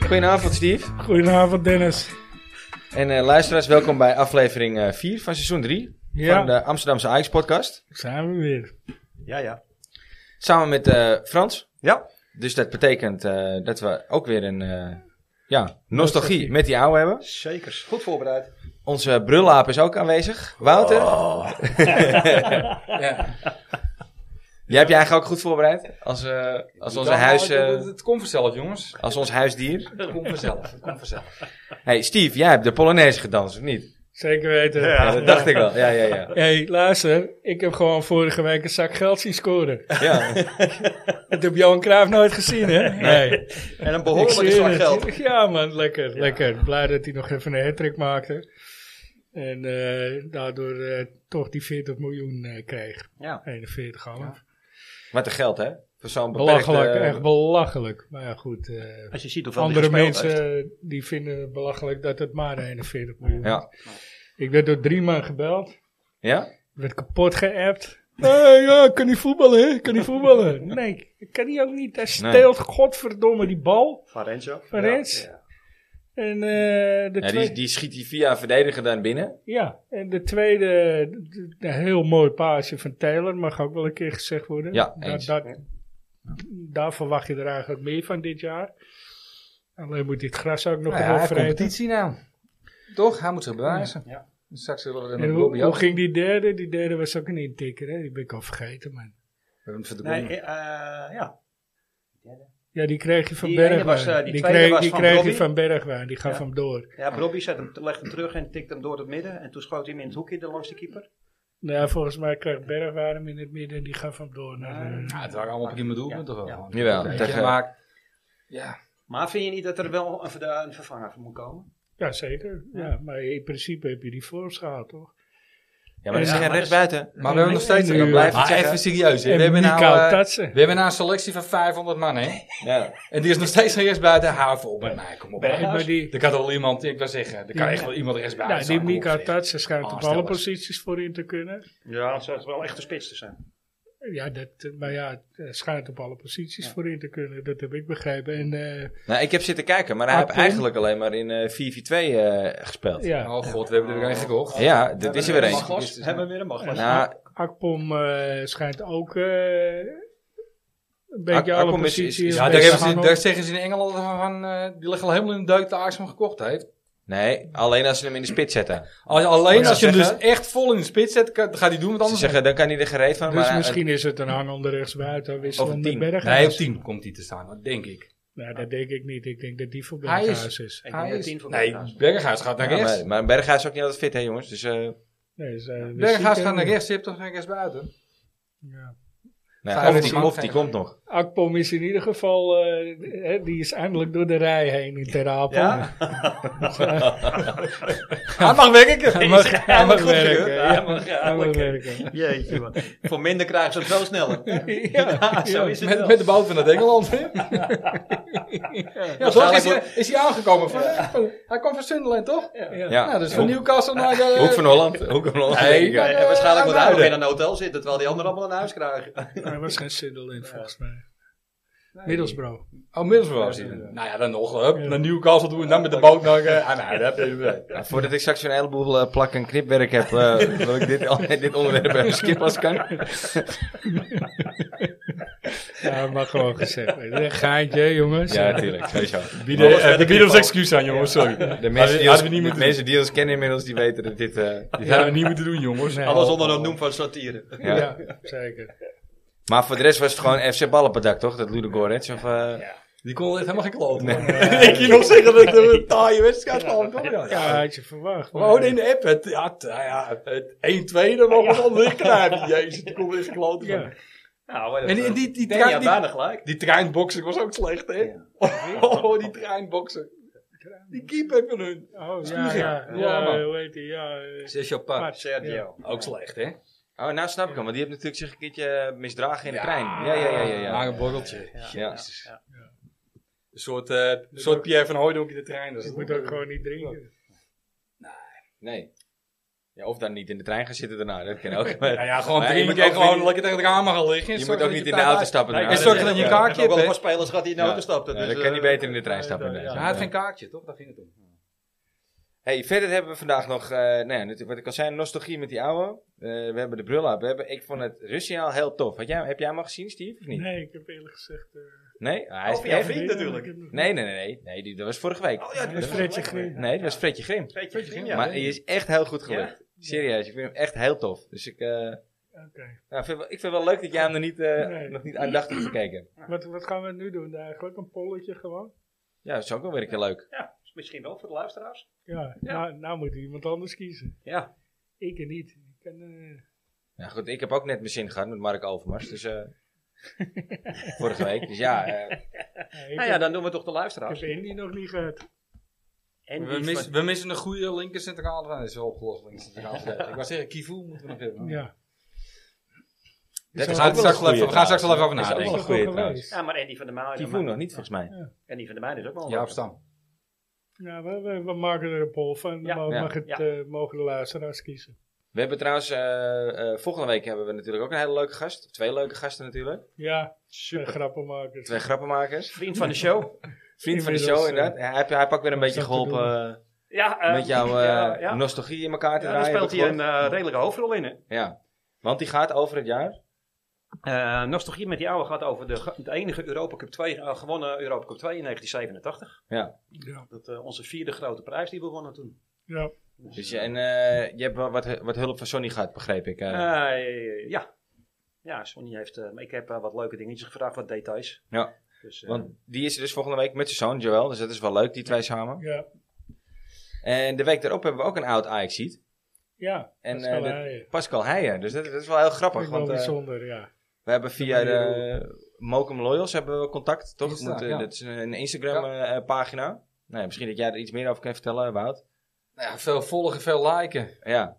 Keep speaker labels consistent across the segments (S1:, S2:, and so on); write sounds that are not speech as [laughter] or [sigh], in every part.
S1: Goedenavond, Steve.
S2: Goedenavond Dennis.
S1: En eh, luisteraars, welkom bij aflevering eh, 4 van seizoen 3 van
S2: Ja,
S1: de Amsterdamse Ajax-podcast.
S2: zijn we weer.
S3: Ja, ja.
S1: Samen met eh, Frans.
S3: Ja.
S1: Dus dat betekent eh, dat we ook weer een eh, ja, nostalgie met die oude hebben.
S3: Zeker. Goed voorbereid. Oh.
S1: Onze brullaap is ook aanwezig. Wouter,
S4: Oh.
S1: jij hebt je eigenlijk ook goed voorbereid als, eh, als, onze huis, eh,
S5: Het, het komt vanzelf, jongens.
S1: als ons huisdier.
S5: Het komt vanzelf. Het komt vanzelf.
S1: Hey Steve, jij hebt de Polonaise gedanst, of niet?
S2: Zeker weten.
S3: Ja.
S1: dat dacht ik wel. Ja, ja,
S2: [laughs]
S1: ja.
S2: hey, luister, ik heb gewoon vorige week een zak geld zien scoren.
S1: ja.
S2: Dat heb Johan Cruijff nooit gezien, hè? Nee.
S3: [laughs] En een
S2: Ik
S3: behoorlijke
S2: zweer
S3: slag
S2: het.
S3: geld.
S2: Ja, man, lekker, lekker. Blij dat hij nog even een hat maakte. En eh, daardoor eh, toch die 40 miljoen eh, kreeg.
S3: Ja.
S2: 41 half.
S1: Wat een geld, hè? Voor zo'n beperkte...
S2: Belachelijk, echt belachelijk. Maar ja, goed. eh,
S3: Als je ziet hoeveel
S2: andere
S3: die gespeeld
S2: mensen eh, die vinden belachelijk dat het maar 41 miljoen
S1: Ja.
S2: Ik werd door drie man gebeld.
S1: Ja?
S2: Ik werd kapot geappt. Nee, ja, ik kan niet voetballen, hè? Ik Kan niet voetballen. Nee, ik kan die ook niet. Hij steelt godverdomme die bal.
S3: heeft. Van Renzo.
S2: Van
S3: Ja.
S2: Rens. En, eh de
S1: Ja,
S2: twee-
S1: die, die schiet die via verdediger dan binnen.
S2: ja, en de tweede, d- d- een heel mooi paasje van Taylor, mag ook wel een keer gezegd worden.
S1: Ja,
S2: Da-
S1: eens.
S2: dat- Daar verwacht je er eigenlijk meer van dit jaar. Alleen moet dit gras ook nog even vreten.
S5: nou. Toch? Hij moet zich bewijzen.
S3: Ja.
S5: Straks zullen we er
S2: En
S5: nog
S2: hoe,
S5: Bobby
S2: hoe
S5: ook. We
S2: ging die derde? Die derde was ook een intikker, hè? Die ben ik al vergeten, man.
S5: hebben hem voor de
S3: Nee,
S5: goal.
S3: eh, eh, ja.
S2: Ja, die kreeg je van
S3: Die ene
S2: Bergwijn.
S3: was, eh, die
S2: die
S3: tweede
S2: kreeg,
S3: was
S2: die
S3: van
S2: kreeg je
S3: Robbie.
S2: van Bergwijn, die gaf
S3: Ja.
S2: hem door.
S3: Ja, Robbie zet hem, legt hem terug en tikt hem door het midden. En toen schoot hij hem in het hoekje de langs de keeper.
S2: Nou, volgens mij kreeg Bergwijn hem in het midden en die gaf hem door. Naar eh, de-
S5: Nou, het waren allemaal prima doelpunten
S3: Ja.
S5: toch wel.
S3: Ja.
S1: Jawel,
S5: Weet je,
S1: tegen-
S5: maar- Ja.
S3: Maar vind je niet dat er wel een, verda- een vervanger voor moet komen?
S2: ja, zeker. Ja. maar in principe heb je die vorms gehad, toch?
S1: Ja, maar dat is
S3: Ja,
S1: geen
S3: maar
S1: recht buiten.
S5: Maar we hebben nog steeds...
S2: En nu-
S5: We blijven
S2: Maar
S5: het zeggen. even serieus. hè.
S2: En
S5: We hebben, nou,
S2: Mikau
S5: eh,
S2: Tatsen.
S5: we hebben nou een selectie van 500 man, hè.
S1: Ja.
S5: En die is nog steeds geen rechtsbuiten. Hou vol met mij, kom op.
S2: Nee, maar die,
S5: Er kan toch wel iemand, ik wil zeggen, er kan
S2: Die-
S5: echt wel iemand
S2: nou,
S5: rechtsbuiten
S2: die
S5: staan, kom op,
S2: Mika
S5: zeg.
S2: Tatsen schijnt op alle
S5: Aanstellers.
S2: posities voor in te kunnen.
S3: Ja, het zou wel echt een spits te zijn.
S2: Ja, dat, eh, maar ja, het schijnt op alle posities voor in te kunnen. Dat heb ik begrepen. En eh,
S1: Nou, ik heb zitten kijken, maar hij
S2: Ah,
S1: heeft
S2: Pim?
S1: eigenlijk alleen maar in eh 4-4-2 eh, gespeeld. Ja,
S2: ja,
S5: Oh god, we hebben er weer een gekocht.
S1: dat is er weer een.
S5: Maglas?
S3: Hebben we weer een maglas?
S1: Nou,
S2: Akpom eh, schijnt ook eh, een beetje
S1: Ak-
S2: alle
S1: Akpom is- is-
S2: posities.
S1: is-
S5: Ja, daar,
S2: mee
S5: hebben ze,
S2: gehangen.
S5: daar zeggen ze in Engeland van, eh, die liggen al helemaal in de deuk de Ajax hem gekocht heeft.
S1: nee, alleen als ze hem in de spits zetten.
S5: Als, alleen
S1: ze
S5: als je hem dus
S1: zeggen-
S5: echt vol in de spits zet, kan- gaat hij doen, want
S1: Ze
S5: anders...
S1: zeggen, dan kan hij er gereed van.
S2: Dus
S1: maar,
S2: misschien is het een hangende rechtsbuiten
S1: Of
S2: wisselen
S1: een
S2: met
S1: tien.
S2: Berghuis.
S5: nee, op 10 komt hij te staan, dat denk ik.
S2: Nou, dat denk ik niet. Ik denk dat die voor
S5: Hij is-
S2: Berghuis is.
S3: Ik
S5: Hij
S3: denk dat
S5: is-
S3: tien voor
S5: nee,
S3: Berghuis.
S5: Berghuis gaat naar
S1: eh, ja,
S5: rechts.
S1: maar, maar Berghuis is ook niet altijd fit, hè jongens. Dus, eh,
S2: Nee, ze zijn weer
S5: Berghuis
S2: ziek,
S5: gaat naar
S2: hè?
S5: rechts, je hebt toch geen rechtsbuiten?
S2: Ja.
S1: nou,
S5: Vijf
S1: of
S5: man
S1: die,
S5: gaan
S1: of die
S5: gaan.
S1: komt nog.
S2: Akpom is in ieder geval, eh, hè, die is eindelijk door de rij heen in Ter Apel.
S3: Ja?
S5: Hij mag werken.
S2: Hij mag, hij mag
S3: goed
S2: werken.
S3: gekeurd.
S2: Ja,
S3: Hij mag-
S2: hij
S3: hij
S2: mag
S3: mag-
S2: werken.
S3: Jeetje, man. voor minder krijgen ze het wel sneller.
S2: Ja,
S3: zo
S2: ja.
S3: is het
S5: Met,
S3: wel.
S5: met de boot van het Engeland. hè? ja, toch? Is hij,
S3: wordt-
S5: is hij aangekomen? Van, Hij kwam van Sunderland, toch?
S3: Ja.
S1: Ja.
S5: Nou, dus van Newcastle naar... de-
S1: Hoek van Holland. Hoek van Holland.
S5: Nee,
S1: Ja,
S5: maar-
S1: ja.
S3: En Eh, waarschijnlijk moet hij nog
S5: Uitmuiden.
S3: in een hotel zitten, terwijl die anderen allemaal een huis krijgen.
S2: Hij was geen Sunderland volgens mij. Middelsbro.
S5: Oh, Middlesbrough was hij. Nou ja, dan nog. Hup, naar Newcastle doen en dan met de boot naar... eh, ah, nou, dat heb je weer.
S1: Nou, voordat ik straks een heleboel eh, plak- en knipwerk heb, eh, [laughs] wil ik dit, al- dit onderwerp even skippen als kan.
S2: Ja, maar gewoon gezegd. Een geintje, jongens.
S1: Ja, natuurlijk, sowieso.
S5: Bieden,
S3: Alles
S5: eh,
S3: met
S5: we
S3: de
S5: bieden ons
S3: knipoog.
S5: excuus aan, jongens. Sorry.
S1: De mensen, die
S5: Hadden
S1: ons,
S5: we niet moeten
S1: de mensen die ons kennen inmiddels, die weten dat dit... eh,
S5: Dit hadden we niet moeten doen, jongens.
S2: Nee.
S3: Alles onder een noem van satire.
S1: ja.
S2: Ja, zeker.
S1: Maar voor de rest was het gewoon FC Ballenpadak, toch? Dat Ludogorets of... eh
S5: Die kon echt helemaal geen kloten.
S1: Nee.
S5: [laughs] ik hier nog zeggen dat het een taaie wedstrijd gewoon kwam. Ja.
S2: Ja, had je verwacht.
S5: We houden Oh, in de app. Het, ja, het, nou ja, het 1-2, dan mogen we het andere krijgen. Jezus, die kon echt kloten.
S2: Ja.
S5: van.
S3: Nou,
S5: En die, en die, die,
S3: Nee, ja,
S5: trein, die,
S3: bijna gelijk.
S5: die treinboxing was ook slecht, hè? [laughs] Oh, die treinboxing. Die keeper van hun.
S2: Oh, ja,
S5: Stuur.
S2: ja.
S5: Ja,
S2: Ja, hoe heet die? Ja,
S1: Ah,
S2: eh,
S5: Zes Chopin.
S2: Mats.
S3: Sergio.
S5: Ook slecht, hè?
S1: Oh, nou snap ik hem, want die heeft natuurlijk zich een keertje eh, misdragen in de
S5: Ja.
S1: trein. Ja, ja, ja, ja.
S5: Maar
S1: ja.
S5: een borreltje.
S1: Ja.
S5: Jezus. Een soort, eh, een soort Pierre van Hooydonk in de trein. Dat is
S2: Je
S5: het
S2: moet ook gewoon niet drinken.
S1: Nee. Ja, of dan niet in de trein gaan zitten daarna, dat kan
S5: [laughs]
S1: ook.
S5: Nou ja, gewoon
S1: Maar je
S5: drinken
S1: moet
S5: en
S1: ook
S5: gewoon
S1: niet-
S5: lekker tegen het raam gaan liggen.
S1: je
S5: Zorg
S1: moet ook
S5: dat
S1: niet
S5: je
S1: in de
S5: tijd
S1: auto
S5: uit-
S1: stappen.
S5: Nee,
S1: daarna.
S5: en zorg dat je een
S1: Ja.
S5: kaartje hebt.
S3: wel
S5: hè.
S3: een spelers gaat die in de
S1: Ja.
S3: auto stappen.
S1: Ja,
S3: dus,
S1: dan kan
S3: eh,
S1: je beter in de trein stappen.
S3: ja,
S1: inderdaad.
S5: Hij had geen kaartje, toch? Daar ging het om.
S1: Hey, verder hebben we vandaag nog, eh, nou ja, natuurlijk wat ik al zei, nostalgie met die oude. Eh, we hebben de brullen. We hebben, ik vond het Russiaal heel tof. Had jij, heb jij hem al gezien, Steve, of niet?
S2: Nee, ik heb eerlijk gezegd... eh,
S1: Nee? Ah, hij is-
S3: Of jouw
S1: hij-
S3: vriend natuurlijk.
S1: nee, nee, nee, nee, nee. die, dat was vorige week.
S3: Oh ja, die
S2: Met
S3: was
S2: Fredje
S3: wel lekker.
S2: Grim.
S1: nee, dat was Fredje Grim.
S3: Fredje Grim,
S1: maar
S3: ja.
S1: die is echt heel goed gelukt. Serieus, ik vind hem echt heel tof. Dus ik, eh,
S2: Oké.
S1: nou, vind wel- ik vind wel leuk dat jij hem er niet, eh,
S2: Nee.
S1: nog niet aandachtig gekeken hebt.
S2: Wat, wat gaan we nu doen eigenlijk? Een polletje gewoon?
S1: Ja, dat is ook wel weer een keer leuk.
S3: Ja, is misschien wel voor de luisteraars.
S2: Ja, Nou, nou moet iemand anders kiezen.
S3: Ja.
S2: Ik en niet. Ik kan, eh,
S1: Ja, goed, ik heb ook net mijn zin gehad met Mark Overmars. Dus, [laughs] eh, vorige week. Dus ja, eh,
S2: ja, ik
S3: Nou ja,
S2: heb-
S3: dan doen we toch de
S2: ik
S3: luisteraars.
S2: heb Andy nog niet gehad.
S3: En
S5: We,
S3: die
S5: mis-
S3: van-
S5: we missen een goede linker centrale verdediger. Is wel opgelost, linker centrale verdediger. Ik wou zeggen, Kivu moeten we nog hebben.
S2: Ja.
S1: dat
S5: We
S1: is
S5: gaan
S1: ook wel
S5: straks
S1: een goeie
S5: wel even- we gaan straks wel even over
S1: trouwens. Dat
S2: Is
S5: nadenken.
S1: is
S2: toch
S1: wel een
S2: wel
S1: goeie trouwens.
S3: Ja, maar Andy van der Maan.
S1: Kivu nog niet, volgens mij.
S3: Andy van der Maan is ook wel
S5: Ja, op
S3: leuk.
S5: stam.
S2: Nou, we, we, we maken er een poll van.
S3: Ja,
S2: Dan mag-
S1: ja,
S2: mag het,
S3: ja.
S2: eh, mogen de luisteraars kiezen.
S1: We hebben trouwens, eh, eh, volgende week hebben we natuurlijk ook een hele leuke gast. Twee leuke gasten natuurlijk.
S2: Ja, super. grappenmakers.
S1: Twee grappenmakers.
S3: Vriend van de show.
S1: Vriend van de
S2: Inmiddels,
S1: show inderdaad. Hij, heeft- hij pakt weer een
S2: dat
S1: beetje
S2: is ook te
S1: geholpen eh,
S3: Ja, eh,
S1: met [laughs] jouw eh,
S3: ja, ja.
S1: nostalgie in elkaar te
S3: Ja, daar
S1: draaien.
S3: speelt
S1: heb ik
S3: hij een
S1: gehoord.
S3: eh, redelijke hoofdrol in. Hè?
S1: Ja, want die gaat over het jaar.
S3: Eh, nostalgie met die oude gaat over de, ge- de enige Europa Cup 2, eh, gewonnen Europa Cup 2 in 1987.
S2: Ja.
S3: Dat, eh, onze vierde grote prijs die we wonnen toen.
S2: ja.
S1: Dus je, en eh, je hebt wel wat, wat hulp van Sonny gehad, begreep ik. eh.
S3: Eh, ja. Ja, Sonny heeft... eh, ik heb eh, wat leuke dingetjes gevraagd, wat details.
S1: Ja.
S3: Dus, eh,
S1: Want die is er dus volgende week met zijn zoon Joel. Dus dat is wel leuk, die twee samen.
S2: ja.
S1: En de week daarop hebben we ook een oud Ajax-ziet.
S2: ja.
S1: En,
S2: dat is wel
S1: eh,
S2: hij. Vind
S1: Pascal Heijer. Dus dat, dat is wel heel grappig.
S2: ik wel
S1: Want eh,
S2: bijzonder, ja.
S1: We hebben via
S2: Dat moet je
S1: de Mokum Loyals hebben we contact, toch?
S5: Insta,
S1: Moet, eh,
S5: ja.
S1: Dat is een Instagram-pagina. nou, ja, misschien dat jij er iets meer over kan vertellen, Wout.
S5: Nou ja, veel volgen, veel liken.
S1: Ja,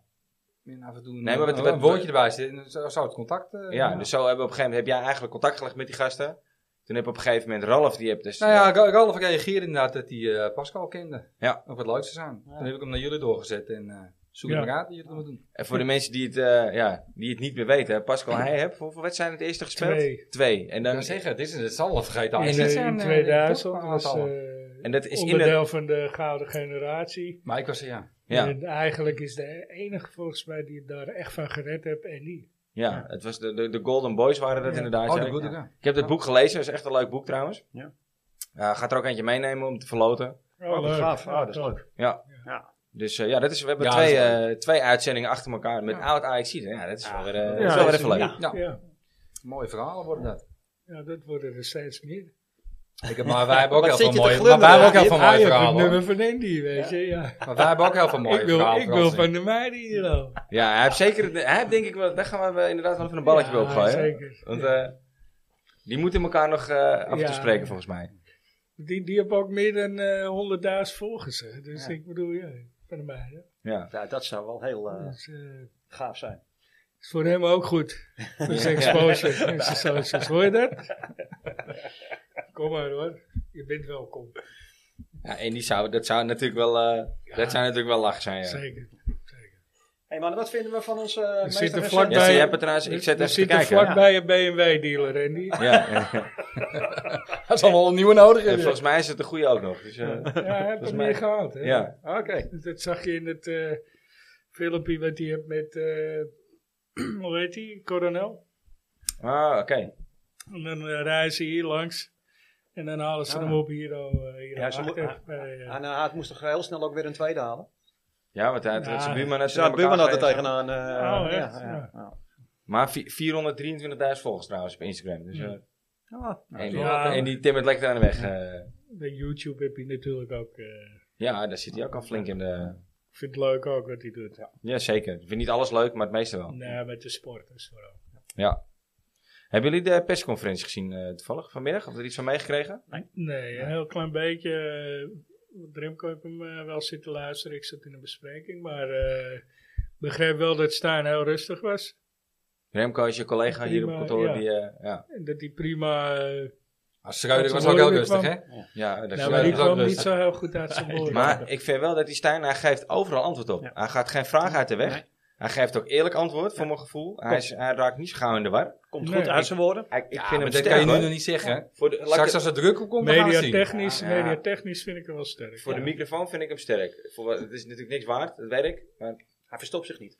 S5: En af en toe een,
S1: Nee, maar wat-
S5: een
S1: wat-
S5: woordje erbij zitten. en Zo zou het contact... eh,
S1: ja, dus zo hebben we op een gegeven moment heb jij eigenlijk contact gelegd met die gasten. Toen heb op een gegeven moment Ralf, die hebt dus...
S5: Nou ja, Ra- Ralf reageerde inderdaad dat hij eh, Pascal kende.
S1: Ja.
S5: Of het leuk zou zijn. Toen heb ik hem naar jullie doorgezet en eh zoek
S2: Ja.
S5: hem maar uit wat jullie ermee doen.
S1: En voor de mensen die het, eh, ja, die het niet meer weten, hè, Pascal Heij heeft hoeveel wedstrijden het eerste gespeeld?
S2: Twee.
S1: Twee. En,
S5: Ik
S1: dan,
S5: kan zeggen, dit is het zal wel vergeten.
S2: In,
S5: Ajax.
S2: eh,
S5: Dit zijn,
S2: in
S5: eh,
S2: 2000
S5: toch een
S2: was
S5: aantal.
S2: eh
S1: en dat is in de...
S2: onderdeel van de gouden generatie.
S5: maar ik was er, ja.
S1: Ja,
S2: En eigenlijk is de enige volgens mij die het daar echt van gered heeft en niet.
S1: ja, het was de, de, de Golden Boys waren dat
S2: Ja.
S1: inderdaad.
S5: Oh,
S1: ja.
S5: dat bedoel ik, ja.
S1: Ik heb dat boek gelezen, dat is echt een leuk boek trouwens.
S3: Ja.
S1: Eh, gaat er ook eentje meenemen om te verloten.
S2: Oh,
S3: wat gaaf. Oh, dat is
S2: top.
S3: leuk.
S1: Ja.
S3: Ja.
S1: Dus eh, ja, dat is, we hebben
S5: Ja,
S1: twee,
S5: dat is
S1: eh, twee uitzendingen achter elkaar met
S5: Ja.
S1: oud AXC. Ja, dat is wel weer, eh, dat
S2: Ja,
S1: is wel weer
S2: dat
S1: even leuk.
S2: Ja.
S5: Ja.
S2: Ja.
S5: Mooie verhalen worden dat.
S2: Ja, dat worden er steeds meer.
S5: Ik heb, maar wij hebben ook
S3: Wat
S5: heel
S3: zit
S5: veel
S3: je te
S5: mooie, maar
S3: glunderen?
S5: wij hebben ook heel
S2: Je
S5: veel
S2: hebt- ah,
S5: mooie
S2: je hebt het nummer
S5: verhalen. hoor.
S2: van Andy, weet je. Ja.
S5: Maar wij hebben ook heel veel mooie
S2: Ik wil,
S5: verhalen.
S2: ik wil
S5: Frans.
S2: van de meiden hier al.
S1: Ja, hij heeft zeker, het- hij heeft denk ik wel, daar gaan we eh, inderdaad wel even een balletje bij
S2: Ja,
S1: opgooien.
S2: zeker.
S1: Want eh, die moeten elkaar nog eh, af en
S2: Ja.
S1: toe spreken volgens mij.
S2: Die, die hebben ook meer dan eh 100.000 volgers. hè. Dus
S5: Ja.
S2: ik bedoel, ja, van de meiden.
S1: Ja.
S3: Ja, dat zou wel heel
S5: Ah.
S3: eh,
S2: Dus, eh,
S3: gaaf zijn.
S2: is voor hem ook
S5: [laughs]
S2: goed. Voor zijn exposure en zijn socials. Hoor je dat? Kom maar hoor. Je bent welkom.
S1: ja, en die zou, dat zou natuurlijk wel, eh, dat zou natuurlijk wel lach zijn. Ja.
S2: Zeker. Zeker.
S3: hey, man, wat vinden we van ons eh meest
S2: zitten
S3: recente-
S2: vlakbij.
S1: Ja, zie, je hebt het trouwens, ik zet
S2: We
S1: even te
S2: zitten
S1: kijken.
S2: vlakbij een BMW-dealer, Andy.
S1: Ja, ja.
S5: Dat zal wel een nieuwe nodig
S1: En
S5: hebben.
S1: volgens mij is het de goede ook nog. Dus, eh,
S2: [laughs] Ja, hij heeft hem
S1: mij-
S2: hier gehaald. Hè?
S1: ja.
S3: Oké.
S2: Dat zag je in het eh, filmpje wat hij hebt met, eh, [clears throat] hoe heet hij, Coronel.
S1: Ah, oké.
S2: En dan eh, rijden ze hier langs. En dan halen ze
S3: Ah.
S2: hem op hier al. eh,
S3: Ja,
S2: hier
S3: ze
S2: achter,
S3: moeten-
S1: Ah,
S2: bij, eh,
S3: En eh, hij moest toch heel snel ook weer een tweede halen?
S1: Ja, want hij had
S2: Ja.
S1: zijn buurman had
S3: Ze had
S1: aan elkaar
S3: Buurman altijd
S1: gegeven.
S3: tegenaan. eh
S2: Oh, echt?
S3: Ja, ja.
S1: Maar vi- 423.000 volgers trouwens op Instagram. Dus, eh,
S2: Ja.
S3: Ja.
S1: en, die,
S2: Ja.
S1: en die timmert lekker aan de weg. eh.
S2: bij YouTube heb je natuurlijk ook. eh,
S1: ja, daar zit hij ook al flink in de...
S2: ik vind het leuk ook wat hij doet.
S1: Ja, zeker. Ik vind niet alles leuk, maar het meeste wel.
S2: Nee, met de sporters vooral.
S1: Ja. Hebben jullie de persconferentie gezien eh, toevallig vanmiddag? Of er iets van meegekregen?
S2: Nee, een heel klein beetje. eh, Remco heeft hem eh, wel zitten luisteren. Ik zat in een bespreking. Maar eh, ik begreep wel dat Stijn heel rustig was.
S1: Remco is je collega hier op
S2: Prima,
S1: kantoor.
S2: ja.
S1: Die, eh, ja.
S2: En dat hij prima eh,
S1: Maar Schreuder
S2: Dat
S1: was
S2: ze
S1: ook heel
S2: moeilijk
S1: rustig, hè?
S2: kwam.
S3: Ja.
S1: Ja, dat
S2: Nou, maar
S1: Schreuder
S2: die
S1: was ook
S2: kwam niet
S1: rustig.
S2: zo heel goed uit zijn
S1: [laughs]
S2: woorden.
S1: Maar ik vind wel dat die Stijn, hij geeft overal antwoord op.
S3: Ja.
S1: Hij gaat geen vraag uit de weg.
S3: Nee.
S1: Hij geeft ook eerlijk antwoord, voor mijn gevoel. Hij, is- hij raakt niet zo gauw in de war.
S3: Komt
S2: Nee,
S3: goed uit zijn woorden.
S1: Ik, ik
S5: Ja,
S1: vind
S5: maar
S1: hem
S5: dat
S1: sterk,
S5: kan je nu
S1: hoor.
S5: nog niet zeggen.
S1: Voor de, laat ik
S5: Straks
S1: het-
S5: als er druk op komt, dan gaan we het zien.
S2: Mediatechnisch,
S1: Ja, ja.
S2: mediatechnisch vind ik hem wel sterk.
S1: voor de
S2: ja.
S1: microfoon vind ik hem sterk. Voor, wat- het is natuurlijk niks waard, dat weet ik. Maar
S3: Hij verstopt zich niet.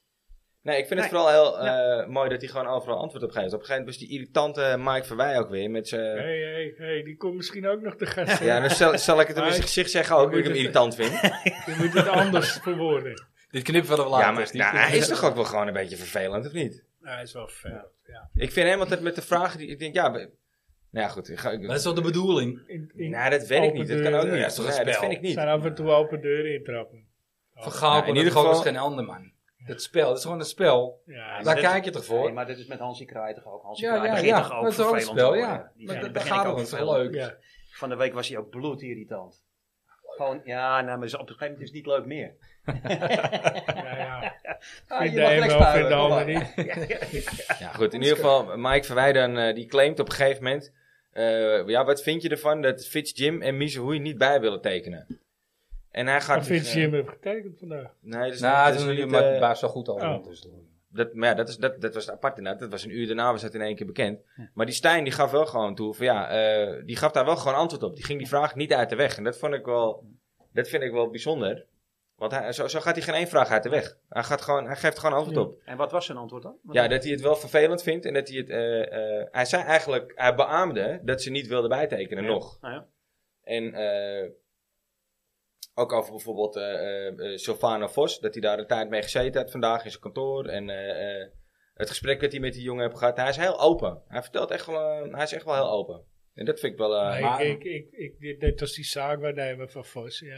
S1: Nee, ik vind het
S3: Nee.
S1: vooral heel eh, mooi dat hij gewoon overal antwoord op geeft. Op een gegeven moment was die irritante Mike Verwij ook weer. Met zijn,
S2: Hey, hey, hey, die komt misschien ook nog te gast.
S1: Ja, dan zal, zal ik het hem in
S2: Maar-
S1: zijn gezicht zeggen ook, dat ik hem
S2: Moet je-
S1: irritant vind.
S2: Je moet het anders [laughs] verwoorden.
S5: Dit knippen we er wel
S1: Ja,
S5: later.
S1: maar
S5: dus die-
S1: nou, hij is toch ook wel gewoon een beetje vervelend, of niet?
S2: Hij is wel ver. Ja.
S1: Ik vind hem altijd met de vragen die... Ik denk, ja, we- nou ja, goed. Ik ga, ik,
S5: Maar dat is wel de bedoeling.
S2: In, in,
S1: nou, dat weet ik
S2: open
S1: niet. Dat kan ook
S2: deuren.
S1: niet.
S5: Ja, is toch een
S1: Nee, dat
S5: spel?
S1: vind ik niet.
S2: Zijn af en toe open deuren intrappen.
S5: Van Gaal
S1: Nou,
S5: kon
S1: in
S5: in ieder
S1: ieder
S5: geval
S1: geval-
S5: geen ander, man. Dat spel, dat is gewoon een spel.
S2: Ja,
S5: Daar
S3: dat-
S5: kijk je toch voor?
S3: Nee, maar dit is met Hansi Kraai toch ook. Hansi
S5: Ja,
S3: Kraai
S5: ja,
S3: begint
S5: ja.
S3: toch ook
S5: Dat is wel een
S3: vervelend te
S5: spel,
S3: worden.
S5: ja.
S3: Die
S5: Maar
S3: begint
S5: dat- daar
S3: ook
S5: gaat het om, dat is
S3: vervelend.
S5: wel leuk.
S2: ja.
S3: Van de week was hij ook bloedirritant. Gewoon, ja, nou, maar op een gegeven moment is het niet leuk meer.
S2: ja, ja.
S5: Ah,
S2: Vindt
S5: je
S2: de
S5: mag
S2: een
S5: lek
S2: wel, vindt de
S5: spuien, kom
S2: ander
S5: maar.
S2: niet.
S1: Ja, goed. In ieder geval, Mike Verwij dan, eh, die claimt op een gegeven moment... eh, ja, wat vind je ervan dat Fitz, Jim en Misehoei niet bij willen tekenen? En hij gaat... dus, eh,
S2: Maar
S5: eh,
S2: Vince Jim heeft getekend vandaag.
S1: Nee, dat is
S5: Nou,
S1: dat
S5: dat
S1: is
S5: is
S1: niet,
S5: maar
S1: eh,
S5: het baas wel goed over.
S2: Oh.
S5: Dus, eh,
S1: Dat, maar ja, dat, is, dat, dat was het apart inderdaad. Dat was een uur daarna was dat in één keer bekend. Maar die Stijn die gaf wel gewoon toe van ja, eh, die gaf daar wel gewoon antwoord op. Die ging die vraag niet uit de weg. En dat vond ik wel, dat vind ik wel bijzonder. Want hij, zo, zo gaat hij geen één vraag uit de weg. Hij, gaat gewoon, hij geeft gewoon antwoord
S2: Ja.
S1: op.
S3: En wat was zijn antwoord dan? Want-
S1: Ja, dat hij het wel vervelend vindt. En dat hij het, eh, eh, hij zei eigenlijk, hij beaamde dat ze niet wilden bijtekenen
S3: Ja.
S1: nog.
S3: Nou ja.
S1: En eh, ook over bijvoorbeeld eh eh, eh, Silvano Vos, dat hij daar een tijd mee gezeten had vandaag in zijn kantoor. En eh, eh, het gesprek dat hij met die jongen heeft gehad, hij is heel open. Hij vertelt echt wel, eh, hij is echt wel heel open. En dat vind ik wel. eh,
S2: Maar
S5: maar-
S2: ik, ik, ik, ik, dit- dit was die zaakwaarnemer van Vos. Ja,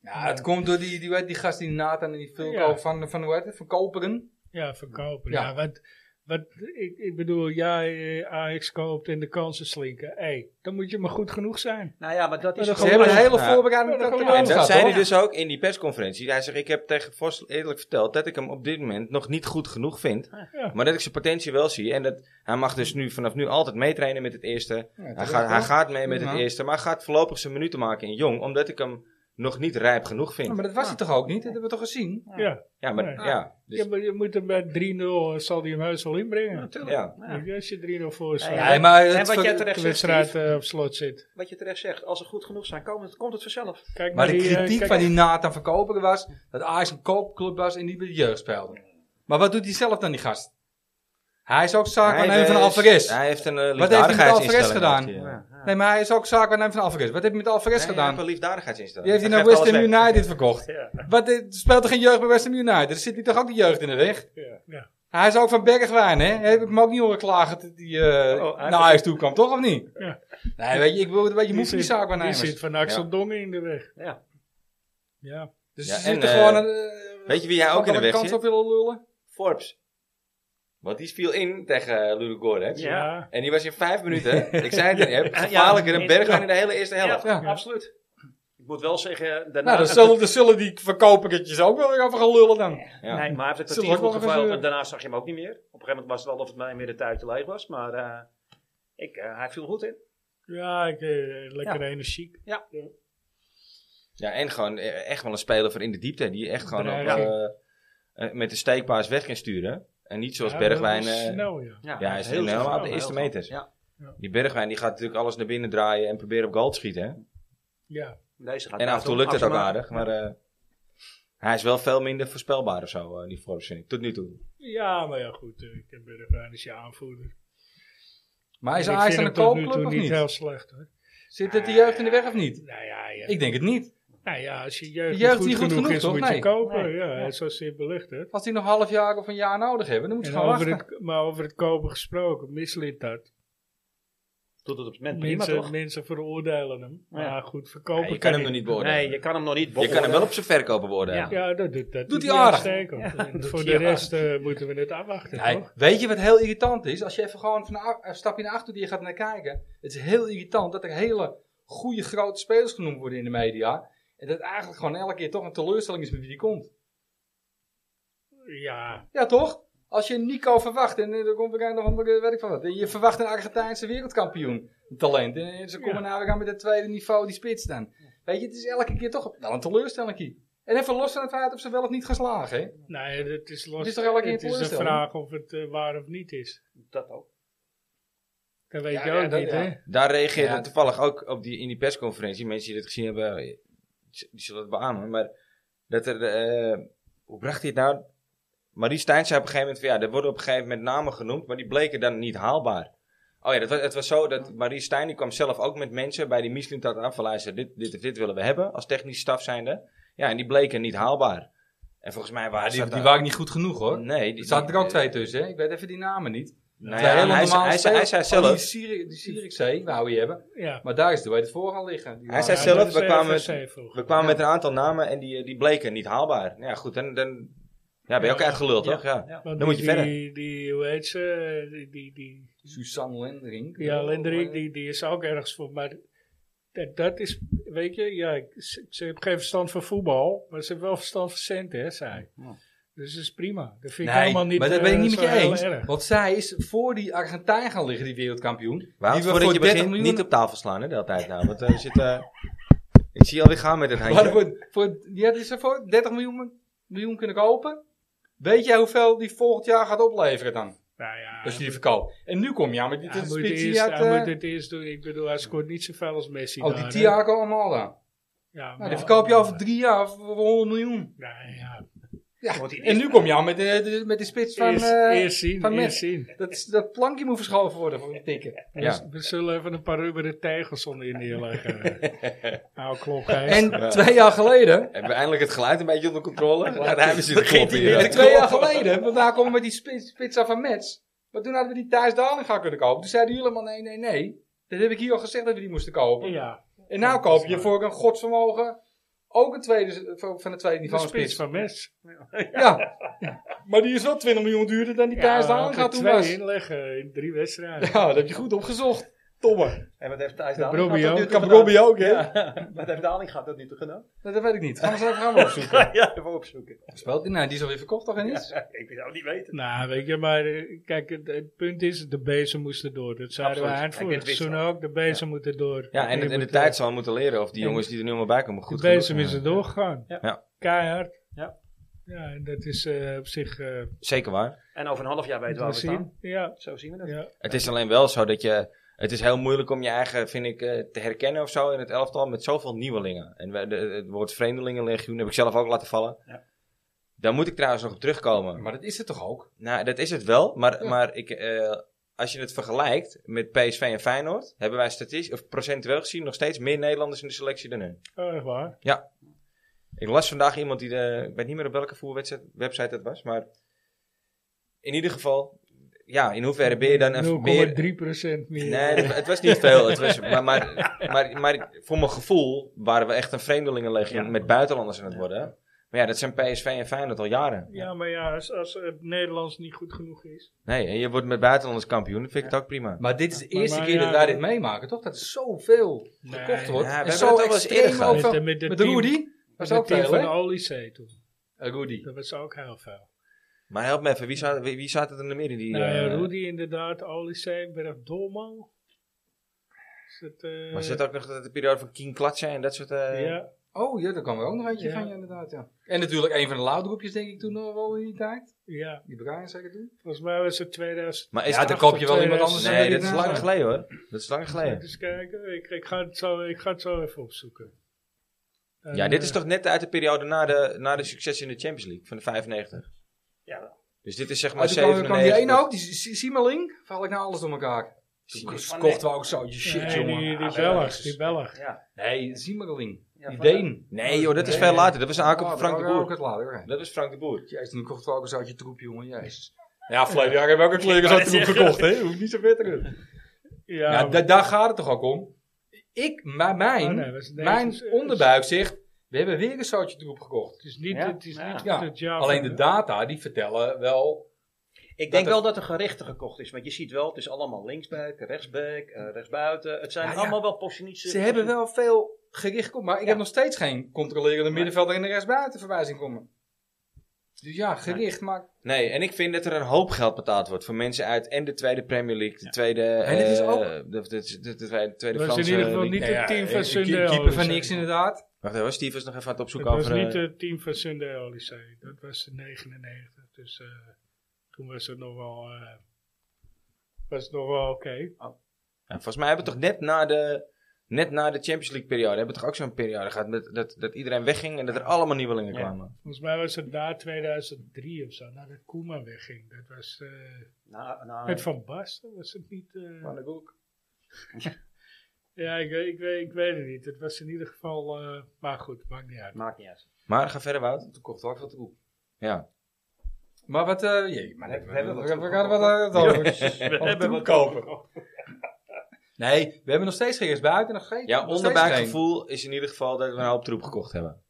S5: Ja, het komt door die, die, weet- die gast die Nathan en die Vulko
S2: Ja.
S5: van, van, hoe heet het, van Koperen.
S2: Ja, verkopen. Ja,
S5: Ja.
S2: wat, wat, ik, ik bedoel, ja, eh, Ajax koopt en de kansen slinken. Hé, dan moet je maar goed genoeg zijn.
S3: Nou ja, maar dat is
S2: Maar dat
S5: Ze
S2: Gewoon
S5: hebben een
S2: leuk.
S5: hele
S1: Ja.
S5: voorbereiding
S2: Ja, dat
S5: tot de
S2: kan
S1: en
S5: Rams
S1: dat
S5: gehad,
S1: zei hij
S5: hoor.
S1: dus ook in die persconferentie. Hij zegt: Ik heb tegen Vos eerlijk verteld dat ik hem op dit moment nog niet goed genoeg vind.
S2: Ja.
S1: Maar dat ik zijn potentie wel zie. En dat hij mag dus nu vanaf nu altijd meetrainen met het eerste.
S5: Ja,
S1: Hij
S5: terecht,
S1: gaat, hij
S5: hoor.
S1: gaat mee met
S5: Ja.
S1: het eerste, maar hij gaat voorlopig zijn minuten maken in jong, omdat ik hem nog niet rijp genoeg
S5: Ja,
S1: vind.
S5: maar dat was hij toch ook niet? Dat hebben we toch gezien?
S2: Ja,
S3: Ja.
S1: Ja, maar
S2: Nee.
S1: ja. Dus,
S2: Ja, maar je moet hem bij 3-0, zal die hem heus wel inbrengen.
S1: ja.
S2: Ja, Als je 3-0 voor staat,
S3: Ja,
S5: Nee, maar
S3: En
S5: het
S3: wat
S5: ver-
S3: jij
S2: de
S3: terecht zegt,
S2: wedstrijd
S3: Steve,
S2: eh, op slot zit.
S3: wat je terecht zegt, als ze goed genoeg zijn, komt het, komt het vanzelf.
S2: Kijk
S5: Maar de
S2: die, eh,
S5: kritiek
S2: kijk-
S5: van die Nathan van Koperen was dat Ajax een koopclub was en niet bij de jeugd speelde. Maar wat doet hij zelf dan, die gast? Hij is ook zaakwaarnemer
S1: heeft-
S5: van Alvarez.
S1: Hij heeft een eh,
S5: Wat heeft hij met Alvarez
S1: liefdadigheidsinstelling.
S5: gedaan?
S1: heeft hij, eh.
S5: Nee, maar hij is ook zaakwaarnemer van Alvarez. Wat heeft hij met
S1: Nee,
S5: Alvarez
S1: hij
S5: gedaan?
S1: heeft een liefdadigheidsinstelling.
S5: Die heeft hij naar
S1: geeft
S5: West Ham
S1: alles weg.
S5: United verkocht.
S2: Ja,
S5: Wat, eh, speelt er geen jeugd bij West Ham United? Er zit hij toch ook de jeugd in de weg?
S2: ja, ja.
S5: Hij is ook van Bergwijn, hè? Heb ik hem ook niet horen klagen dat hij eh,
S3: Oh, hij-
S5: naar Ajax toe kwam, toch? Of niet?
S2: Ja.
S5: Nee, weet je, ik bedoel, weet
S2: Die
S5: je moet van die
S2: zit- Die
S5: zaakwaarnemers.
S2: zit van Axel
S1: Ja.
S2: Dongen in de weg.
S3: Ja.
S2: Ja,
S5: Dus
S1: Ja,
S5: er
S1: en,
S5: zit er
S1: eh,
S5: gewoon een... eh,
S1: weet je wie hij ook in de
S5: wat
S1: weg
S5: kans
S1: zit?
S5: op willen lullen?
S1: Forbes. Want die viel in tegen eh, Ludo Goretz.
S3: Ja.
S2: ja.
S1: En die was in vijf minuten, ik zei het in
S5: [laughs]
S1: de app,
S3: Ja, ja.
S1: gevaarlijker dan Bergwijn
S3: Ja.
S1: in de hele eerste helft.
S5: Ja.
S3: absoluut. Ik moet wel zeggen, daarna...
S5: Nou, dan zullen, dan zullen die verkopertjes ook wel weer over gaan lullen dan.
S1: Ja.
S3: Nee, maar hij heeft het
S5: Zullen
S3: kwartier
S5: we ook
S3: goed
S5: nog
S3: geveild
S5: eens,
S1: eh,
S3: en daarna zag je hem ook niet meer. Op een gegeven moment was het wel of het mij meer de tijd te leeg was, maar eh, ik, eh, hij viel goed in.
S2: Ja, ik, eh, lekker
S3: Ja.
S2: energiek.
S1: Ja, en gewoon eh, echt wel een speler voor in de diepte. Die echt gewoon op,
S2: Dreiging.
S1: eh, eh, met een steekpaas weg kan sturen. En niet zoals
S2: Ja, dat
S1: Bergwijn.
S2: was
S1: eh,
S2: Snel, ja.
S1: Ja, hij is heel snel,
S3: snel,
S1: op de eerste
S3: heel snel.
S1: meters.
S3: Ja,
S1: die Bergwijn die gaat natuurlijk alles naar binnen draaien en proberen op goal te schieten. hè.
S2: Ja,
S3: deze gaat
S1: En af en toe lukt het
S3: het
S1: ook aardig. Maar eh, hij is wel veel minder voorspelbaar of zo, eh, die Forbes vind ik. Tot nu toe.
S2: ja maar ja, goed. eh, Ik heb Bergwijn is je aanvoerder.
S5: Maar is
S2: Ik
S5: Ajax
S2: vind
S5: dan een
S2: hem tot nu toe
S5: koopclub of
S2: niet
S5: niet?
S2: heel slecht hoor.
S5: Zit het de jeugd in de weg of niet?
S2: Nou ja, ja.
S5: Ik denk het niet.
S2: nou ja als je jeugd,
S5: De jeugd
S2: niet goed, genoeg, is,
S5: toch?
S2: moet je
S5: Nee.
S2: kopen.
S3: Nee.
S2: Ja, zo simpel ligt het.
S5: Als die nog een half jaar of een jaar nodig hebben, dan moeten
S2: En
S5: ze gaan
S2: over
S5: wachten.
S2: het, maar over het kopen gesproken, misliet dat.
S3: Doet het op eh, het moment prima,
S2: Mensen,
S3: toch?
S2: mensen veroordelen hem. Maar
S3: Ja.
S2: goed, verkopen
S1: je kan hem nog
S2: hij.
S1: niet beoordelen.
S3: Nee, je kan hem nog niet
S1: je kan hem wel op zijn verkopen
S3: Ja.
S1: beoordelen.
S2: Ja, dat doet, dat
S5: Doet
S2: doet
S5: hij aardig.
S2: uitstekend. En
S3: doet
S2: Voor
S3: hij
S2: de rest eh, moeten we het afwachten,
S5: Nee,
S2: toch?
S5: weet je wat heel irritant is? Als je even gewoon van a- een stapje naar achter die gaat naar kijken. Het is heel irritant dat er hele goede grote spelers genoemd worden in de media. En dat eigenlijk gewoon elke keer toch een teleurstelling is met wie die komt.
S2: Ja,
S5: Ja, toch? Als je Nico verwacht, en eh, dan komt er nog een eh, weet ik van wat. En Je verwacht een Argentijnse wereldkampioen talent. En eh, ze komen nou weer aan met het tweede niveau die spits dan. Weet je, het is elke keer toch wel een teleurstelling. En even los van het feit of ze wel of niet geslagen. Hè?
S2: Nee, Nou dat is los.
S5: Het is toch elke keer
S2: het is de
S5: teleurstelling?
S2: vraag of het eh, waar of niet is.
S3: Dat ook.
S2: Dat weet
S5: Ja,
S2: je
S5: ja,
S2: ook
S5: dat-
S2: niet,
S5: ja.
S2: hè?
S1: Daar reageerde
S5: Ja.
S1: toevallig ook op die, in die persconferentie. Mensen die dat gezien hebben, eh, z- die zullen het beamen. Maar dat er, eh, hoe bracht hij het nou? Marie Stijn zei op een gegeven moment van ja, er worden op een gegeven moment namen genoemd, maar die bleken dan niet haalbaar. Oh ja, dat was, het was zo dat Marie Stijn die kwam zelf ook met mensen bij die Michelin dat aan van luister, dit, dit of dit willen we hebben als technisch staf zijnde. Ja, en die bleken niet haalbaar. En volgens mij waren
S5: die,
S1: zat
S5: die
S1: daar-
S5: waren niet goed genoeg hoor.
S1: Nee,
S5: Er
S1: die,
S5: zaten er
S1: die-
S5: ook twee tussen. Hè? Ik weet even die namen niet.
S1: Nou
S5: Twee
S1: ja,
S5: hele
S1: hij, zei-
S5: normale
S1: hij, zei- hij zei
S5: spelers. Oh,
S1: zelf.
S5: Die Syri- die Syriëzee, nou je hebben.
S2: Ja.
S5: Maar daar is de bij het voor gaan liggen. Die
S1: Hij
S5: waren-
S1: zei
S5: nou
S1: zelf,
S2: dat is
S1: we
S2: de
S1: kwamen-
S2: RVC vroeger.
S1: We kwamen
S5: Ja.
S1: met een aantal namen en die, eh, die bleken niet haalbaar. Nou Ja, goed, dan, dan ja, ben je ook
S2: Ja,
S1: uitgeluld,
S3: ja.
S1: toch? Ja.
S2: Want
S1: Dan
S2: die-
S1: moet je verder.
S2: Die, die, hoe heet ze? Eh, Die, die, die,
S5: Suzanne Lendering.
S2: ja, Lindering, die, die is ook ergens voor. Maar dat, dat is, weet je, ja, ik- ze, ze heeft geen verstand van voetbal, maar ze heeft wel verstand van centen, hè, zij.
S3: Ja.
S2: Dus dat is prima. Dat vind
S5: Nee,
S2: ik helemaal niet
S5: maar dat
S2: eh,
S5: ben ik niet met
S2: zo
S5: je
S2: heel
S5: eens.
S2: erg.
S5: Want zij is voor die Argentijn gaan liggen, die wereldkampioen.
S1: Waarom
S5: die we
S1: voordat
S5: voor
S1: je
S5: 30
S1: begint
S5: miljoen-
S1: niet op tafel slaan, hè, de hele tijd nou.
S2: [laughs]
S1: Want eh, we zitten, ik zie je alweer gaan met het
S5: Maar
S1: handje.
S5: voor, voor, die hadden ze voor 30 miljoen, miljoen kunnen kopen. Weet jij hoeveel die volgend jaar gaat opleveren dan?
S2: Nou ja,
S5: Als je die
S2: hij
S5: verkoopt. En nu kom je aan met die
S2: moet-
S5: dit
S2: hij moet,
S5: spits die
S2: eerst,
S5: uit,
S2: hij
S5: eh,
S2: moet het eerst doen. Ik bedoel, hij scoort niet zoveel als Messi.
S5: Oh, die
S2: daar, hè.
S5: Thiago Almada.
S2: Ja,
S5: Nou, die
S2: maar-
S5: verkoop je over drie jaar voor 100 miljoen.
S2: Nee, ja.
S5: Ja,
S3: Wordt die
S5: en nu
S3: eerst-
S5: kom je aan met de, de- met de spits van...
S2: eerst,
S5: eh,
S2: eerst zien,
S5: van
S2: eerst
S5: Messi.
S2: zien.
S5: dat, is- dat plankje moet verschoven worden voor een tikken.
S2: We-
S1: Ja.
S2: We zullen even een paar rubberen tegels onder in neerleggen.
S1: [laughs]
S2: nou, klopt, Gijs.
S5: En
S1: Ja.
S5: twee jaar geleden...
S1: Hebben we eindelijk het geluid een beetje onder controle? Ja, daar hebben ze de
S3: Begint
S1: kloppen
S3: hij
S1: hier.
S3: weer.
S5: Twee jaar geleden, want daar komen we met die spits, spits af van Mets. Maar toen hadden we die Thijs gaan kunnen kopen. Toen zeiden jullie allemaal nee, nee, nee. Dat heb ik hier al gezegd dat we die moesten kopen.
S2: ja,
S5: En nou koop je voor een godsvermogen ook een tweede, van het tweede
S2: de
S5: niveau een
S2: spits
S5: spits.
S2: van Mes.
S5: Ja. [laughs] Maar die is wel 20 miljoen duurder dan die Thijs
S2: daar
S5: gaat toen
S2: twee
S5: was.
S2: inleggen in drie
S1: [laughs]
S2: wedstrijden.
S5: Ja, dat heb je goed opgezocht. Tomme.
S3: En wat heeft Thijs
S2: Dat
S3: Daling
S2: Robbie
S3: gehad
S2: ook.
S3: tot nu toe
S5: Kan Robbie ook, hè?
S3: gedaan? Wat heeft Daling gehad tot nu toe gedaan?
S5: Nee, Dat weet ik niet. Gaan we ze even gaan we
S2: [laughs]
S5: opzoeken.
S3: [laughs] Ja, even opzoeken.
S5: Speelt die? Nou, die is alweer verkocht toch en iets?
S3: Ik wil het ook niet weten.
S2: Nou, weet je, maar eh, kijk, het, het punt is, de bezen moesten door. Dat zeiden
S3: Absoluut.
S2: we eind
S3: Ik
S2: vorig
S3: dit wist
S2: seizoen
S3: al.
S2: ook. De bezen moeten door.
S1: Ja, en,
S2: Je
S1: de- en de
S2: moet,
S1: tijd
S2: eh,
S1: zal moeten leren of die
S2: en-
S1: jongens die er nu maar bij komen goed
S2: De bezem
S1: genoeg
S2: is
S1: zijn.
S2: er doorgegaan.
S1: Ja.
S2: Keihard.
S3: Ja.
S2: Ja, en dat is eh, op zich eh
S1: Zeker waar.
S3: En over een half jaar weten we waar we staan.
S2: zien. Ja,
S3: Zo zien we dat.
S2: ja.
S1: Het is alleen wel zo dat je... Het is heel moeilijk om je eigen, vind ik, eh, te herkennen of zo in het elftal met zoveel nieuwelingen. En we- de- het woord vreemdelingenlegioen heb ik zelf ook laten vallen.
S3: Ja.
S1: Daar moet ik trouwens nog op terugkomen.
S5: Maar dat is het toch ook?
S1: Nou, dat is het wel. Maar,
S5: Ja.
S1: maar ik, eh, als je het vergelijkt met PSV en Feyenoord, hebben wij statistisch, of procentueel gezien nog steeds meer Nederlanders in de selectie dan hun.
S2: Oh, echt waar.
S1: Ik las vandaag iemand die, de, ik weet niet meer op welke voerwedstrijd- website dat was, maar in ieder geval, ja, in hoeverre ben je dan een meer...
S2: 0,3 procent meer.
S1: Nee, het, het was niet veel. Het was, maar, maar, maar, maar voor mijn gevoel waren we echt een vreemdelingenlegioen
S3: Ja.
S1: met buitenlanders aan het worden. Maar ja, dat zijn PSV en Feyenoord al jaren.
S2: Ja, maar ja, als, als het Nederlands niet goed genoeg is.
S1: Nee, en je wordt met buitenlanders kampioen, dan vind ik het ook prima.
S5: Maar dit is de
S2: Maar-
S5: eerste
S2: maar
S5: keer dat
S2: ja,
S5: wij
S2: dat-
S5: dit meemaken, toch? Dat er zoveel
S2: Nee.
S5: gekocht wordt.
S1: Ja, we
S5: en
S1: hebben
S5: zo
S1: het al eens eerder
S5: extreem
S1: gehad.
S5: ook van...
S2: met de
S5: Met
S2: team-
S5: Rudy? Dat is
S2: met
S5: ook
S2: het team
S5: veel,
S2: van
S5: hè?
S2: Olysee toen.
S5: Eh, Rudy.
S2: Dat was ook heel veel.
S1: Maar help me even, wie zat, wie, wie zat het er meer in die...
S2: Nou, ja,
S1: eh,
S2: Rudy inderdaad, Olysee, Berg Dolman. Is het, eh,
S1: Maar zit ook nog de, de periode van Kien Klatsen en dat soort... eh,
S2: Ja,
S5: Oh, ja, daar kwam er ook nog eentje
S2: Ja.
S5: van, ja, inderdaad, ja. En natuurlijk een van de luidroepjes, denk ik, toen nog wel in die tijd.
S2: ja,
S5: Die Brian zeker toen.
S2: volgens mij was het 2000.
S1: Maar is
S5: Ja,
S1: het
S5: dan
S1: achter-
S5: koop je wel iemand anders.
S1: Nee, dat
S5: dit
S1: is
S5: nou-
S1: lang geleden hoor. Dat is lang geleden.
S2: Eens kijken, ik, ik, ga het zo, ik ga het zo even opzoeken. En,
S1: Ja, dit is
S2: eh,
S1: toch net uit de periode na de, na de succes in de Champions League van de 95.
S3: Ja,
S1: Dus dit is zeg
S5: Maar
S1: maar
S5: Oh, toen kwam- kwam die
S1: 97.
S5: ene ook, die S- S- Simmeling. Val ik nou alles door elkaar. Toen
S3: Simmeling.
S5: kochten we ook zo, shit,
S2: Eh, nee,
S5: jongen.
S2: Die, die
S5: Ah,
S2: Belg, die Belg.
S3: ja.
S5: Nee, Simmeling.
S3: Ja,
S5: die
S3: van-
S5: Deen.
S1: Nee joh, dat is
S2: Nee.
S1: veel later. Dat was een aankoop van
S5: Oh,
S1: Frank de
S5: daar waren we ook
S1: Boer.
S5: het later, hè.
S1: Dat was Frank de Boer.
S5: Jezus, toen kochten we ook een zoutje troep, jongen. Jezus. Ja, verleden jaar hebben we ook een kleurgezoutje troep gekocht, hè. Hoef niet zo ver terug.
S2: Ja,
S5: Ja,
S2: maar-
S5: da- daar gaat het toch ook om. Ik, maar mijn,
S2: oh, nee, was het
S5: mijn
S2: 90's.
S5: onderbuik zegt, we hebben weer een zoutje troep gekocht.
S2: Het is niet,
S3: Ja?
S2: het is
S3: Ja.
S2: niet
S5: Ja,
S2: het jaar
S5: Alleen
S2: van-
S5: de data, die vertellen wel...
S3: Ik
S5: Dat
S3: denk
S5: er-
S3: wel dat er gerichte gekocht is. Want je ziet wel, het is allemaal linksback, rechtsback, eh, rechtsbuiten. Het zijn
S5: Ja, ja.
S3: allemaal wel positionisten.
S5: Ze hebben wel veel gericht op, maar ik
S3: Ja.
S5: heb nog steeds geen controlerende middenvelder in de rest buiten verwijzing komen. Dus ja, gericht, maar...
S1: Nee, en ik vind dat er een hoop geld betaald wordt voor mensen uit en de tweede Premier League, de tweede...
S5: En dit is
S1: eh,
S5: ook-
S1: de, de, de, de tweede, tweede Franse...
S2: Dat was in ieder geval
S1: league.
S2: niet
S5: Nou ja,
S2: het team
S5: eh,
S2: van
S5: de
S2: Sunday
S5: keeper van
S2: Oliseh.
S5: niks inderdaad.
S1: Wacht even, Steve was nog even aan het
S2: Het
S1: opzoeken
S2: was
S1: over...
S2: niet
S1: eh,
S2: het team van Sunday Oliseh. Dat was de 99. Dus eh, toen was het nog wel... eh, was het nog wel oké.
S1: ja, volgens mij hebben we toch net na de... Net na de Champions League periode hebben we toch ook zo'n periode gehad met, dat, dat iedereen wegging en dat er allemaal nieuwelingen
S3: Ja.
S1: kwamen.
S2: Volgens mij was het na 2003 of zo. Nadat Koeman wegging. Dat was... eh,
S3: Na, na,
S4: Ah,
S2: Met Van Basten was het niet. eh,
S5: Van de Boek.
S2: [laughs] ja, ik, weet- ik, weet, ik weet het niet. Het was in ieder geval. eh, maar goed, maakt niet uit.
S3: Maakt niet uit.
S1: Maar ga verder Wout.
S5: Toen kocht ook wat te boek.
S1: Ja.
S5: Maar wat... eh jee, maar
S3: We-
S5: we,
S3: we
S5: we,
S3: hebben
S5: we,
S3: wat
S5: we,
S3: te
S5: gaan
S3: kopen.
S5: wat aan het over.
S3: We
S5: Of
S3: hebben wat
S5: toekopen. Nee, we hebben nog steeds geen buiten. Nog geen,
S1: Jouw
S5: nog steeds
S1: onderbuikgevoel is in ieder geval dat we een hoop troep gekocht hebben.
S5: geen.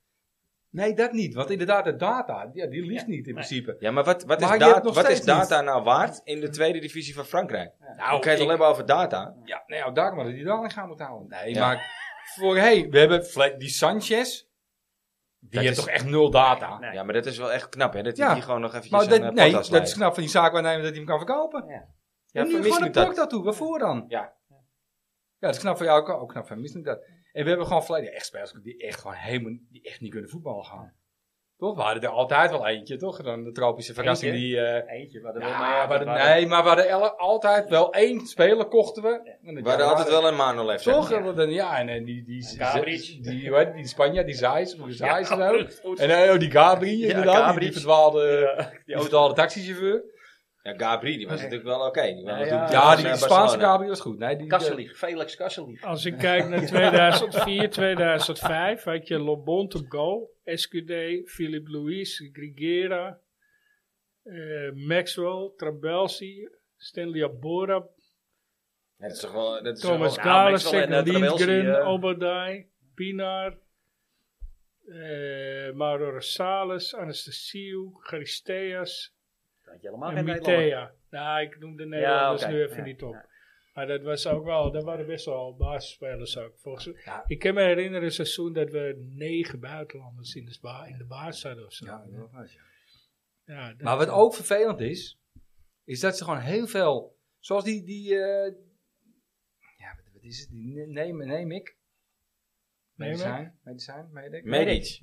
S5: Nee, dat niet. Want inderdaad, de data, ja, die liegt niet in principe.
S1: Ja, maar wat, wat,
S5: Maar
S1: is,
S5: je
S1: da-
S5: hebt nog
S1: wat is
S5: steeds niet-
S1: data nou waard in de tweede divisie van Frankrijk?
S5: Nou,
S4: oh,
S1: Dan kan je het
S5: ik-
S1: al hebben over data.
S5: Ja, nou, daar maar dat die daar aan gaan moeten houden. Nee,
S1: Ja.
S5: maar voorheen, we hebben Fle- die Sanchez. Die
S1: Dat
S5: heeft
S1: is-
S5: toch echt nul data?
S3: Nee.
S1: Ja, maar dat is wel echt knap, hè? Dat hij
S5: Ja.
S1: die gewoon nog eventjes
S5: Maar
S1: een
S5: dat,
S1: eh,
S5: nee,
S1: podcast
S5: dat is
S1: leidt.
S5: knap van die zaakwaarnemer dat hij hem kan verkopen.
S1: Ja,
S5: en nu
S1: vermis
S5: gewoon een
S1: niet dat.
S5: blok daartoe. Waarvoor dan?
S1: Ja.
S5: Ja, dat is knap van jou. Ook knap van mis niet dat. En we hebben gewoon verleden echt spelers die echt gewoon helemaal die echt niet kunnen voetballen gaan. Toch? We hadden er altijd wel eentje, toch? Dan de tropische verrassing
S3: Eentje?
S5: die... eh,
S3: Eentje, wat er
S5: ja,
S3: wel mee
S5: we hadden-
S3: waar-
S5: nee, maar we hadden el- altijd wel één speler kochten we. En dan-
S1: We hadden
S5: ja,
S1: altijd wel een Manuel even.
S5: Toch? En dan, ja, en, eh, die, die,
S3: En
S5: die,
S3: Gabriel.
S5: die, hoe heet die, die Spanjaard, die Zeiss, hoe is Zeiss en zo.
S3: goed.
S5: En eh, oh, die Gabriel
S3: Ja,
S5: inderdaad, die- die,
S3: Gabriel.
S5: verdwaalde, die
S3: Ja.
S5: verdwaalde taxichauffeur.
S1: Ja, Gabri, die was
S3: Nee.
S1: natuurlijk wel oké. Die was
S3: Ja,
S1: natuurlijk-
S5: Ja,
S1: was
S5: die,
S1: naar
S5: Spaanse
S1: Barcelona.
S5: Gabriel was goed. Nee, die,
S3: Kasselig, Felix Kasselig.
S2: Als ik kijk naar 2004, 2005, had je Lobont op goal. SQD, Philippe Louis, Grigera, eh, Maxwell, Trabelsi, Stanley Abora,
S1: Ja, dat is toch wel... Dat is
S2: Thomas
S1: toch
S3: nou, Maxwell
S2: Galasek,
S3: en, eh, Trabelsi,
S2: Lindgren,
S3: eh.
S2: Obadai, Pinar, eh, Mauro Rosales, Anastasiou, Charisteas
S3: Dat had je helemaal
S2: en
S3: geen Nederlander.
S2: Mitea. Nou, ik noem de Nederlanders
S3: oké,
S2: nu even
S3: ja,
S2: niet op.
S3: ja.
S2: Maar dat was ook wel, dat waren best wel basisspelers ook. Volgens,
S5: Ja.
S2: Ik kan me herinneren een seizoen dat we negen buitenlanders in de, ba in de baas hadden of zo.
S5: Ja, dat was, ja.
S2: Ja, dat-
S5: Maar wat ook vervelend is, is dat ze gewoon heel veel, zoals die, die eh, ja, wat, wat is het, die ne- neem,
S2: Neem
S5: neem ik,
S2: ik?
S5: medicijn, medicijn, medicijn,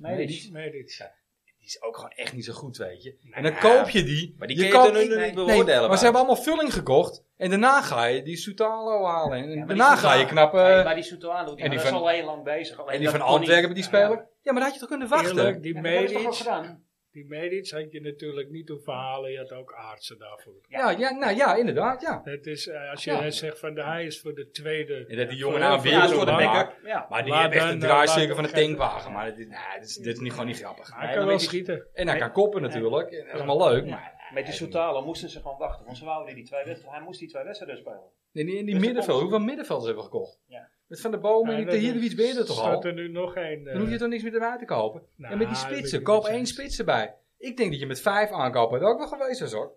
S1: Medic.
S3: Medic.
S2: Medic.
S5: Die is ook gewoon echt niet zo goed, weet je. En
S1: Ja.
S5: dan koop je die.
S1: Maar die
S5: je
S1: kun je
S5: koopt
S1: dan nu
S5: die-
S1: niet
S5: nee,
S1: beoordelen,
S5: maar
S1: Wout.
S5: ze hebben allemaal vulling gekocht. En daarna ga je die Soutalo halen. En
S3: Ja, maar
S5: daarna
S3: die
S5: ga je
S3: Soutalo-
S5: knappen.
S3: Nee, maar die Soutalo, die,
S5: en die
S3: was
S5: van-
S3: al heel lang bezig. alleen
S5: en die
S3: dat
S5: van
S3: kon
S5: Antwerpen,
S3: niet.
S5: die speler. Ja, maar dat had je toch kunnen wachten?
S2: Eerlijk, die
S3: Ja, maar dat is toch wel
S2: Medic,
S3: gedaan?
S2: die Medic had je natuurlijk niet hoeven halen. Je had ook aardsen daarvoor.
S5: Ja, ja, nou ja, inderdaad, ja.
S2: Het is, eh, als je
S5: Ja.
S2: dan zegt van de hij is voor de tweede.
S5: En dat die
S2: voor
S5: jongen nou
S2: heel
S5: weer
S2: veel
S5: is voor de
S2: belang.
S5: bekker.
S3: Ja.
S5: Maar die
S2: Laat
S5: hebben echt
S2: dan,
S5: een
S2: eh, laat
S5: draaicirkel van een
S2: vergeten.
S5: tankwaren. Maar dit, is- nou, dit, is, dit is niet, gewoon niet grappig.
S2: Hij
S3: Nee,
S2: kan
S3: maar
S2: wel
S3: die-
S2: schieten.
S5: En hij
S3: Nee.
S5: kan koppen natuurlijk. En dat is allemaal leuk. Maar
S3: Met die Soutalo moesten ze gewoon wachten, want ze wouden die twee wedstrijden, hij moest die twee wedstrijden spelen.
S5: in die, in die
S3: Dus-
S5: middenveld, hoeveel middenvelders hebben we gekocht?
S3: Ja.
S5: Met Van der Bomen
S2: Ja,
S5: en
S2: dat-
S5: die Tehirovic ben je er toch al?
S2: staat er nu nog één. eh,
S5: Dan hoef je toch niks meer erbij te kopen?
S2: nou,
S5: en met die
S2: dat weet
S5: spitsen,
S2: ik
S5: koop
S2: niet
S5: één
S2: eens.
S5: spits erbij. Ik denk dat je met vijf aankopen dat ook wel geweest was hoor.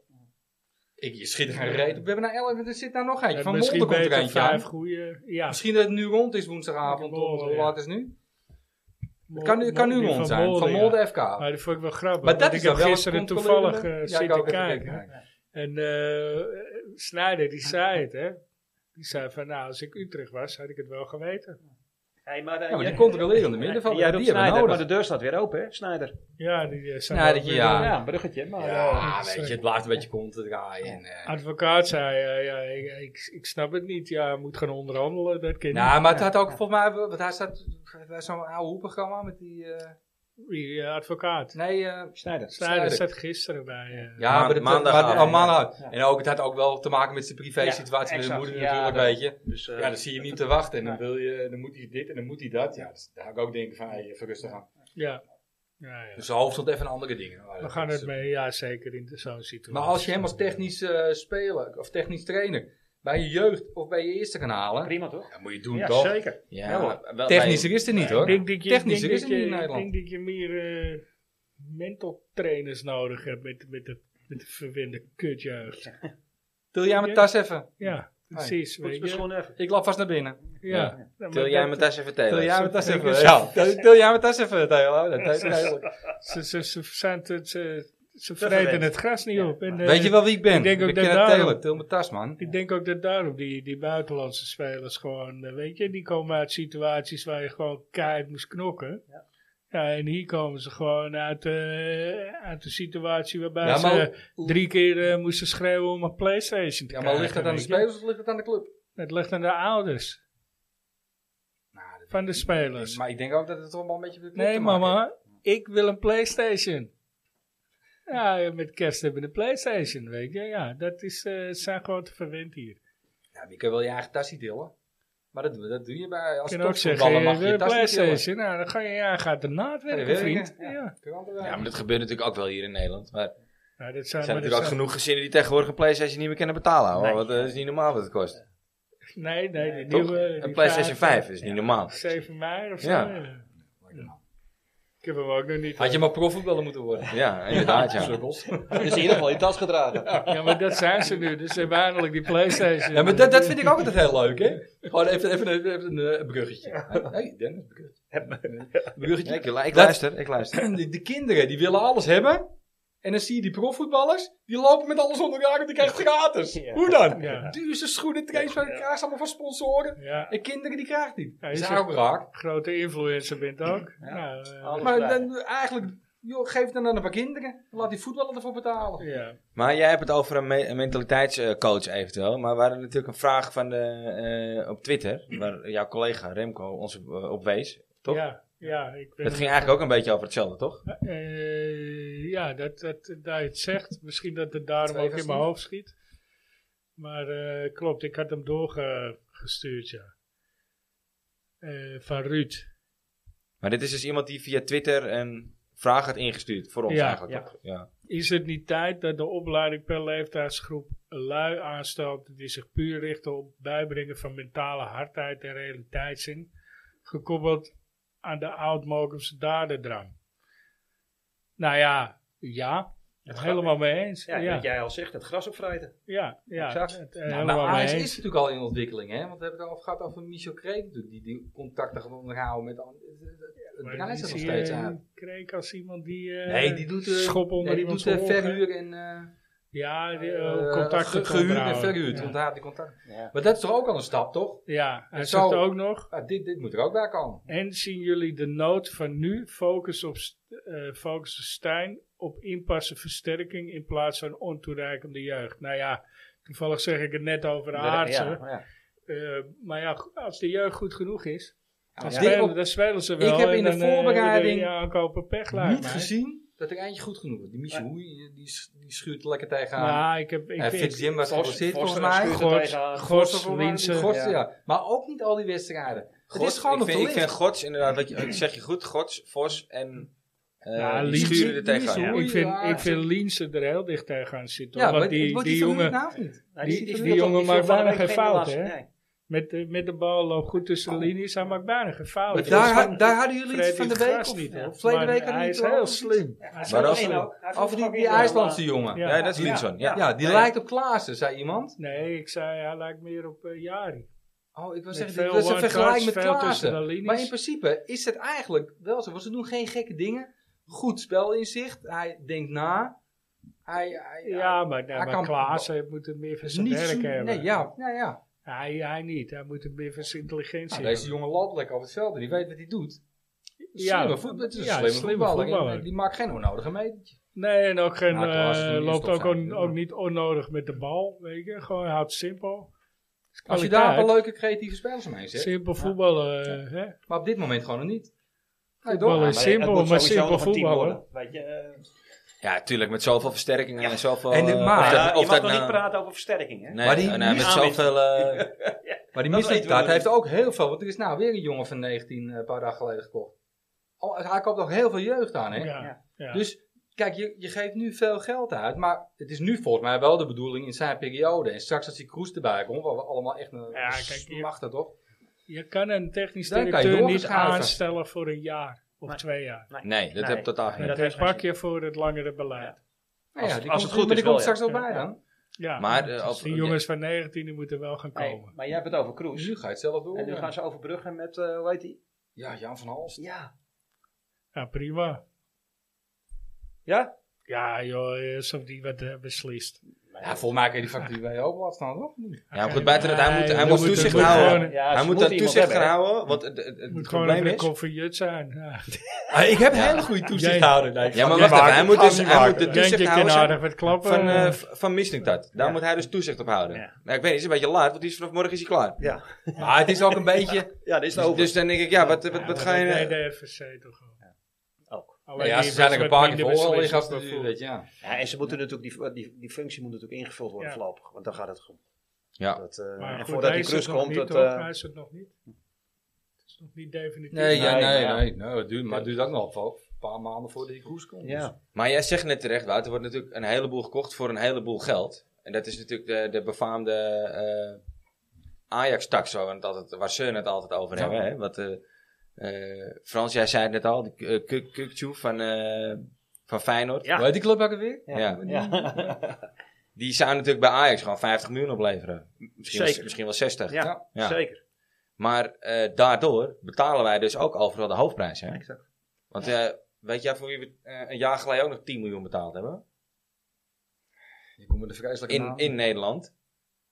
S5: Ik, je schiet er geen reet op. We hebben nou elf, er zit nou nog eentje.
S2: Ja,
S5: Van Molde
S2: Eh, misschien
S5: komt er
S2: beter
S5: eentje
S2: vijf
S5: aan.
S2: goede. Ja,
S5: Misschien dat het nu rond is woensdagavond.
S2: Molde,
S5: of hoe
S2: ja.
S5: laat is het nu? Het
S2: Molde-
S5: kan nu, kan nu
S2: die
S5: rond zijn. Van
S2: ja.
S5: Molde FK.
S2: Maar dat vond ik wel grappig.
S5: Maar dat
S2: want
S5: is
S2: ik heb
S5: dan wel
S2: gisteren
S5: een
S2: toevallig eh,
S5: controlerende- Ja, ik
S2: zitten
S5: ook even
S2: kijken. En eh Snijder, die zei het, hè. Die zei van, nou, als ik Utrecht was, had ik het wel geweten.
S3: Hey, maar, eh,
S5: Ja, maar
S3: jij-
S5: die controlerende middenvelder,
S3: jij
S5: die
S3: roept
S5: hebben we
S3: Sneijder,
S5: nodig.
S3: Maar de deur staat weer open, hè, Snijder?
S2: Ja, die eh, zei
S5: Nou,
S2: wel
S5: dat je-
S2: weer-
S5: ja.
S3: Ja, een bruggetje, maar... eh,
S5: Ja,
S2: eh,
S5: weet je, het blijft een beetje kont te draaien. En, eh,
S2: Advocaat zei, eh, ja, ik, ik, ik snap het niet. Ja, je moet gaan onderhandelen, dat kind.
S5: nou, maar het had ook volgens mij, want hij staat bij zo'n oude hoeprogramma met die, eh,
S2: Wie, eh, advocaat.
S5: nee, eh,
S3: Snijder.
S2: Snijder
S5: Snijder.
S2: zat gisteren bij... eh,
S5: ja,
S1: Maand-
S5: maar dat-
S1: maandagavond,
S5: maar- oh, maandagavond.
S3: ja.
S5: En ook, het had ook wel te maken met zijn privé situatie
S3: Ja,
S5: met zijn
S3: exact.
S5: moeder
S3: Ja,
S5: natuurlijk,
S3: dat-
S5: weet je.
S3: Dus, eh,
S5: Ja, dan zie je hem niet te wachten en dan
S3: Ja.
S5: wil je, dan moet hij dit en dan moet hij dat. Ja, dus daar ga ik ook denken van, hey, even rustig aan.
S2: ja. Ja, ja.
S5: Dus zijn hoofd stond even aan andere dingen.
S2: We gaan het mee, ja, zeker in de- zo'n situatie.
S5: Maar als je hem als technisch eh, speler of technisch trainer bij je jeugd of bij je eerste kan halen,
S3: Prima, toch?
S5: dan moet je doen
S3: Ja,
S5: toch?
S3: zeker.
S1: Ja,
S3: Ja, hoor.
S1: maar wel-
S5: Technischer is er niet hoor.
S2: Ik denk dat je,
S5: Oh, Technisch
S2: ik denk
S5: is
S2: dat
S5: het niet
S2: je-
S5: in Nederland.
S2: Ik denk dat je meer eh, mental trainers nodig hebt met, met, de, met de verwende kutjuicht.
S5: Til jij mijn tas even.
S2: Ja, precies. weet
S3: Poets
S2: je.
S3: gewoon even.
S5: Ik loop vast naar binnen.
S2: Ja.
S5: Ja.
S2: Nou, maar
S1: Til jij
S2: dat-
S1: mijn tas even telen.
S5: Til jij mijn tas
S2: dat-
S5: even.
S2: dat- [laughs]
S5: Ja, til til jij mijn tas even. Theo. Dat is duidelijk.
S2: Ze, ze, ze zijn te, ze, Ze
S3: Dat
S2: vreten
S3: verwendt.
S2: het gras niet op. En, eh,
S5: Weet je wel wie ik ben?
S2: ik denk ook
S5: ik
S2: dat
S5: ken het
S2: daarom-
S5: Taylor, Til mijn tas, man.
S2: Ik denk ook dat daarom die, die buitenlandse spelers gewoon, eh, weet je, die komen uit situaties waar je gewoon keihard moest knokken. Ja. en hier komen ze gewoon uit, eh uit een situatie waarbij
S5: Ja, maar
S2: ze drie keer eh, moesten schreeuwen om een Playstation te
S5: Ja,
S2: krijgen.
S5: maar ligt dat aan de
S2: weet je.
S5: spelers of ligt dat aan de club?
S2: Het ligt aan de ouders
S5: Nou, dat-
S2: van de spelers.
S5: Maar ik denk ook dat het toch wel een beetje... met de club
S2: nee
S5: te maken heeft.
S2: mama, ik wil een Playstation. Ja, met kerst hebben we een Playstation, weet je. Ja, dat is, eh, het zijn gewoon te verwend hier.
S5: Ja, je kunt wel je eigen tasje tillen. Maar dat, dat doe je bij... Als
S2: Ik kan ook zeggen, eh,
S5: topvoetballer
S2: je
S5: mag
S2: wil een
S5: je je tas niet tillen.
S2: PlayStation, nou, dan ga je, ja, gaat de naad
S5: Ga
S2: werken,
S5: je werken,
S2: vriend. Ja.
S5: ja. Kun je altijd
S1: Ja,
S5: wel.
S1: maar dat gebeurt natuurlijk ook wel hier in Nederland. Maar er
S2: Nou, dat zijn,
S1: zijn
S2: maar
S1: natuurlijk ook
S2: dat
S1: genoeg gezinnen die tegenwoordig een PlayStation niet meer kunnen betalen. Hoor,
S3: Nee.
S1: want eh, dat is niet normaal wat het kost.
S2: zijn- Nee, nee, de
S1: Toch?
S2: nieuwe... die
S1: Een PlayStation
S2: vijf,
S1: 5 is niet normaal.
S2: 7 mei of zo.
S1: Ja.
S2: ja. Ik heb hem ook nog niet.
S5: Had je maar profvoetballer moeten [laughs] worden.
S1: Ja, inderdaad. Ja.
S5: Sukkels.
S4: Dus in ieder geval in tas gedragen.
S2: eh, Ja, maar dat zijn ze nu, dus ze hebben eindelijk die PlayStation.
S5: Ja, maar dat, dat vind ik ook altijd heel leuk, hè? Gewoon even, even, even, even een eh, bruggetje. Hey, Dennis, bruggetje.
S1: Ja,
S5: bruggetje.
S1: ik, ik
S5: Dat-
S1: luister, ik luister.
S5: De, de kinderen, die willen alles hebben. En dan zie je die profvoetballers, die lopen met alles onder elkaar en die krijgen het gratis.
S3: Ja.
S5: Hoe dan?
S2: Ja.
S5: Duurste schoenen, trains van elkaar, is allemaal van sponsoren.
S2: Ja,
S5: En kinderen, die krijgen die.
S2: Ja,
S5: dat
S2: is
S5: is
S2: ook-
S5: ook raar.
S2: grote influencer bent ook. Nou, eh,
S3: Alles
S5: Maar
S3: kwijt.
S5: dan, eigenlijk, joh, geef het dan aan een paar kinderen. Laat die voetballer ervoor betalen.
S2: ja.
S1: Maar jij hebt het over een, me- een mentaliteitscoach eventueel. Maar we hadden natuurlijk een vraag van de, eh, op Twitter. Waar jouw collega Remco ons op, eh, op wees. Toch?
S2: Ja, ja, ik ben...
S1: Dat ging eigenlijk ook een beetje over hetzelfde, toch?
S2: Eh, ja, dat, dat, dat je het zegt. Misschien dat het daarom
S5: Twee
S2: ook
S5: was
S2: in mijn
S5: niet.
S2: hoofd schiet. Maar eh, klopt, ik had hem doorgestuurd, ja. Eh, van Ruud.
S1: Maar dit is dus iemand die via Twitter een vraag had ingestuurd. Voor ons
S2: Ja,
S1: eigenlijk,
S3: ja.
S1: toch? Ja.
S2: Is het niet tijd dat de opleiding per leeftijdsgroep lui aanstelt die zich puur richten op het bijbrengen van mentale hardheid en realiteitszin, gekoppeld aan de oud-Mokumse dadendrang? Nou ja, ja,
S3: Het
S2: helemaal mee eens.
S3: Ja,
S2: Ja, ja,
S3: wat jij al zegt, het gras opvrijden.
S2: ja,
S3: Exact.
S2: het-
S5: Nou, maar
S2: helemaal mee
S5: Ajax
S2: eens.
S5: is natuurlijk al in ontwikkeling, hè? Want we hebben het al gehad over Michel Kreek, natuurlijk, die, die contacten gaat onderhouden met. an- eh, Het
S2: Maar
S5: bedrijf
S2: die
S5: is nog
S2: zie
S5: steeds
S2: je
S5: aan.
S2: Kreek als iemand die. eh
S5: Nee, die doet, eh,
S2: schop onder
S5: Ja, die
S2: iemands
S5: doet eh,
S2: oor, hè?
S5: verhuur en. eh
S2: Ja, die,
S5: eh,
S2: eh, contacten
S5: ge- gehuurd en
S2: onderhouden.
S5: verhuurd.
S2: Ja.
S5: Onthaalt die contact.
S4: Ja.
S5: Maar dat is toch ook al een stap, toch?
S2: Ja, hij
S5: En
S2: zegt
S5: zo-
S2: ook nog.
S5: Ah, dit, dit moet er ook bij komen.
S2: En zien jullie de nood van nu? Focus op st- eh, focussen Stijn op inpassen versterking in plaats van ontoereikende jeugd. Nou ja, toevallig zeg ik het net over de aardse.
S3: Ja, ja.
S2: Eh, maar ja, go- als de jeugd goed genoeg is,
S5: Ja,
S2: dan,
S5: als
S2: spelen,
S5: dit
S2: dan spelen ze wel.
S5: heb in
S2: en
S5: de
S2: dan, eh, hebben we
S5: voorbereiding
S2: de- ja, aankopen pech
S5: op
S2: lijkt
S5: niet
S2: mij.
S5: gezien dat er eindje goed genoeg is. Die Michel Hoei, eh, die, s- die schuurt er lekker tegenaan.
S2: Maar ik heb. Ik,
S5: en
S2: ik,
S5: Fitz Jim was
S3: Vos-
S5: geblesseerd
S3: Vos-
S5: volgens mij.
S3: schuurt-
S2: Gods,
S3: tegen-
S2: Gods,
S5: Volgens mij die
S2: Linse.
S5: Gods, ja. Maar ook niet al die wedstrijden. Het is gewoon
S1: ik,
S5: nog
S1: vind,
S5: te
S1: ik vind
S5: licht.
S1: Gods, inderdaad, dat je, dat zeg je goed, Gods, Vos en eh
S2: Ja,
S1: die
S2: Lies-
S1: schuren er
S5: Lies-
S1: tegenaan.
S5: Lies-
S1: Ja.
S5: Goeie
S2: ik vind,
S5: raar.
S2: ik vind Liense er heel dicht tegenaan zitten.
S5: Ja,
S2: want
S5: maar
S2: die,
S5: wordt
S2: die
S5: verhuurd
S2: jongen
S5: nou of niet?
S3: Nou,
S2: Die-
S3: zit
S2: die
S3: er nu op,
S2: jongen
S3: die
S2: maakt
S3: viel van de
S2: weinig
S3: week
S2: geen
S3: last.
S2: fouten, hè?
S3: Nee.
S2: met, de- met de bal loopt goed tussen
S5: Oh.
S2: de linies. Hij maakt bijna geen fouten.
S5: Maar
S2: Dus
S5: daar, ha- daar hadden jullie
S2: vreet
S5: het van
S2: hij het
S5: de week
S2: gras
S5: of,
S2: niet op.
S5: of verleden
S2: Maar
S5: week hadden
S2: Hij
S5: jullie
S2: is
S5: het wel
S2: heel
S5: over.
S2: slim.
S3: Hij zit
S1: Maar
S3: er
S1: dat-
S3: één ook. Hij viel
S5: Over die,
S3: ook
S5: die
S3: in de-
S5: IJslandse jongen. Ja,
S2: Ja.
S1: dat is Linson. Ja.
S5: die
S3: Ja.
S5: lijkt op Klaassen, zei iemand.
S2: Nee, ik zei hij lijkt meer op eh, Jari.
S5: Oh, ik wil
S2: Met
S5: zeggen,
S2: veel
S5: dit was een
S2: one-touch,
S5: vergelijking met
S2: veel tussen de
S5: Klaassen.
S2: linies.
S5: Maar in principe is het eigenlijk wel zo. Want ze doen geen gekke dingen. Goed spelinzicht. Hij denkt na. Hij, hij,
S2: Ja, maar, nee,
S5: hij
S2: maar
S5: kan-
S2: Klaassen moet het meer van
S5: hij is
S2: zijn
S5: niet
S2: werk
S5: zo-
S2: hebben.
S5: Nee, ja, ja, ja.
S2: hij, hij niet. Hij moet het meer van zijn intelligentie
S5: Nou,
S2: hebben.
S5: deze jongen loopt lekker op het veld en die weet wat hij doet.
S2: Ja.
S5: Slimme voetbal, het is een
S2: Ja,
S5: slimme,
S2: slimme
S5: voetballer. En,
S2: voetballer.
S5: eh, die maakt geen onnodige metertje.
S2: Nee, en ook geen,
S5: Nou, Klaas is
S2: eh,
S5: een
S2: loopt ook,
S5: stofzuiger,
S2: on-
S5: maar-
S2: ook niet onnodig met de bal. Weet je, gewoon houdt simpel.
S5: Als je
S2: Kwaliteit.
S5: daar een paar leuke creatieve spelers omheen zet.
S2: Simpel voetballen. eh, hè?
S5: Maar op dit moment gewoon nog niet. Nee,
S2: Voetballen
S5: toch?
S2: is
S3: maar
S2: simpel,
S3: het moet
S2: maar
S3: sowieso
S2: simpel
S3: nog een team
S2: voetballen.
S3: worden, Weet je, eh,
S1: ja, tuurlijk, met zoveel versterkingen en zoveel...
S5: En de-
S1: eh,
S5: maar-
S3: maar
S1: of dat-
S3: ja,
S1: of
S3: je mag
S1: dat
S3: nog
S1: nou-
S3: niet praten over versterkingen. Hè?
S1: Nee,
S5: Maar die-
S1: eh, nee,
S5: die
S1: met
S3: aanwinst-
S1: zoveel... eh,
S5: Maar die
S3: Dat weten we
S5: misdaad
S3: niet.
S5: heeft ook heel veel. Want er is nou weer een jongen van 19 een paar dagen geleden gekocht. Al- Hij koopt ook heel veel jeugd aan. Hè?
S2: Ja, ja.
S5: Dus kijk, je, je geeft nu veel geld uit. Maar het is nu volgens mij wel de bedoeling in zijn periode. En straks als die Kroes erbij komt, waar we allemaal echt een
S2: Ja,
S5: ja,
S2: kijk, je-
S5: smachten toch?
S2: Je kan een technisch
S5: Dan kan je
S2: directeur niet
S5: doorgeschuiven.
S2: aanstellen voor een jaar of
S3: Nee.
S2: twee jaar.
S1: nee, dat
S3: Nee.
S1: heb ik totaal geen.
S3: Nee, dat
S2: Dat
S3: heeft geen
S2: pak je voor het langere beleid.
S5: Nou
S3: Als-
S5: ja, die
S3: als het
S5: komt,
S3: goed
S5: maar
S3: is
S5: die komt
S3: wel, ja.
S5: straks wel bij dan.
S2: Ja,
S1: Maar, eh,
S2: dus
S1: op-
S2: die jongens van 19 die moeten wel gaan
S3: Hey,
S2: komen.
S3: maar jij hebt het over Kroes.
S5: Nu ga je het zelf door.
S3: En nu gaan ze overbruggen met, eh hoe heet die?
S5: Ja, Jan van Hals.
S3: Ja.
S2: Ja, prima.
S3: Ja?
S2: Ja, joh, alsof die wat eh, beslist.
S5: Ja, volgens mij kan je die factuur bij je open laten staan, toch?
S1: Ja, maar goed, buiten dat hij moet, hij
S2: Nee,
S1: moet
S2: dat moet-
S1: toezicht
S2: dat moet
S1: houden.
S2: gewoon-
S1: hij moet daar toezicht gaan
S6: houden.
S1: houden, want het, het, het
S2: moet gewoon
S1: probleem
S2: een
S1: is... Ah,
S2: kofferjut zijn. Ja.
S5: ik heb hele goede
S2: toezichthouder.
S1: Ja, maar
S2: Ga
S1: wacht
S2: niet
S1: even, hij
S2: maken,
S1: moet,
S2: ga
S1: dus,
S2: niet
S1: hij
S2: maken.
S1: moet de
S2: Denk je
S6: nou
S1: toezichthouder
S2: kan
S1: zijn
S2: aardig wat klappen.
S1: van, eh,
S2: eh,
S1: v- van Mislintat. Daar
S4: Ja.
S1: moet hij dus toezicht op houden.
S4: Ja.
S1: Nou, ik weet niet, het is een beetje laat, want die is vanaf morgen is hij klaar.
S4: Ja,
S5: Maar het is ook een beetje...
S4: ja dit [laughs] is
S1: Dus,
S4: het over.
S1: dus dan denk ik, ja, wat, wat,
S2: ja,
S1: wat
S2: maar
S1: ga je...
S2: dat
S6: nou-
S2: deed de FSC toch al.
S4: Ook.
S2: Alleen
S5: Ja,
S2: die
S5: ze
S2: was
S5: zijn er
S2: wat
S5: een paar keer
S2: minder
S5: voor al die
S2: beslissend
S5: gasten
S2: dan
S5: nu, weet je, ja.
S4: Ja, en ze moeten natuurlijk die, die, die functie moet natuurlijk ingevuld worden
S2: Ja.
S4: voorlopig, want dan gaat het goed.
S1: Ja.
S4: Dat, eh,
S2: Maar
S4: en
S2: goed,
S4: voordat
S2: hij
S4: die
S2: is
S4: klus
S2: het nog
S4: komt,
S2: niet,
S4: dat,
S2: hoor.
S4: eh,
S2: Hij is het nog niet. Het is nog niet definitief.
S5: Nee, ja,
S4: Nee,
S5: nee,
S4: maar ja.
S5: nee. nee, dat duurt, maar het duurt ook nog wel een paar maanden voordat die koers komt.
S4: ja.
S1: Maar jij zegt net terecht, Wouter, er wordt natuurlijk een heleboel gekocht voor een heleboel geld. En dat is natuurlijk de, de befaamde eh, Ajax-tax, zo, en het altijd, waar ze het altijd over hebben. Hè? Want, eh, eh, Frans, jij zei het net al, die eh, Kuk- Kukçu van, eh, van Feyenoord.
S4: Ja.
S5: Hoe heet die club ook alweer?
S1: Ja.
S4: Ja.
S1: Die zou natuurlijk bij Ajax gewoon 50 miljoen opleveren. Misschien, wel,
S4: Zeker.
S1: misschien wel 60.
S4: Ja,
S1: Ja.
S4: zeker.
S1: Maar eh, daardoor betalen wij dus ook overal de hoofdprijs. Hè?
S4: Exact.
S1: Want eh, weet jij voor wie we eh, een jaar geleden ook nog 10 miljoen betaald hebben?
S5: Die komt met de vreselijke
S1: In,
S5: naam.
S1: in Nederland.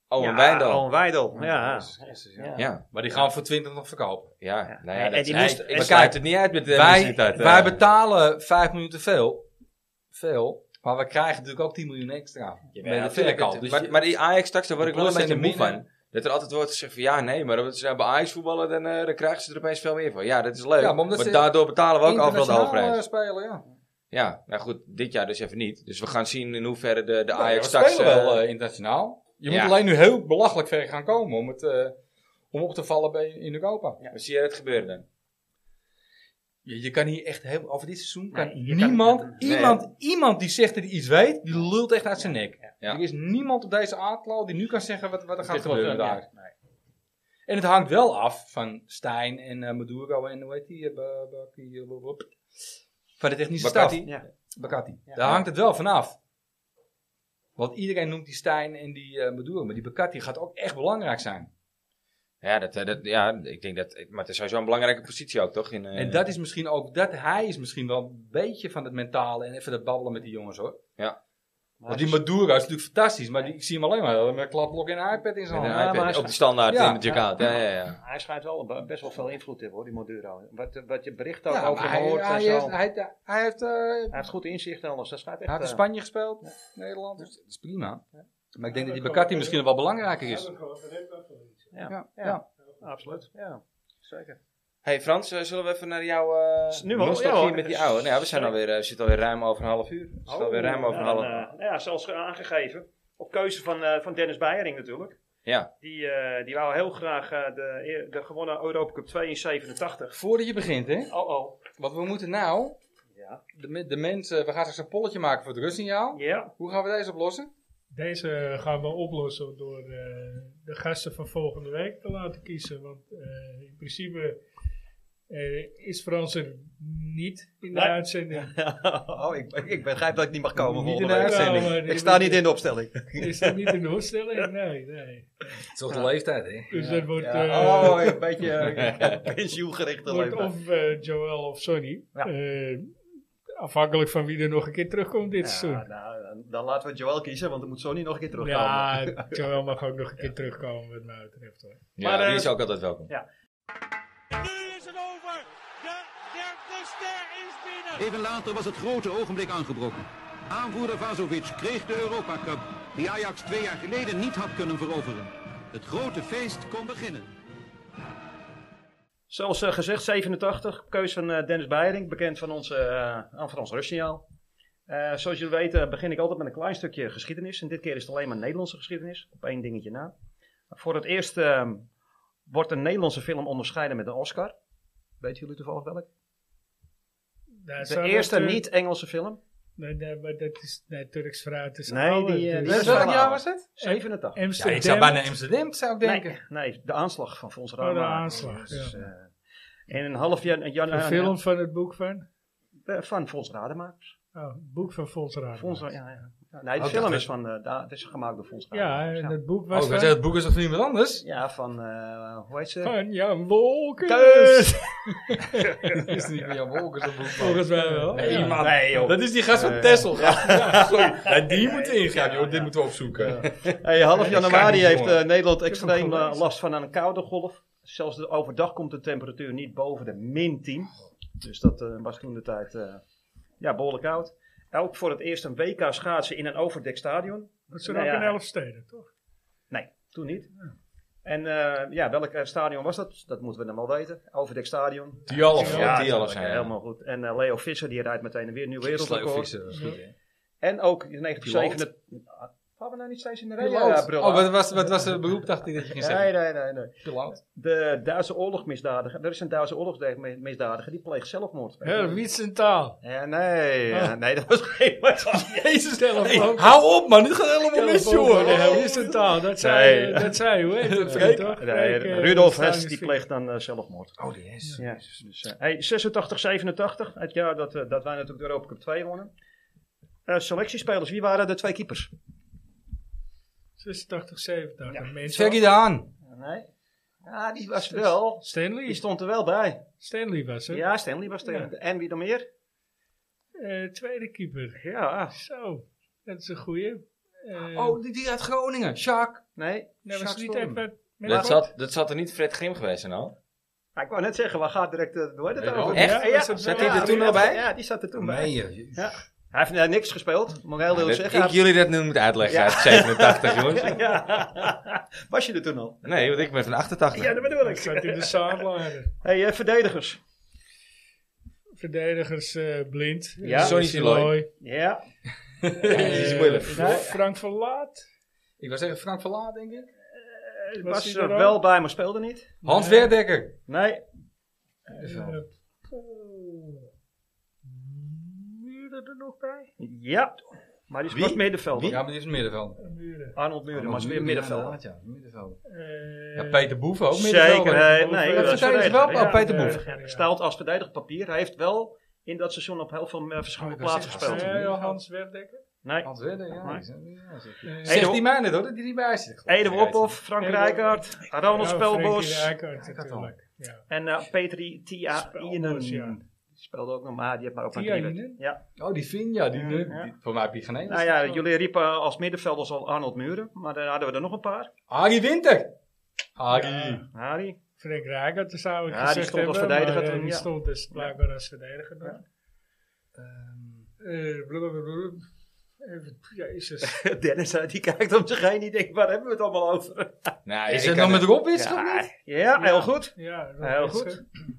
S1: Oh, Owen
S4: ja,
S1: Wijndal.
S4: Owen Wijndal, ja.
S5: Jezus Christus, oh, ja.
S4: Ja.
S1: Ja,
S5: Maar die gaan voor 20 nog verkopen.
S1: ja.
S4: Ja.
S1: Nou ja,
S4: En
S1: dat
S4: die
S1: is-
S4: moest-
S1: ik
S4: en-
S1: sluit het niet uit met de
S5: wij,
S1: publiciteit, hè.
S5: wij betalen 5 miljoen te veel. Veel. Maar we krijgen natuurlijk ook 10 miljoen extra.
S1: Ja,
S5: met de
S1: natuurlijk.
S5: verkoop. Dus
S1: maar,
S5: je-
S1: maar die Ajax straks, daar word
S5: de
S1: ik wel een
S5: plus en
S1: beetje
S5: de
S1: moe
S5: min, hè?
S1: van. Dat er altijd wordt gezegd van ja, nee, maar als ze bij Ajax voetballen, dan, eh, dan krijgen ze er opeens veel meer van. Ja, dat is leuk.
S5: Ja, maar
S1: maar
S5: omdat ze
S1: daardoor betalen we ook overal de
S5: Internationaal,
S1: hoofdprijs.
S5: eh, spelen, ja.
S1: Ja, nou goed, dit jaar dus even niet. Dus we gaan zien in hoeverre de, de
S5: Nou Ja,
S1: Ajax
S5: we
S1: straks...
S5: spelen wel
S1: eh,
S5: eh, internationaal. Je moet
S1: ja.
S5: alleen nu heel belachelijk ver gaan komen om, het, eh, om op te vallen bij, in Europa.
S1: maar Zie jij het gebeuren dan?
S5: Je, je kan hier echt heel, over dit seizoen kan
S4: Nee, je kan-
S5: niemand,
S1: Nee.
S5: iemand, iemand die zegt dat hij iets weet, die lult echt uit zijn nek.
S1: Ja.
S5: Er is niemand op deze aardklauw die nu kan zeggen wat, wat er gaat
S4: Dit wordt,
S5: gebeuren
S4: eh,
S5: daar.
S4: ja, nee.
S5: En het hangt wel af van Stijn en eh, Maduro en hoe heet die? eh, Ba- Baki- eh, Bob. Van de technische
S1: Bakati.
S5: staf.
S4: Ja.
S5: Bakati.
S4: Ja.
S5: Daar hangt het wel van af. Want iedereen noemt die Stijn en die eh, Maduro. Maar die Bakati gaat ook echt belangrijk zijn.
S1: Ja, dat, eh, dat, ja, ik denk dat... Maar het is sowieso een belangrijke positie ook, toch? In, eh,
S5: En dat is misschien ook... Dat, hij is misschien wel een beetje van het mentale en even dat babbelen met die jongens hoor. Want die Maduro is natuurlijk fantastisch. Maar die, ik zie hem alleen maar met een kladblok en een iPad in zijn
S1: met een
S4: Ja,
S5: hand.
S4: maar
S1: iPad,
S4: hij-
S1: op de standaard eh,
S5: Ja.
S1: in de jackout. Ja, ja, ja.
S4: Hij schijnt wel be- best wel veel invloed te hebben, hoor, die Maduro. Wat, wat je bericht ook
S5: Ja,
S4: over
S5: maar
S4: hem
S5: hij,
S4: hoort en
S5: hij,
S4: zo.
S5: heeft- hij, hij heeft... eh,
S4: Hij heeft goed inzicht en alles. Dat schijnt echt...
S5: Hij heeft
S4: eh,
S5: in Spanje gespeeld, Nederland. Dus dat is prima. Maar ik denk dat die
S2: Ja,
S5: Bacati
S2: dat-
S5: misschien wel belangrijker is.
S2: Ja, we gaan- we hebben wel iets.
S4: ja.
S5: Ja,
S4: Ja.
S5: ja.
S4: eh, absoluut. Ja, zeker.
S1: hey Frans, eh, zullen we even naar jouw eh
S4: Is nu wel-
S1: nostalgie
S4: ja, hoor.
S1: met die oude? Nou, ja, we zijn
S4: Sorry.
S1: alweer, eh, we zitten alweer ruim over een half uur. We zitten alweer ruim over een half
S4: Oh, En, eh, ja, zelfs aangegeven. Op keuze van, eh, van Dennis Beiering natuurlijk.
S1: Ja.
S4: Die, eh, die wou heel graag eh, de, de gewonnen Europa Cup 2 in 87.
S5: Voordat je begint, hè.
S4: Oh oh.
S5: Want we moeten nou,
S4: Ja.
S5: de, me- de mensen, we gaan straks een polletje maken voor het rustsignaal.
S4: Ja.
S5: Hoe gaan we deze oplossen?
S2: Deze gaan we oplossen door eh, de gasten van volgende week te laten kiezen. Want eh, in principe eh, is Frans er niet in de
S4: Nee.
S2: uitzending.
S6: [laughs] Oh, ik, ik begrijp dat ik niet mag komen
S5: Niet in
S6: volgende
S5: de
S6: week.
S2: uitzending. Nou, maar die
S6: ik sta
S2: moet-
S6: niet in de
S4: [laughs]
S6: opstelling.
S2: Is dat niet in de opstelling? Nee, nee.
S5: Het is toch de leeftijd, hè.
S2: Dus dat wordt,
S6: Ja.
S2: eh,
S6: Oh, een beetje [laughs] eh, pensioengericht
S2: wordt
S6: alleen maar.
S2: of eh, Joel of Sonny.
S6: Ja.
S2: Eh, afhankelijk van wie er nog een keer terugkomt dit seizoen.
S6: Ja, nou, dan- dan laten we Joel kiezen, want dan moet Sony nog een keer terugkomen.
S2: [laughs] Ja, Joel mag ook nog een keer terugkomen wat mij betreft hoor.
S1: Ja,
S4: Maar, eh,
S1: die is ook altijd welkom.
S7: Even later was het grote ogenblik aangebroken. Aanvoerder Vazovic kreeg de Europa Cup, die Ajax twee jaar geleden niet had kunnen veroveren. Het grote feest kon beginnen.
S4: Zoals eh, gezegd, 87. Keuze van eh, Dennis Beiring. Bekend van, onze, eh aan van ons rustsignaal. Eh, zoals jullie weten begin ik altijd met een klein stukje geschiedenis. En dit keer is het alleen maar Nederlandse geschiedenis. Op één dingetje na. Voor het eerst eh, wordt een Nederlandse film onderscheiden met een Oscar. Weten jullie toevallig welk?
S2: Daar
S4: De
S2: zou
S4: eerste
S2: dat, eh,
S4: niet-Engelse film?
S2: Nee, nee, maar dat is nee, Turks fruit is
S4: Nee,
S2: ouder,
S4: die, eh,
S2: dus-
S4: die is
S5: Welk
S4: wel
S5: jaar
S4: oud.
S5: was het?
S4: 87.
S2: Amsterdam.
S5: Amsterdam, zou ik
S4: Nee, nee, de aanslag van Fons Rama.
S2: Oh, de aanslag,
S4: Dus,
S2: ja.
S4: eh, en een half jaar... Jan,
S2: Een film van het boek van?
S4: eh, van Fons Radema.
S2: Oh, het boek van Fons Raad.
S4: Fons, ja, ja. Nee, de
S5: Oh,
S4: film
S5: dat-
S4: is van, eh, da- het is gemaakt door Fons
S2: Ja,
S4: Gaarder.
S2: en het boek
S5: Oh,
S2: was van,
S5: ik wou zeggen, het boek is van iemand anders.
S4: Ja, van, eh, hoe heet ze?
S2: van Jan Wolkers.
S4: Keus!
S5: Dat is niet meer Jan Wolkers dat boek. man.
S2: Volgens mij wel.
S5: Nee,
S2: ja.
S5: man.
S4: Nee, joh.
S5: Dat is die gast van Tessel. Eh, [laughs] Ja, sorry. Ja, die moet ingaan, joh. Dit moeten we opzoeken.
S4: Hey, half
S5: Ik kan
S4: januari
S5: niet,
S4: heeft
S5: jongen.
S4: eh, Nederland
S2: hem
S4: extreem eh,
S2: gelezen.
S4: last van een koude golf. Zelfs de, overdag komt de temperatuur niet boven de min 10. Dus dat eh, was toen de tijd eh, ja, behoorlijk koud. Ook voor het eerst een WK schaatsen in een overdekt stadion.
S2: Dat zijn
S4: Nou
S2: ook
S4: ja.
S2: in elf steden, toch?
S4: Nee, toen niet. En eh, ja, welk eh, stadion was dat? Dat moeten we dan wel weten. Overdekt stadion.
S5: Oh,
S1: Dialog. Ja,
S4: natuurlijk,
S1: Dialog zijn.
S4: Helemaal goed. En eh, Leo Visser die rijdt meteen weer een nieuw wereldrecord.
S5: Sleuvissen, dat is goed, hè.
S4: En ook in 1997... Gaan we nou niet steeds in de rij?
S5: Piloot.
S4: Ja, Brilla.
S5: oh, wat was, wat was het beroep, dacht ik dat je ging zeggen?
S4: Nee, nee, nee, nee.
S5: Piloot.
S4: De Duitse oorlogsmisdadiger, er is een Duitse oorlogsmisdadiger, die pleegt zelfmoord.
S2: Heel Wietsentaal.
S4: Ja, nee,
S2: Ah.
S4: ja, nee, dat was geen Jezus,
S2: Telefoon.
S5: Hou op, man. Dit gaat helemaal mis,
S2: Heel
S5: joh.
S2: Wietsentaal, dat zei,
S4: Nee.
S2: eh, dat zei hoe heet dat?
S5: Freek?
S2: toch?
S4: Nee,
S2: Freek, eh,
S4: Rudolf
S2: Wietsentaal
S4: Hess,
S2: is
S4: die
S2: Freek.
S4: pleegt dan eh, zelfmoord.
S5: Oh, die is.
S4: Ja. Dus, eh, hey, 86, 87, het jaar dat, eh, dat wij natuurlijk de Europa Cup 2 wonnen. Eh, selectiespelers, wie waren de twee keepers?
S2: 86, 70. Ja.
S5: Fergie de Haan.
S4: Nee. Ja, die was wel. Die
S2: Stanley?
S4: stond er wel bij.
S2: Stanley was het.
S4: Ja, Stanley was er.
S2: Ja.
S4: En wie dan meer?
S2: Eh, tweede keeper.
S4: Ja.
S2: Zo, dat is een goeie. Eh,
S5: Oh, die, die uit Groningen. Sjaak.
S4: Nee.
S2: nou, was
S5: Jacques
S2: het niet
S5: Storm.
S2: even... met-
S1: Dat zat, dat zat er niet Fred Grim geweest zijn al.
S4: Ja, ik wou net zeggen, waar gaat direct eh, door? Dat
S1: Weet je
S4: over?
S1: wel. Echt?
S4: Ja, ja.
S2: Zat
S1: Zat
S2: hij
S1: hij
S4: Ja,
S1: er toen
S4: die
S1: al
S4: had-
S1: bij?
S4: Ja, die zat er toen bij.
S5: Nee, joh.
S4: Ja. Hij heeft eh, niks gespeeld, moet ik heel eerlijk
S1: Dat
S4: zeggen.
S1: ik jullie dat nu moet uitleggen
S4: Ja.
S1: uit [laughs] 87, jongens.
S4: [laughs] Ja. Was je er toen al?
S1: Nee, want ik ben van 88.
S4: Ja, dat bedoel
S2: Ik
S4: ik.
S2: zat in de sideline.
S4: [laughs] hey, eh, verdedigers.
S2: Verdedigers eh, blind.
S4: Ja.
S1: Sonny Siloy.
S4: [laughs] Ja.
S1: is moeilijk.
S2: Eh, Frank Verlaat.
S5: Ik was zeggen Frank Verlaat, denk ik.
S4: Eh,
S2: Was
S4: Was
S2: hij
S4: er
S2: er
S4: wel
S2: ook?
S4: bij, maar speelde niet.
S5: Hans
S2: Nee.
S5: Werdekker.
S4: Nee.
S2: Eh, oh. Muren er nog bij?
S4: Ja. Maar die
S1: Wie?
S4: was middenvelder.
S5: Ja, maar die is een middenveld.
S2: Muren.
S4: Arnold Muren was weer middenvelder.
S5: middenveld. Ja, middenveld.
S2: Eh,
S5: Ja, Peter Boef ook middenveld.
S4: Zeker. Nee, nee,
S2: Dat
S4: dat is
S5: verdedigt
S4: verdediger,
S5: wel,
S4: ja.
S5: Peter
S4: Ja,
S5: Boef.
S4: ja, ja. Staalt als verdediger papier. Hij heeft wel in dat seizoen op heel veel eh, verschillende
S5: Oh, ik wou
S4: plaatsen
S5: zeggen,
S4: gespeeld.
S5: als hij-
S2: eh, Hans Werdekker.
S4: Nee.
S5: Hans Werdekker, ja.
S4: Nee.
S5: die zijn- ja, zeker.
S2: Eh,
S5: Zegt die mij net hoor, dat die er niet bij zit.
S4: Ede Worphoff, Frank
S2: Ede-
S4: Rijkaard, Ronald
S2: ja,
S4: Spelbos.
S2: Frankie Oh, Rijkaard
S5: Rijkaard
S2: natuurlijk. Ja.
S4: En eh, Petri Tia Ienen.
S2: Spelbos, ja.
S4: Die speelde ook nog, maar die heeft maar ook maar
S2: Tia
S4: drie wedstrijden.
S2: Ienen?
S4: Ja.
S5: Oh, die Vinja, die, die,
S4: Ja.
S5: die- voor mij heb je geen ene.
S4: Nou ja, jullie riepen als middenvelders al Arnold Muren, maar daar hadden we er nog een paar.
S5: Harry Winter. Harry.
S4: Harry.
S2: Frank Rijkaard, dat zou ik
S4: Ja, die
S2: gezegd
S4: stond als
S2: hebben,
S4: verdediger
S2: maar, eh,
S4: toen,
S2: Die
S4: ja. Ehm.
S2: stond dus blijkbaar als verdediger. dan. Eh, blablabla. Even- Jezus.
S4: [laughs] [laughs] Dennis, eh, die kijkt om zich heen, die denkt, waar hebben we het allemaal over?
S1: Nou,
S5: Is
S1: ik
S5: het
S1: kan
S5: nog met
S1: het-
S5: Rob is of
S4: Ja,
S5: niet?
S4: ja, heel goed.
S2: Ja, Rob
S4: Heel
S2: Witsen.
S4: goed.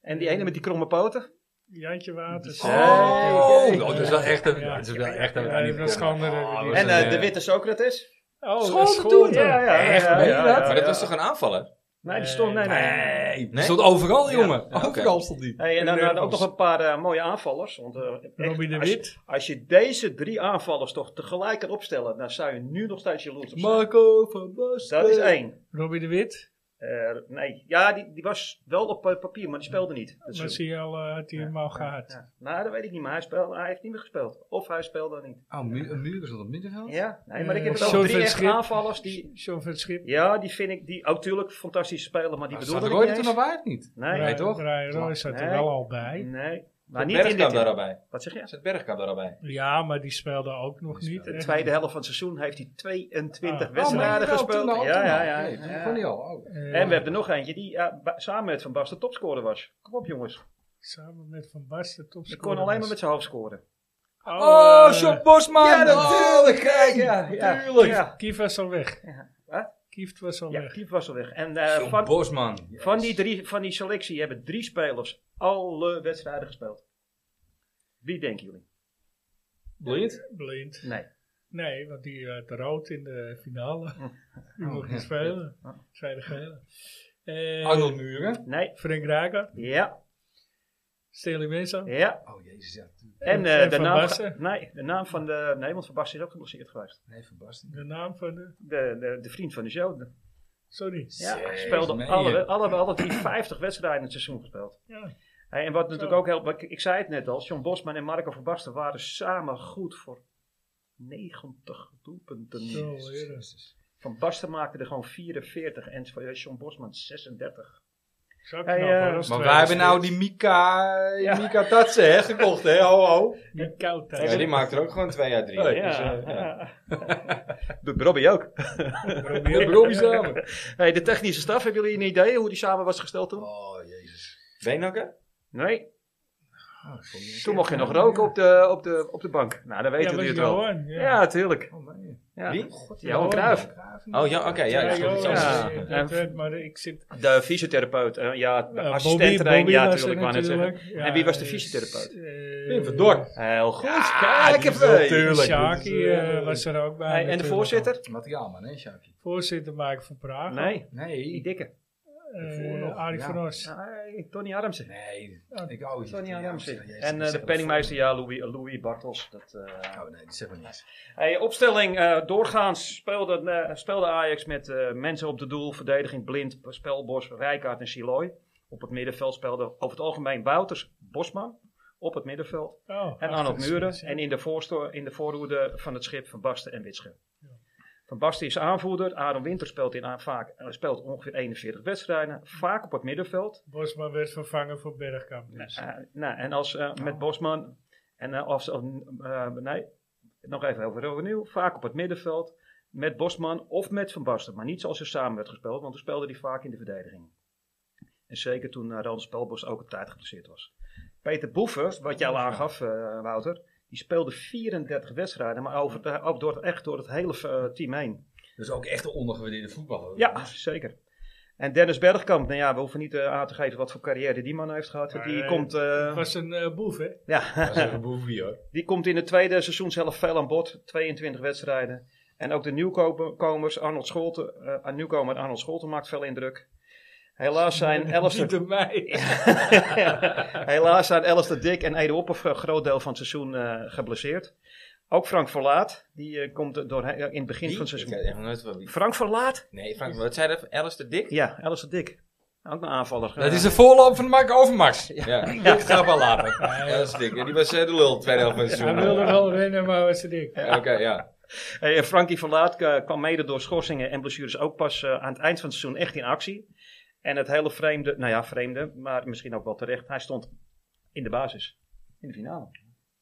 S4: En die ene met die kromme poten?
S2: Jantje Waters.
S4: Oh,
S5: Oh,
S4: ja.
S5: dat is wel echt een...
S2: Ja.
S5: Dat is wel echt een...
S2: Ja, die was schande.
S5: Ah,
S2: Die-
S5: was
S4: En
S5: een,
S4: eh,
S5: eh,
S4: de witte Socrates?
S2: Oh,
S5: Scholte
S2: Scholte.
S5: toen,
S2: Ja,
S5: ja.
S2: ja.
S5: Echt, meen je dat?
S1: Maar dat was toch een aanvaller?
S4: Nee, die stond... Nee, nee.
S5: Nee, die
S1: Nee?
S5: stond overal,
S4: Ja.
S5: jongen.
S1: Ja, oké.
S5: Overal stond die.
S4: Hey, en dan
S2: En
S4: hadden we ook
S2: Leupels.
S4: nog een paar eh, mooie aanvallers. Want, eh, echt,
S2: Robbie de
S4: als je-
S2: Wit.
S4: Als je deze drie aanvallers toch tegelijk kan opstellen, dan zou je nu nog steeds jaloers op zijn. Dus
S5: Marco van Basten.
S4: Dat is één.
S2: Robbie de Wit.
S4: Eh, nee, ja, die, die was wel op eh, papier, maar die speelde niet. Dat is
S2: Maar
S4: zo.
S2: zie je al, eh, had hij hem al gehad.
S4: Ja. Nou, dat weet ik niet, maar hij, speelde, hij heeft niet meer gespeeld. Of hij speelde niet.
S5: Oh, Mu- een muur is dat op middenveld?
S4: Ja, nee, maar ik
S2: Eh,
S4: heb het over
S2: Sean
S4: drie
S2: van
S4: echt
S2: Schip.
S4: aanvallers. Die,
S2: John van het Schip.
S4: ja, die vind ik, die ook natuurlijk fantastische spelen, maar die
S5: Ah, Staat
S4: bedoelde
S5: er
S4: ik
S5: ooit
S4: niet
S5: er
S4: eens.
S5: nog bij of niet?
S4: Nee,
S5: Nee,
S4: nee,
S5: toch?
S2: Brian Roy zat er
S4: Nee.
S2: wel al bij.
S4: Maar niet in
S1: Bergkamp
S4: dit eh,
S1: daar al
S4: jaar.
S1: bij.
S4: Wat zeg je?
S1: Zit Bergkamp daar al bij?
S2: Ja, maar die speelde ook nog niet.
S4: De
S2: echt.
S4: tweede helft van het seizoen heeft hij 22
S2: Ah.
S5: Oh,
S4: wedstrijden gespeeld.
S5: Ja,
S4: ja, ja, ja.
S5: oh, Nee,
S4: ja.
S5: Gewoon niet al.
S2: Eh,
S5: oh.
S4: En we hebben er nog eentje die ja, ba- samen met Van Basten topscorer was. Kom op jongens,
S2: Samen met Van Basten top.
S4: die kon alleen maar met zijn hoofd scoren.
S5: Oh,
S2: eh,
S5: Sean Bosman!
S4: eh,
S5: Oh,
S4: Ja, natuurlijk,
S5: kijk!
S4: Ja, ja, ja.
S2: Kief was al weg.
S4: Wat?
S2: Kieft was al
S4: Ja,
S2: weg.
S4: Kiep was al weg. En eh, van,
S5: Bosman.
S4: van, die drie, van die selectie hebben drie spelers alle wedstrijden gespeeld. Wie denken jullie?
S5: Blind?
S2: Eh, Blind.
S4: Nee.
S2: Nee, want die had rood in de finale. Die
S5: Oh,
S2: mocht
S5: ja.
S2: niet spelen. Zij de gele. Eh,
S5: Arnold Muren.
S4: Nee.
S2: Frank Rijker.
S4: Ja.
S2: Stanley Winsel.
S4: Ja.
S5: Oh, jezus, ja.
S4: En,
S2: En
S4: eh de,
S2: Van
S4: naam,
S2: Basten?
S4: nee, de naam van de... Nee, want Van Basten is ook geblesseerd geweest.
S5: Nee, Van Basten.
S2: De naam van de...
S4: De, de, de vriend van de show. De-
S2: Sorry.
S4: ja,
S5: Jezus,
S4: speelde
S5: meen
S4: alle,
S5: je?
S4: alle, alle drie [clears throat] 50 wedstrijden in het seizoen gespeeld.
S2: Ja.
S4: Hey, en wat natuurlijk ook heel... wat Ik, ik zei het net al. John Bosman en Marco Van Basten waren samen goed voor 90 doelpunten.
S2: Zo, heren.
S4: Van Basten maakte er gewoon 44 en Sean Bosman 36.
S2: Zo knap,
S4: Hey, eh,
S2: hoor, als
S5: Maar
S2: tweede.
S5: wij hebben nou die Mika, Mika Tatse hè, gekocht, hè? Ho, ho.
S2: Niet koud thuis.
S1: Ja, die maakt er ook gewoon twee uit drie.
S4: Oh,
S5: Ja.
S1: Dus, eh, ja.
S4: [laughs] Doet Robbie ook.
S5: De Robbie samen.
S4: [laughs] Hey, de technische staf, hebben jullie een idee hoe die samen was gesteld toen?
S5: Oh, jezus.
S1: Beenhakker?
S4: Nee. Ah, Toen mocht je nog roken op de, op de, op de bank. Nou, dan weten
S2: Ja,
S4: jullie
S2: was
S4: het wel.
S2: Johan.
S4: Ja,
S2: Ja,
S4: tuurlijk.
S5: Oh, nee.
S4: Ja.
S1: Wie?
S4: Johan Cruijff.
S1: Oh ja, oké. ja,
S2: Ja,
S1: is goed, is
S2: Johan,
S1: anders.
S2: ja,
S4: Ja.
S2: dat werd, maar ik zit...
S4: De fysiotherapeut. eh, ja, de
S2: eh,
S4: assistent
S2: Bobby- Bobby
S4: Ja,
S2: was er
S4: natuurlijk. wou net zeggen.
S2: natuurlijk. Ja,
S4: en wie was de
S2: eh,
S4: fysiotherapeut?
S2: eh,
S5: Pim van Dorp.
S4: Heel goed.
S5: Ja,
S4: Kijk
S5: die
S4: even.
S5: is wel tuurlijk.
S2: Sjaki
S5: Dat is, eh,
S2: eh, was er ook bij.
S4: Hey, en de
S2: natuurlijk.
S4: voorzitter?
S5: Materiaal, man, hè, Sjaki?
S2: Voorzitter Mike van Praag.
S4: Nee, die
S5: Nee.
S4: dikke.
S2: Eh
S5: voorlog,
S2: Arie
S5: ja.
S2: van Os.
S4: Nee, Tony Adamsen.
S5: Nee. Ik hou iets.
S4: Tony
S5: Ja,
S4: Adamsen.
S5: jezus,
S4: En
S5: die
S4: eh, de
S5: zeggen
S4: penningmeester, ja, Louis, eh, Louis Bartels. Dat, eh,
S5: dat voor- Oh, nee, die zegt me niks.
S4: Hey, opstelling, eh, doorgaans speelde, eh, speelde Ajax met eh, mensen op de doel, verdediging blind, spelbos, Rijkaard en Siloy. Op het middenveld speelden over het algemeen Wouters, Bosman op het middenveld
S2: Oh,
S4: en Arnold
S2: achter de
S4: Muren.
S2: spits, ja.
S4: En in de, voorsto- in de voorhoede van het schip Van Basten en Witsche. Van Basten is aanvoerder, Aaron Winter speelt, in, aan- vaak, eh, speelt ongeveer 41 wedstrijden, vaak op het middenveld.
S2: Bosman werd vervangen voor Bergkamp. Dus.
S4: Eh, nou, en als eh, met Bosman. En eh, als. als, eh, nee, nog even over overnieuw. Vaak op het middenveld. Met Bosman of met Van Basten. Maar niet zoals er samen werd gespeeld, want toen speelde hij vaak in de verdediging. En zeker toen uh, Ronald Spelbos ook op tijd geblesseerd was. Peter Boeven, wat jij al aangaf, eh, Wouter. Die speelde 34 wedstrijden, maar over, eh, ook door, het- echt door het hele eh, team heen.
S5: Dus ook echt een ondergewaardeerde voetballer.
S4: Ja, zeker. En Dennis Bergkamp, nou ja, we hoeven niet eh, aan te geven wat voor carrière die man heeft gehad.
S2: Maar,
S4: die
S2: eh,
S4: komt, eh,
S2: Het was een eh, boef, hè?
S4: ja,
S5: Dat is even
S4: [laughs]
S5: boefie, hoor.
S4: Die komt in het tweede seizoenshelft veel aan bod. 22 wedstrijden. En ook de nieuwkomers, Arnold Scholten, eh, aan nieuwkomer Arnold Scholten maakt veel indruk. Helaas
S2: [laughs]
S4: zijn
S2: Niet
S4: Alistair,
S2: door mij.
S4: [laughs] helaas zijn Alistair Dick en Ede Opper voor een groot deel van het seizoen eh, geblesseerd. Ook Frank Verlaat, die eh, komt er doorheen, eh, in het begin
S1: Wie?
S4: van het
S1: Ik weet
S4: seizoen.
S1: echt nog nooit van wie.
S4: Frank Verlaat?
S1: Nee, Frank, wat zei dat? Alistair Dick?
S4: Ja, Alistair Dick. Ook een aanvaller.
S5: Dat is de voorloop van Mark
S1: [laughs]
S5: Overmars.
S1: Ja, ik ga wel later. Alistair Dick. Ja, die was eh, de lul, tweede helft van het
S2: Hij
S1: seizoen.
S2: wilde wel winnen, maar was te dik.
S1: Ja, Oké, ja.
S4: Hey, en Frankie Verlaat eh, kwam mede door schorsingen en blessures ook pas eh, aan het eind van het seizoen echt in actie. En het hele vreemde, nou ja, vreemde, maar misschien ook wel terecht, hij stond in de basis. In de finale.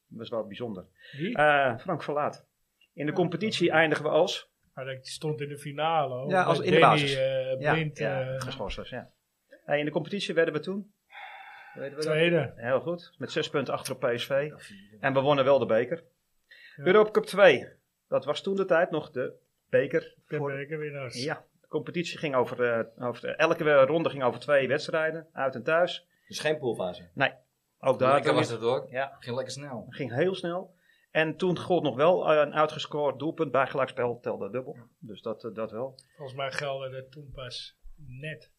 S4: Dat was wel bijzonder.
S2: Wie?
S4: Eh, Frank Verlaat. In de competitie eindigen we als.
S2: Maar dat stond in de finale. hoor.
S4: Ja, als
S2: Met
S4: in de
S2: Danny,
S4: basis.
S2: eh, blind,
S4: ja,
S2: eh,
S4: geschorst was, ja. Hey, in de competitie werden we toen. Weten we dat?
S2: tweede.
S4: Heel goed. Met zes punten achter op PSV. En we wonnen wel de beker.
S2: Ja.
S4: Europa Cup 2. Dat was toen de tijd nog de beker.
S2: De
S4: voor-
S2: bekerwinnaars.
S4: Ja, de competitie ging over, eh, over elke eh, ronde ging over twee wedstrijden, uit en thuis.
S1: Dus geen poolfase.
S4: Ook daar
S5: Lekker
S4: kwam
S5: was
S4: het-
S5: dat, hoor.
S4: Ja.
S5: Ging lekker snel.
S4: ging heel snel. En toen gold nog wel eh, een uitgescoord doelpunt bij gelijkspel telde dubbel. Dus dat, eh, dat wel.
S2: Volgens mij geldde dat toen pas net.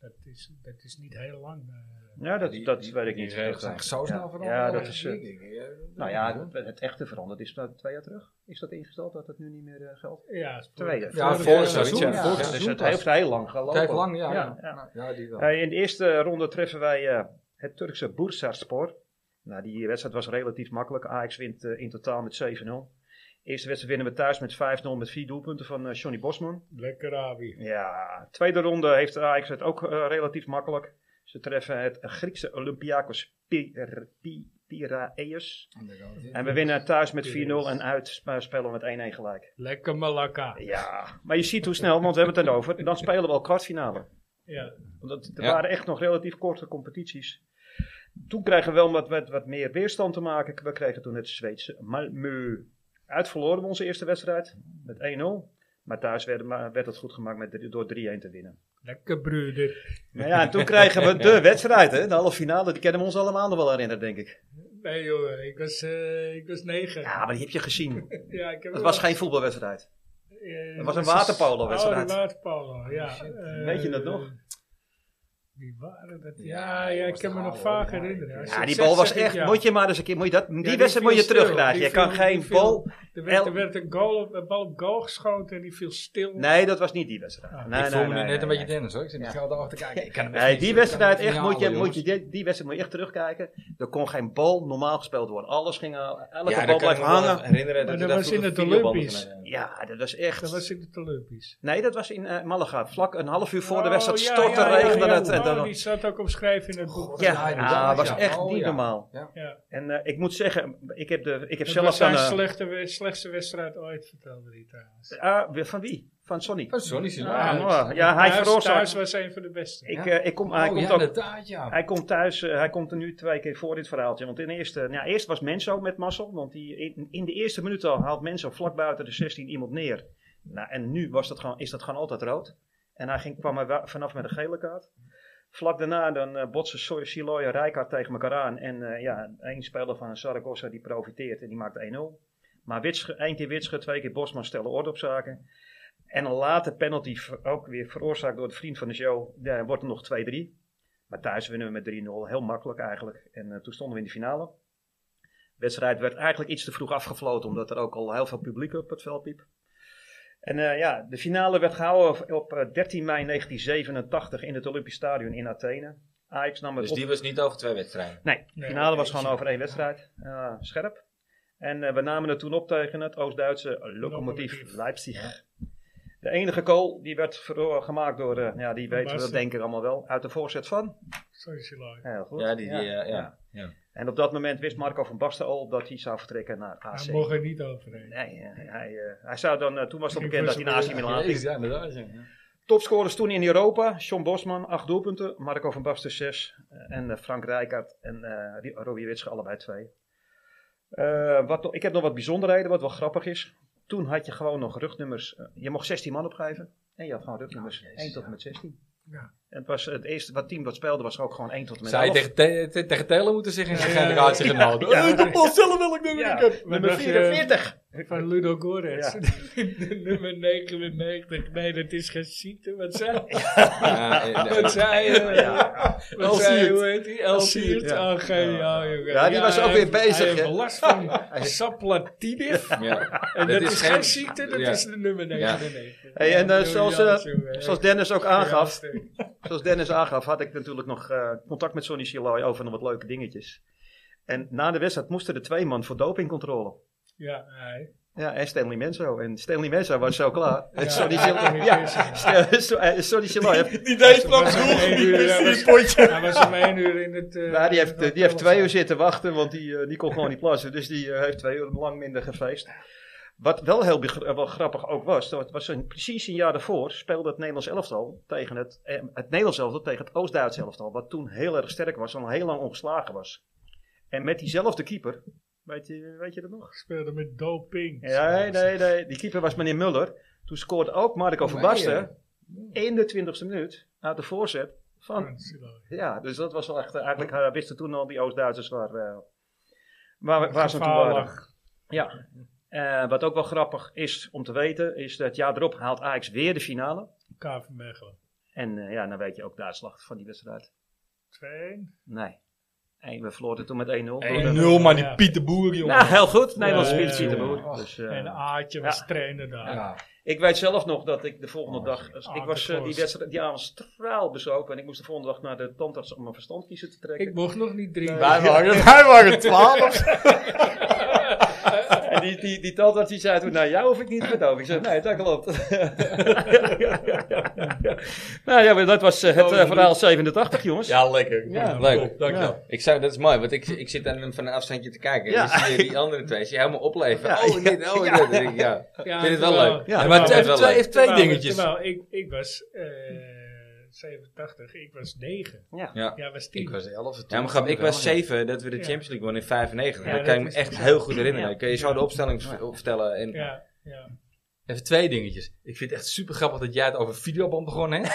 S2: Dat is, dat is niet heel lang. eh.
S4: Ja, dat,
S1: Die-
S4: dat
S1: die-
S4: weet ik
S1: die
S4: niet.
S1: regels
S4: Dat,
S5: zijn
S4: eh,
S5: zo snel
S4: ja,
S5: veranderd.
S4: Ja, dat is... eh,
S5: Ik denk, eh, dat
S4: nou
S5: is
S4: ja,
S5: goed, hoor.
S4: het, het echte veranderd is dat twee jaar terug. Is dat ingesteld dat het nu niet meer eh, geldt?
S2: Ja, voor-
S4: Tweede. Ja,
S5: Ja,
S2: vorig
S1: vorig
S2: jaar.
S1: seizoen.
S5: seizoen.
S1: ja.
S5: vorig
S1: Ja,
S4: dus
S5: seizoen
S4: het
S5: pas.
S4: heeft heel lang
S5: Het
S4: gelopen.
S5: heeft lang, ja.
S4: Ja,
S5: Ja, Ja, die wel.
S4: Eh, in de eerste ronde treffen wij eh, het Turkse Bursaspor. Nou, die wedstrijd was relatief makkelijk. Ajax wint eh, in totaal met 7-0. Eerste wedstrijd winnen we thuis met 5-0 met vier doelpunten van eh, Johnny Bosman.
S2: Lekker Abi.
S4: Ja, tweede ronde heeft Ajax het ook eh, relatief makkelijk. Ze treffen het Griekse Olympiakos Pir- Pi- Piraeus. En we winnen thuis met 4-0 en uit eh, spelen we met 1-1 gelijk.
S2: Lekker Malakka.
S4: Ja, maar je ziet hoe snel, want we hebben het erover. Dan spelen we al kwartfinale.
S2: Ja.
S4: Want dat, er
S1: Ja.
S4: waren echt nog relatief korte competities. Toen kregen we wel wat, wat, wat meer weerstand te maken. We kregen toen het Zweedse Malmö. Uit verloren we onze eerste wedstrijd met 1-0. Maar thuis werd, maar werd het goed gemaakt met, drie- door 3-1 te winnen.
S2: Lekker broeder.
S4: Nou ja, en toen kregen we [laughs] de wedstrijd, hè, de halve finale. Die kennen we ons allemaal nog wel herinneren, denk ik.
S2: Nee jongen, ik was, eh, ik was negen.
S4: Ja, maar die heb je gezien.
S2: Ja, ik heb
S4: Het
S2: wel-
S4: was geen voetbalwedstrijd.
S2: eh,
S4: het was een waterpolo-wedstrijd.
S2: Oh, een waterpolo, ja. Eh,
S4: Weet je dat nog?
S2: Wie waren dat? Ja, ja ik kan me nog vaak herinneren. Als je
S4: Ja,
S2: het
S4: die
S2: zegt,
S4: bal was
S2: zeg ik
S4: echt.
S2: ja.
S4: Moet je maar eens een keer. Moet je dat, die
S2: die
S4: wedstrijd moet je
S2: viel
S4: terugdraaien.
S2: stil.
S4: Je
S2: Die
S4: kan
S2: viel-
S4: geen
S2: die viel-
S4: bal.
S2: Er werd,
S4: El-
S2: er werd een, goal op, een bal op goal geschoten en die viel stil.
S4: Nee, dat was niet die wedstrijd.
S2: Ah.
S4: Nee,
S5: ik voel
S4: nee,
S5: me
S4: nee,
S5: nu
S4: nee,
S5: net een
S4: nee.
S5: beetje Dennis hoor. Ik zit met gouden oog te kijken. Ik kan hem echt
S4: Nee,
S5: niet
S4: die
S5: zien.
S4: wedstrijd
S5: Ik kan
S4: echt,
S5: hem
S4: moet je,
S5: halen,
S4: moet je,
S5: jongens.
S4: die, die wedstrijd moet je echt terugkijken. Er kon geen bal normaal gespeeld worden. Alles ging, al- elke
S1: Ja, dat
S4: bal
S1: kan ik
S4: bleef
S1: me wel
S4: hangen.
S1: herinneren.
S2: Maar
S1: Dat,
S2: dat
S1: je daar
S2: was in
S1: vroeger
S2: het
S1: videobanden
S2: Olympisch.
S1: van, eh,
S4: Ja, dat was echt.
S2: Dat was in het Olympisch.
S4: Nee, dat was in eh, Malaga. Vlak een half uur voor de
S2: Oh,
S4: wedstrijd
S2: ja,
S4: stortte
S2: ja, ja,
S4: regende
S2: ja.
S4: het. En
S2: Oh,
S4: dan,
S2: die staat ook omschreven in het boek.
S4: ja,
S5: Ja,
S4: ah,
S5: ja,
S4: was
S5: ja.
S4: echt
S5: Oh,
S4: niet
S5: ja.
S4: normaal.
S2: Ja.
S4: En eh, ik moet zeggen, ik heb, de, ik heb
S2: Dat
S4: zelf
S2: was zijn
S4: dan... eh,
S2: slechte, we- slechtste wedstrijd ooit, vertelde hij trouwens.
S4: ah, van wie? Van Sonny.
S5: Oh, Sonny zit
S4: Ah,
S5: erbij.
S4: nou, ja, hij
S2: thuis,
S4: veroorzaakt-
S2: thuis was een van de beste.
S4: Ik,
S5: Ja.
S4: eh, ik kom, hij,
S5: Oh
S4: komt
S5: ja,
S4: ook,
S5: inderdaad ja.
S4: hij komt thuis, eh, hij komt er nu twee keer voor dit verhaaltje. Want in eerste, nou, eerst was Menso met Massel, want die, in, in de eerste minuut al haalt Menso vlak buiten de 16 iemand neer. Nou, en nu was dat gewoon, is dat gewoon altijd rood. En hij ging, kwam er wa- vanaf met een gele kaart. Vlak daarna dan eh, botsen Sor- Siloy en Rijkaard tegen elkaar aan. En eh, ja, één speler van Saragossa die profiteert en die maakt 1-0. Maar Witsche, één keer Witsche, twee keer Bosman stellen orde op zaken. En een late penalty, ver- ook weer veroorzaakt door de vriend van de show, daar wordt er nog 2-3. Maar thuis winnen we met 3-0, heel makkelijk eigenlijk. En eh, toen stonden we in de finale. De wedstrijd werd eigenlijk iets te vroeg afgefloten, omdat er ook al heel veel publiek op het veld liep. En eh, ja, de finale werd gehouden op eh, 13 mei 1987 in het Olympisch Stadion in Athene. Ajax nam het
S1: Dus
S4: op
S1: die was niet over twee wedstrijden.
S4: Nee, de
S2: Nee,
S4: finale
S2: oké. dus-
S4: was gewoon over één wedstrijd. Eh, scherp. En eh, we namen het toen op tegen het Oost-Duitse Lokomotief
S2: Lokomotief.
S4: Leipzig. De enige goal die werd vero- gemaakt door, eh, ja, die weten we dat
S2: Basten.
S4: denk ik allemaal wel, uit de voorzet van.
S2: Sorry, Siloy.
S4: Heel goed.
S1: Ja, die, die, eh,
S4: ja.
S1: ja. ja.
S4: En op dat moment wist Marco van Basten al dat hij zou vertrekken naar AC.
S2: Hij mocht er niet overheen.
S4: Nee, eh, hij, eh, hij zou dan, eh, toen was het al
S2: Ik
S4: bekend dat hij
S2: wist
S4: naar
S2: het
S4: AC Milan ging.
S5: Ja, inderdaad ja.
S4: Topscorers toen in Europa. John Bosman, 8 doelpunten. Marco van Basten, 6. En eh, Frank Rijkaard en eh, Ri- Robbie Witsche, allebei 2. wat, nog- ik heb nog wat bijzonderheden, wat wel grappig is. Toen had je gewoon nog rugnummers. eh, je mocht 16 man opgeven. En je had gewoon rugnummers 1 tot en met 16.
S2: Ja.
S4: En het, was het eerste wat team dat speelde was ook gewoon 1 tot en met
S5: Zou je
S4: 11.
S5: tegen, te, te- tegen Telen moeten zeggen in zijn
S2: Ja,
S5: generatiegenoten?
S4: ja.
S5: Eh, de bal zelf wil ik doen.
S4: Ja,
S2: Nummer
S4: nummer 44.
S2: eh, Van Ludo Gores. [laughs] Nummer 99. Nee, dat is geen ziekte. Wat zei
S1: Ja, eh,
S2: [laughs]
S1: nee,
S2: Wat zei je? Wat zei je?
S5: Elsiert.
S2: Hoe heet die? Elsiert.
S4: Ja.
S2: Oh, geniaal, jongen.
S4: Ja, die was ook
S2: hij
S4: weer
S2: heeft-
S4: bezig,
S2: Hij
S4: hè?
S2: heeft last
S4: [laughs]
S2: van saplatidif.
S1: ja.
S2: En dat, is, geen
S1: geen-
S2: ziekte, dat
S1: ja.
S2: is de nummer 99.
S4: Hey, en, eh,
S2: Ja,
S4: zoals,
S2: briljant,
S4: eh,
S2: jongen.
S4: Zoals Dennis ook
S2: Ja,
S4: aangaf,
S2: sterk.
S4: Zoals Dennis aangaf, had ik natuurlijk nog eh, contact met Sonny Siloy over nog wat leuke dingetjes. En na de wedstrijd moesten de twee man voor dopingcontrole.
S2: Ja, hij.
S4: Ja, en Stanley Menzo. En Stanley Menzo was zo klaar. En
S2: Ja,
S4: Sonny
S2: hij kon
S4: Siloy.
S2: niet
S4: Ja,
S2: missen.
S4: St- St- eh, Sonny Siloy heeft-
S5: Die deed
S2: Hij was
S5: straks
S2: om één
S5: goed.
S2: uur, hij was- Hij was om één uur in het... eh,
S4: ja, die, heeft,
S2: in het
S4: eh, die heeft twee uur
S2: hotel.
S4: zitten wachten, want die, eh, die kon gewoon niet plassen. Dus die eh, heeft twee uur lang minder gefeest. Wat wel heel begr- eh, wel grappig ook was, dat was een, precies een jaar daarvoor speelde het Nederlands elftal tegen het, eh, het Nederlands elftal tegen het Oost-Duits elftal, wat toen heel erg sterk was en al heel lang ongeslagen was. En met diezelfde keeper, weet je, weet je dat nog?
S2: Speelde met doping.
S4: Nee, nee, nee, die keeper was meneer Muller. Toen scoorde ook Marco van Basten, 21ste minuut, uit de voorzet van ja, dus dat was wel echt. eh, Eigenlijk eh, wisten toen al die Oost-Duitsers waar, eh, waar, we- waar ze aan toe waren.
S2: Gevaarlijk.
S4: Ja. Eh, wat ook wel grappig is om te weten, is dat jaar erop haalt Ajax weer de finale.
S2: KV Mechelen.
S4: En eh, ja, dan weet je ook de uitslag van die wedstrijd.
S2: Twee.
S4: Nee. En we verloren toen met 1-0. door de-
S5: 1-0, maar die
S2: Ja.
S5: Pieter Boer,
S4: Nou,
S5: jongen.
S4: heel goed. Nederlands
S2: Ja,
S4: speelt
S2: ja,
S4: Pieter
S2: ja.
S4: Boer. Dus, eh,
S2: En Aartje was
S4: Ja.
S2: trainer daar.
S5: Ja.
S4: ik weet zelf nog dat ik de volgende dag...
S2: Ah,
S4: ik was eh, die,
S2: tekort.
S4: wedstrijd, die avond straal bezopen. En ik moest de volgende dag naar de tandarts om mijn verstand kiezen te trekken.
S2: Ik mocht nog niet drinken.
S5: Wij waren, wij waren 12.
S4: En die, die, die tandarts die zei toen, nou jou hoef ik niet te bedoven. Ik zei, nee, dat klopt. [laughs] nou ja, maar dat was eh, het eh, verhaal 87, jongens.
S5: Ja, lekker.
S4: Ja.
S1: Leuk.
S5: Dankjewel.
S1: Ik zou, dat is mooi, want ik, ik zit aan hem van een afstandje te kijken.
S4: Ja.
S1: En dan zie je die andere twee, zie je helemaal opleven.
S4: Ja,
S1: oh, dit, oh, dit. Ik denk, ja.
S2: Ja,
S1: Vind het wel
S2: terwijl-
S1: leuk.
S4: Ja,
S5: maar
S1: dat
S5: het
S1: is
S5: heeft
S1: wel
S5: twee,
S1: leuk.
S5: heeft twee
S2: terwijl-
S5: dingetjes.
S2: Terwijl ik, ik was eh, 87, ik was 9.
S4: Ja.
S1: Ja.
S2: Jij was 10.
S5: Ik was 11.
S1: Ja, maar grap, ik was
S5: zeven.
S1: 7 dat we de
S2: Ja.
S1: Champions League wonnen in 95.
S2: Ja,
S1: dat
S2: dat
S1: kan ik me
S2: is
S1: echt
S2: precies.
S1: heel goed herinneren.
S4: Ja.
S1: Kun je zo de opstelling v- vertellen? En,
S2: ja, ja.
S5: Even twee dingetjes. Ik vind het echt super grappig dat jij het over videoband begonnen hebt.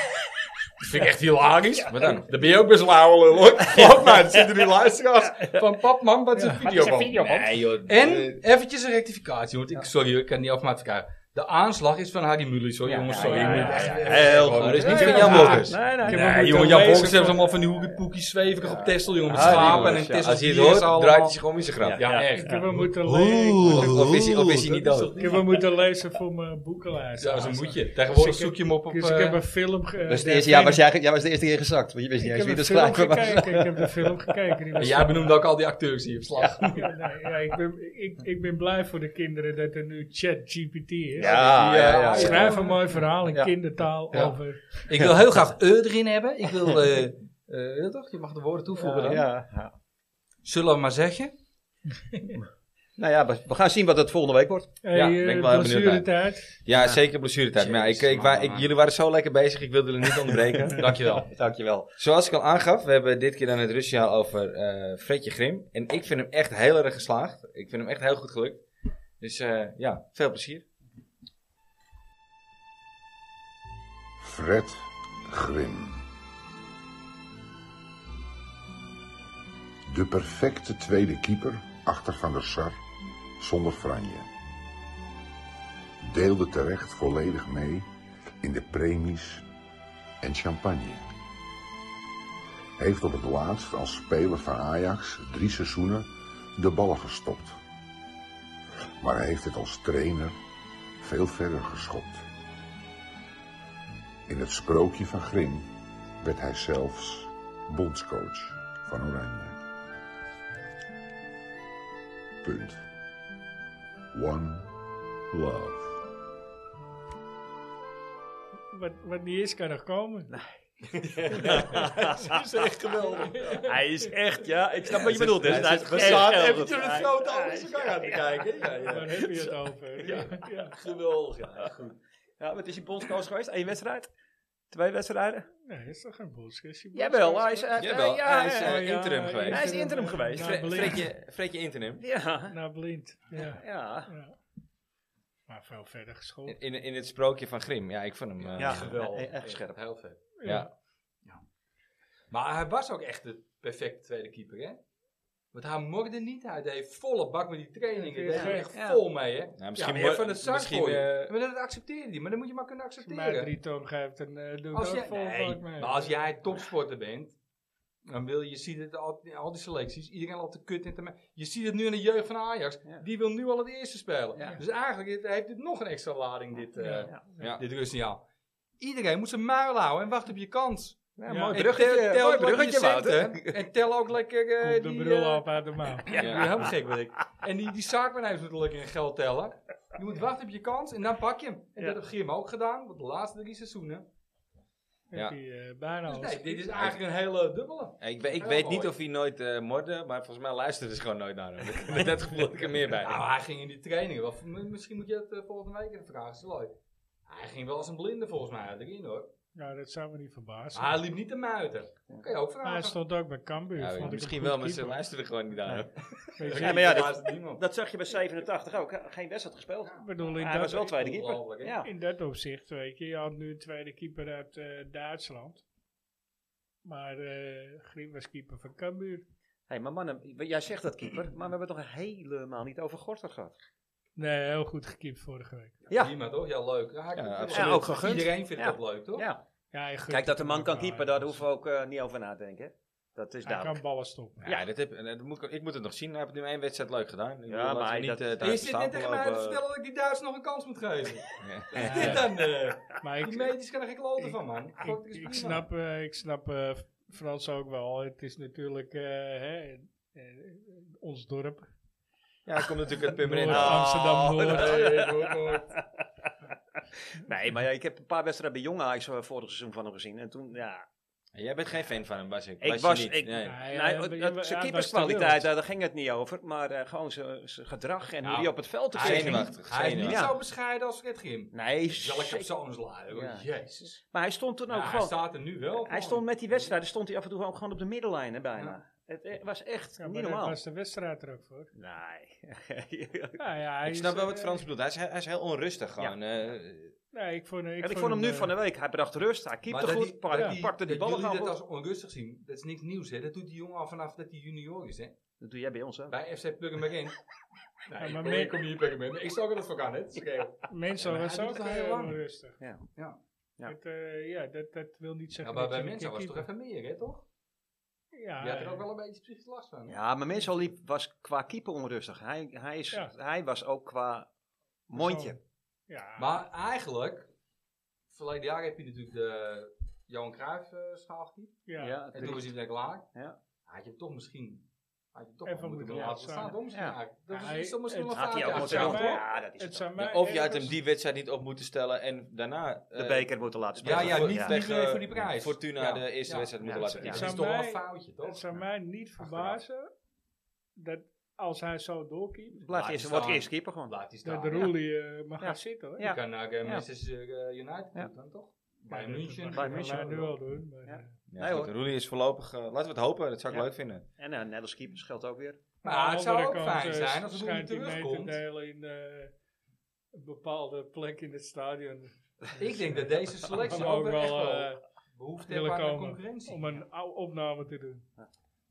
S5: Dat vind ik echt hilarisch. Maar dan, dan ben je ook best wel oude lul hoor. Geloof mij, het zitten die luisteraars van pap man, wat is een videoband?
S1: Nee, joh.
S5: En eventjes een rectificatie, want ik, sorry, hoor, ik kan niet over elkaar. De aanslag is van Harry Mullis, hoor, jongens. sorry.
S1: ja,
S5: ik
S1: ja,
S5: moet echt
S1: ja,
S5: even-
S1: heel goed. Dat is niet van Jan Blokkers.
S3: Nee, nee.
S5: Ik
S1: Nee,
S5: heb nee, jongen,
S2: moeten
S5: Jan
S2: lezen
S5: Volkers heeft
S2: van-
S5: allemaal van die hoekenpoekies zweverig op Tesla, jongen. Met
S1: Harry
S5: schapen en
S1: Mullis,
S5: een
S1: ja.
S5: Tesla.
S1: Als hij het
S5: bier
S1: hoort,
S5: allemaal.
S1: draait hij zich om in zijn graf.
S5: Ja, echt.
S2: Ik heb hem moeten
S1: Oeh,
S2: lezen.
S1: Of is hij, of is hij niet
S5: dat is
S1: dood?
S2: Ik heb hem moeten lezen voor mijn boekenlijst.
S5: Ja, zo moet je.
S2: Dus
S5: Tegenwoordig
S2: ik heb-
S5: zoek je hem op op...
S2: Dus ik heb
S5: eh,
S2: een film... ge-
S8: Dat is het
S2: eh,
S8: eerste, ja, was jij, jij was de eerste keer gezakt, want je wist niet
S2: Ik
S8: eens
S2: heb
S8: wie
S2: een
S8: de
S2: film
S8: schrijver was.
S2: gekeken. Ik heb de film gekeken. Die was
S5: Jij benoemde ook al die acteurs hier op
S2: [laughs]
S5: slag.
S2: Ja, nee, ja, ik, ben, ik, ik ben blij voor de kinderen dat er nu ChatGPT is.
S8: Ja, ja, ja. ja.
S2: Schrijf een mooi verhaal in
S8: Ja.
S2: kindertaal
S5: Ja.
S2: over.
S5: Ik wil heel graag E erin hebben. Ik wil... eh, eh, ja, toch? Je mag de woorden toevoegen dan. [laughs]
S8: Ja, ja.
S5: Zullen we maar zeggen?
S8: [laughs] Nou ja, we- we gaan zien wat het volgende week wordt.
S2: Hey,
S1: Ja,
S2: eh,
S1: ben ik wel heel benieuwd naar.
S2: blessuretijd.
S1: Ja, zeker blessuretijd. Maar ja, ik, ik, wa- ik- jullie waren zo lekker bezig, ik wilde jullie niet onderbreken. [laughs]
S5: [laughs] Dankjewel.
S8: Dankjewel.
S1: Zoals ik al aangaf, we hebben dit keer dan het Russiaal over eh Fredje Grim. En ik vind hem echt heel erg geslaagd. Ik vind hem echt heel goed gelukt. Dus eh, ja, veel plezier.
S9: Fred Grim. De perfecte tweede keeper achter Van der Sar zonder Franje. Deelde terecht volledig mee in de premies en champagne. Heeft op het laatst als speler van Ajax drie seizoenen de ballen gestopt. Maar heeft het als trainer veel verder geschopt. In het sprookje van Grim werd hij zelfs bondscoach van Oranje. Punt. One love.
S2: Wat, wat niet is, kan nog komen.
S4: Hij is echt, ja, ik snap wat je bedoelt. Dus.
S1: hij
S4: Hij is
S1: zit-
S4: echt heel goed.
S5: Even een grote ogen zijn gang aan te kijken. Ja, ja.
S2: Waar heb je het over? Ja. Ja.
S4: Geweldig, ja. Goed. Ja, wat is hij bondscoach geweest? Eén wedstrijd? Twee wedstrijden?
S2: Nee, is toch geen bullshit?
S4: Jawel, hij is, eh,
S1: Jawel,
S4: eh, ja,
S1: hij is, eh,
S4: eh,
S1: interim geweest.
S4: Hij is interim geweest.
S2: Naar
S1: Fre-
S2: blind.
S1: Fredje, Fredje interim.
S4: ja.
S2: Naar blind. Ja.
S4: ja.
S2: Ja. Maar veel verder geschoten.
S1: In, in, in het sprookje van Grim. Ja, ik vond hem... eh,
S4: Ja,
S1: ja.
S4: geweldig.
S8: Echt scherp.
S5: Heel vet.
S1: Ja.
S5: Maar hij was ook echt de perfecte tweede keeper, hè? Want hij morde niet. Hij deed volle bak met die trainingen. Daar deed hij echt
S4: Ja.
S5: vol mee, hè?
S1: Nou,
S5: Misschien
S1: misschien
S5: ja,
S1: mo-
S5: meer van het zak
S1: misschien,
S5: gooien.
S1: eh,
S5: maar dat accepteerde hij. Maar dat moet je maar kunnen
S2: Maar
S5: accepteren.
S2: Drieton geeft een eh doet
S5: Als
S2: ook
S5: jij,
S2: vol
S5: nee,
S2: vaak mee.
S5: maar als jij topsporter bent, dan wil je, je ziet het al, al die selecties, iedereen al te kut en te me- Je ziet het nu in de jeugd van Ajax, die wil nu al het eerste spelen.
S4: Ja.
S5: Dus eigenlijk heeft- heeft dit nog een extra lading, dit, eh
S4: Ja.
S1: Ja.
S5: dit Russiaal. Iedereen moet zijn muil houden en wacht op je kans.
S4: Ja,
S2: Ja.
S4: mooi
S5: En
S4: bruggetje.
S5: tel- tel
S4: mooi
S5: ook wat je
S4: bruggetje,
S5: zegt,
S4: Wouter.
S5: hè. En tel ook lekker eh,
S2: Komt de
S5: die...
S2: brul
S5: eh,
S2: af uit de mouw.
S5: ja, helemaal gek ben ik. En die, die zaakmanijs moet lekker in geld tellen. Je moet wachten op je kans en dan pak je hem. En
S4: Ja.
S5: dat heeft Grim ook gedaan, want de laatste drie seizoenen.
S1: Ja.
S2: Heb hij eh, bijna
S5: Dus
S2: alles.
S5: nee, dit is eigenlijk een hele dubbele.
S1: Eh, Ik, weet- ik
S5: Heel
S1: weet
S5: mooi.
S1: niet of hij nooit eh morde, maar volgens mij luisterde ze gewoon nooit naar hem. Met dat gevoel had ik er meer bij.
S5: Nou, hij ging in die trainingen wel. m- Misschien moet je dat eh, volgende week even vragen. Is het leuk? Hij ging wel als een blinde volgens mij erin hoor.
S2: Nou, dat zou me niet verbazen.
S5: Maar hij liep niet te muiten. Dat kan je ook
S2: Maar hij
S5: vragen.
S2: stond ook bij Cambuur.
S1: Ja,
S2: vond ik een
S1: misschien
S2: goed
S1: wel, maar ze
S2: keeper.
S1: luisteren gewoon niet naar hem.
S2: Weet je,
S4: Ja, maar ja, dat,
S5: Luistert niemand.
S4: dat zag je bij 87 ook. hè. Geen wedstrijd gespeeld.
S2: ik bedoel, in
S4: Hij was wel
S2: dat,
S4: tweede keeper.
S5: Ongelooflijk, hè?
S4: Ja.
S2: in dat opzicht, weet je, je had nu een tweede keeper uit eh, Duitsland. Maar eh Grim was keeper van Cambuur.
S4: Hé, maar mannen, jij zegt dat keeper, maar we hebben het nog helemaal niet over Gorter gehad.
S2: Nee, heel goed gekiept vorige week.
S4: Ja.
S5: Prima toch? Ja, leuk. Ja, hij-
S1: Ja,
S4: absoluut. Ja, ook gegund.
S5: Iedereen vindt
S4: Ja.
S5: dat leuk toch?
S4: Ja.
S2: Ja, hij gunt
S4: Kijk, dat de
S2: het
S4: man
S2: hem
S4: kan
S2: ook
S4: keeper,
S2: wel,
S4: daar
S2: dus
S4: hoeven we ook eh, niet over na te denken. hè. Dat is
S2: Hij kan
S4: duidelijk.
S2: ballen stoppen.
S1: Ja, dat heb, eh, dat moet ik, ik moet het nog zien. Hij heeft nu één wedstrijd leuk gedaan. Ik bedoel, laten we
S4: maar
S1: niet,
S4: dat-
S1: eh, het
S5: En je
S1: uit de
S5: zit net
S1: stapel
S5: tegen mij te
S1: lopen.
S5: vertellen dat ik die Duits nog een kans moet geven.
S1: Ja.
S5: Wat is [laughs] dit dan? eh?
S2: Maar
S5: Die
S2: ik,
S5: medisch kan er geen kloten van, man. Fuck,
S2: ik,
S5: dit is
S2: ik
S5: prima. [laughs]
S2: snap, eh, ik snap eh, Frans ook wel. Het is natuurlijk eh, hè, eh, ons dorp.
S1: Ja, hij komt natuurlijk uit
S2: Noord,
S1: Purmerend.
S2: Amsterdam
S5: Oh,
S2: Noord.
S4: Nee, maar ja, ik heb een paar wedstrijden bij Jong Ajax eh, vorig seizoen van hem gezien. En toen, ja,
S1: Jij bent geen fan van hem, was ik.
S4: Ik
S1: was,
S4: was-
S1: je niet.
S4: ik-
S1: nee.
S2: Ja, ja,
S4: nee,
S2: ja,
S4: dat-
S2: ja,
S4: zijn
S2: ja,
S4: keeperskwaliteit,
S2: was
S4: daar daar ging het niet over. Maar eh, gewoon zijn zijn gedrag en hoe
S5: Nou,
S4: hij op het veld
S5: Hij is
S4: ging.
S5: niet,
S1: Zenuwachtig,
S5: hij is niet
S4: zenuwachtig.
S5: zo bescheiden als Fred Grim.
S4: Nee,
S5: Zal ik op
S4: zeker.
S5: zo'n laden?
S4: Ja.
S5: Jezus.
S4: maar hij stond toen ook
S5: Nou, hij
S4: gewoon...
S5: staat er nu wel.
S4: Hij
S5: gewoon.
S4: stond met die wedstrijden, stond hij af en toe ook gewoon op de middenlijn hè, bijna. Het eh, was echt
S2: Ja, maar
S4: niet
S2: daar
S4: normaal.
S2: was de wedstrijd er ook voor.
S4: Nee. [laughs]
S2: Nou ja, hij
S1: Ik
S2: is,
S1: snap wel
S2: eh,
S1: wat Frans bedoelt. Hij is, hij is heel onrustig gewoon. eh,
S2: Nee, ik vond, ik
S4: en ik vond hem nu
S2: eh,
S4: van de week. Hij bracht rust, hij keepte
S5: dat
S4: goed,
S5: die-
S4: pak-
S5: dat
S2: die-
S4: pakte die
S5: dat
S4: ballen
S5: jullie
S4: aan.
S5: dat
S4: Dat,
S5: als onrustig zien, dat is niks nieuws. Hè? Dat doet die jongen al vanaf dat hij junior is. Hè?
S4: dat doe jij bij ons, hè?
S5: Bij FC Plug hem in.
S2: eh, Ja, maar
S5: Nee, ik
S2: men-
S5: kom hier Plug hem in. Ik zag dat voor aan, hè? Het is oké.
S2: Menzo
S5: Ja, maar
S2: was
S5: hij doet
S2: ook
S5: het al heel
S2: heel
S5: lang.
S2: onrustig.
S4: Ja.
S5: Ja.
S4: Ja.
S2: Dat, eh, ja, dat, dat wil niet
S5: Ja,
S2: zeggen.
S5: maar
S2: dat
S5: bij
S2: je
S5: mensen
S2: niet
S5: was het toch
S2: kan
S5: even meer, hè, toch?
S2: keepen. Ja,
S5: Je had er ook wel een beetje psychisch last van. hè?
S4: Ja, maar Mensal liep was qua keeper onrustig. Hij, hij, is,
S2: Ja.
S4: hij was ook qua mondje.
S2: eh, Ja,
S5: Maar eigenlijk, verleden jaar heb je natuurlijk de Johan Cruijff eh, schaal gekiept.
S2: ja.
S4: Ja,
S5: En toen was hij weer klaar.
S4: Ja.
S5: Had je hem toch misschien... Had je hem toch
S2: Even
S5: wel moeten
S2: moeten
S5: doen.
S2: laten
S5: laten staan.
S2: staan.
S5: Om misschien
S4: Ja.
S5: eigenlijk. Dat
S2: Ja,
S5: is
S2: hij-
S5: is toch misschien wel
S2: het
S5: een
S4: Had hij ook
S5: vaartje
S4: moeten
S2: zou
S4: doen.
S5: achteraf,
S2: mij-
S5: hoor.
S4: Ja, dat is
S2: het
S4: het.
S2: zou mij
S1: of je had
S2: ergens-
S1: hem die wedstrijd niet op moeten stellen en daarna...
S4: De
S1: eh,
S4: beker moeten laten
S1: Ja,
S4: spelen.
S1: ja,
S4: Voor-
S1: niet
S4: ja.
S1: tegen
S5: meer voor die prijs.
S1: Fortuna
S5: Ja.
S1: de eerste
S5: Ja.
S1: wedstrijd moeten
S4: Ja,
S1: laten
S2: het
S1: winnen.
S5: Het
S2: zou
S5: is toch wel een
S2: mij-
S5: foutje,
S2: Het
S5: toch?
S2: zou mij niet
S5: Achteraf.
S2: verbazen dat als hij zo doorkeept,
S4: Blijft
S5: Laat
S4: eerst,
S5: hij
S4: wordt
S5: staan.
S4: eerst keeper gewoon.
S5: Laat die staan.
S2: dat de Roelie eh, mag
S4: Ja.
S2: gaan zitten hoor.
S4: Ja.
S5: Je kan naar eh,
S4: Ja.
S5: Manchester eh, United
S4: Ja.
S5: toe dan toch?
S2: Ja,
S5: Bij
S2: dat-
S5: München.
S2: dat
S4: Bij
S2: mag je
S4: München.
S2: nu wel doen. maar,
S4: Ja.
S2: eh,
S1: Ja,
S4: Nee,
S1: goed,
S4: hoor.
S1: Roelie is voorlopig... eh, laten we het hopen, dat zou ik
S4: Ja.
S1: leuk vinden.
S4: En eh, net als keepers geldt ook weer.
S5: Maar het zou
S2: Aan de
S5: ook
S2: andere kant,
S5: fijn
S2: eh,
S5: zijn als het niet
S2: schijnt hij mee te
S5: terugkomt.
S2: delen in eh, een bepaalde plek in het stadion.
S5: Ik denk dat deze selectie
S2: Om
S5: ook
S2: ook
S5: wel oh, echt
S2: wel
S5: wel
S2: eh,
S5: behoefte
S2: willen
S5: heeft aan de
S2: komen.
S5: concurrentie.
S2: om een oude opname te doen.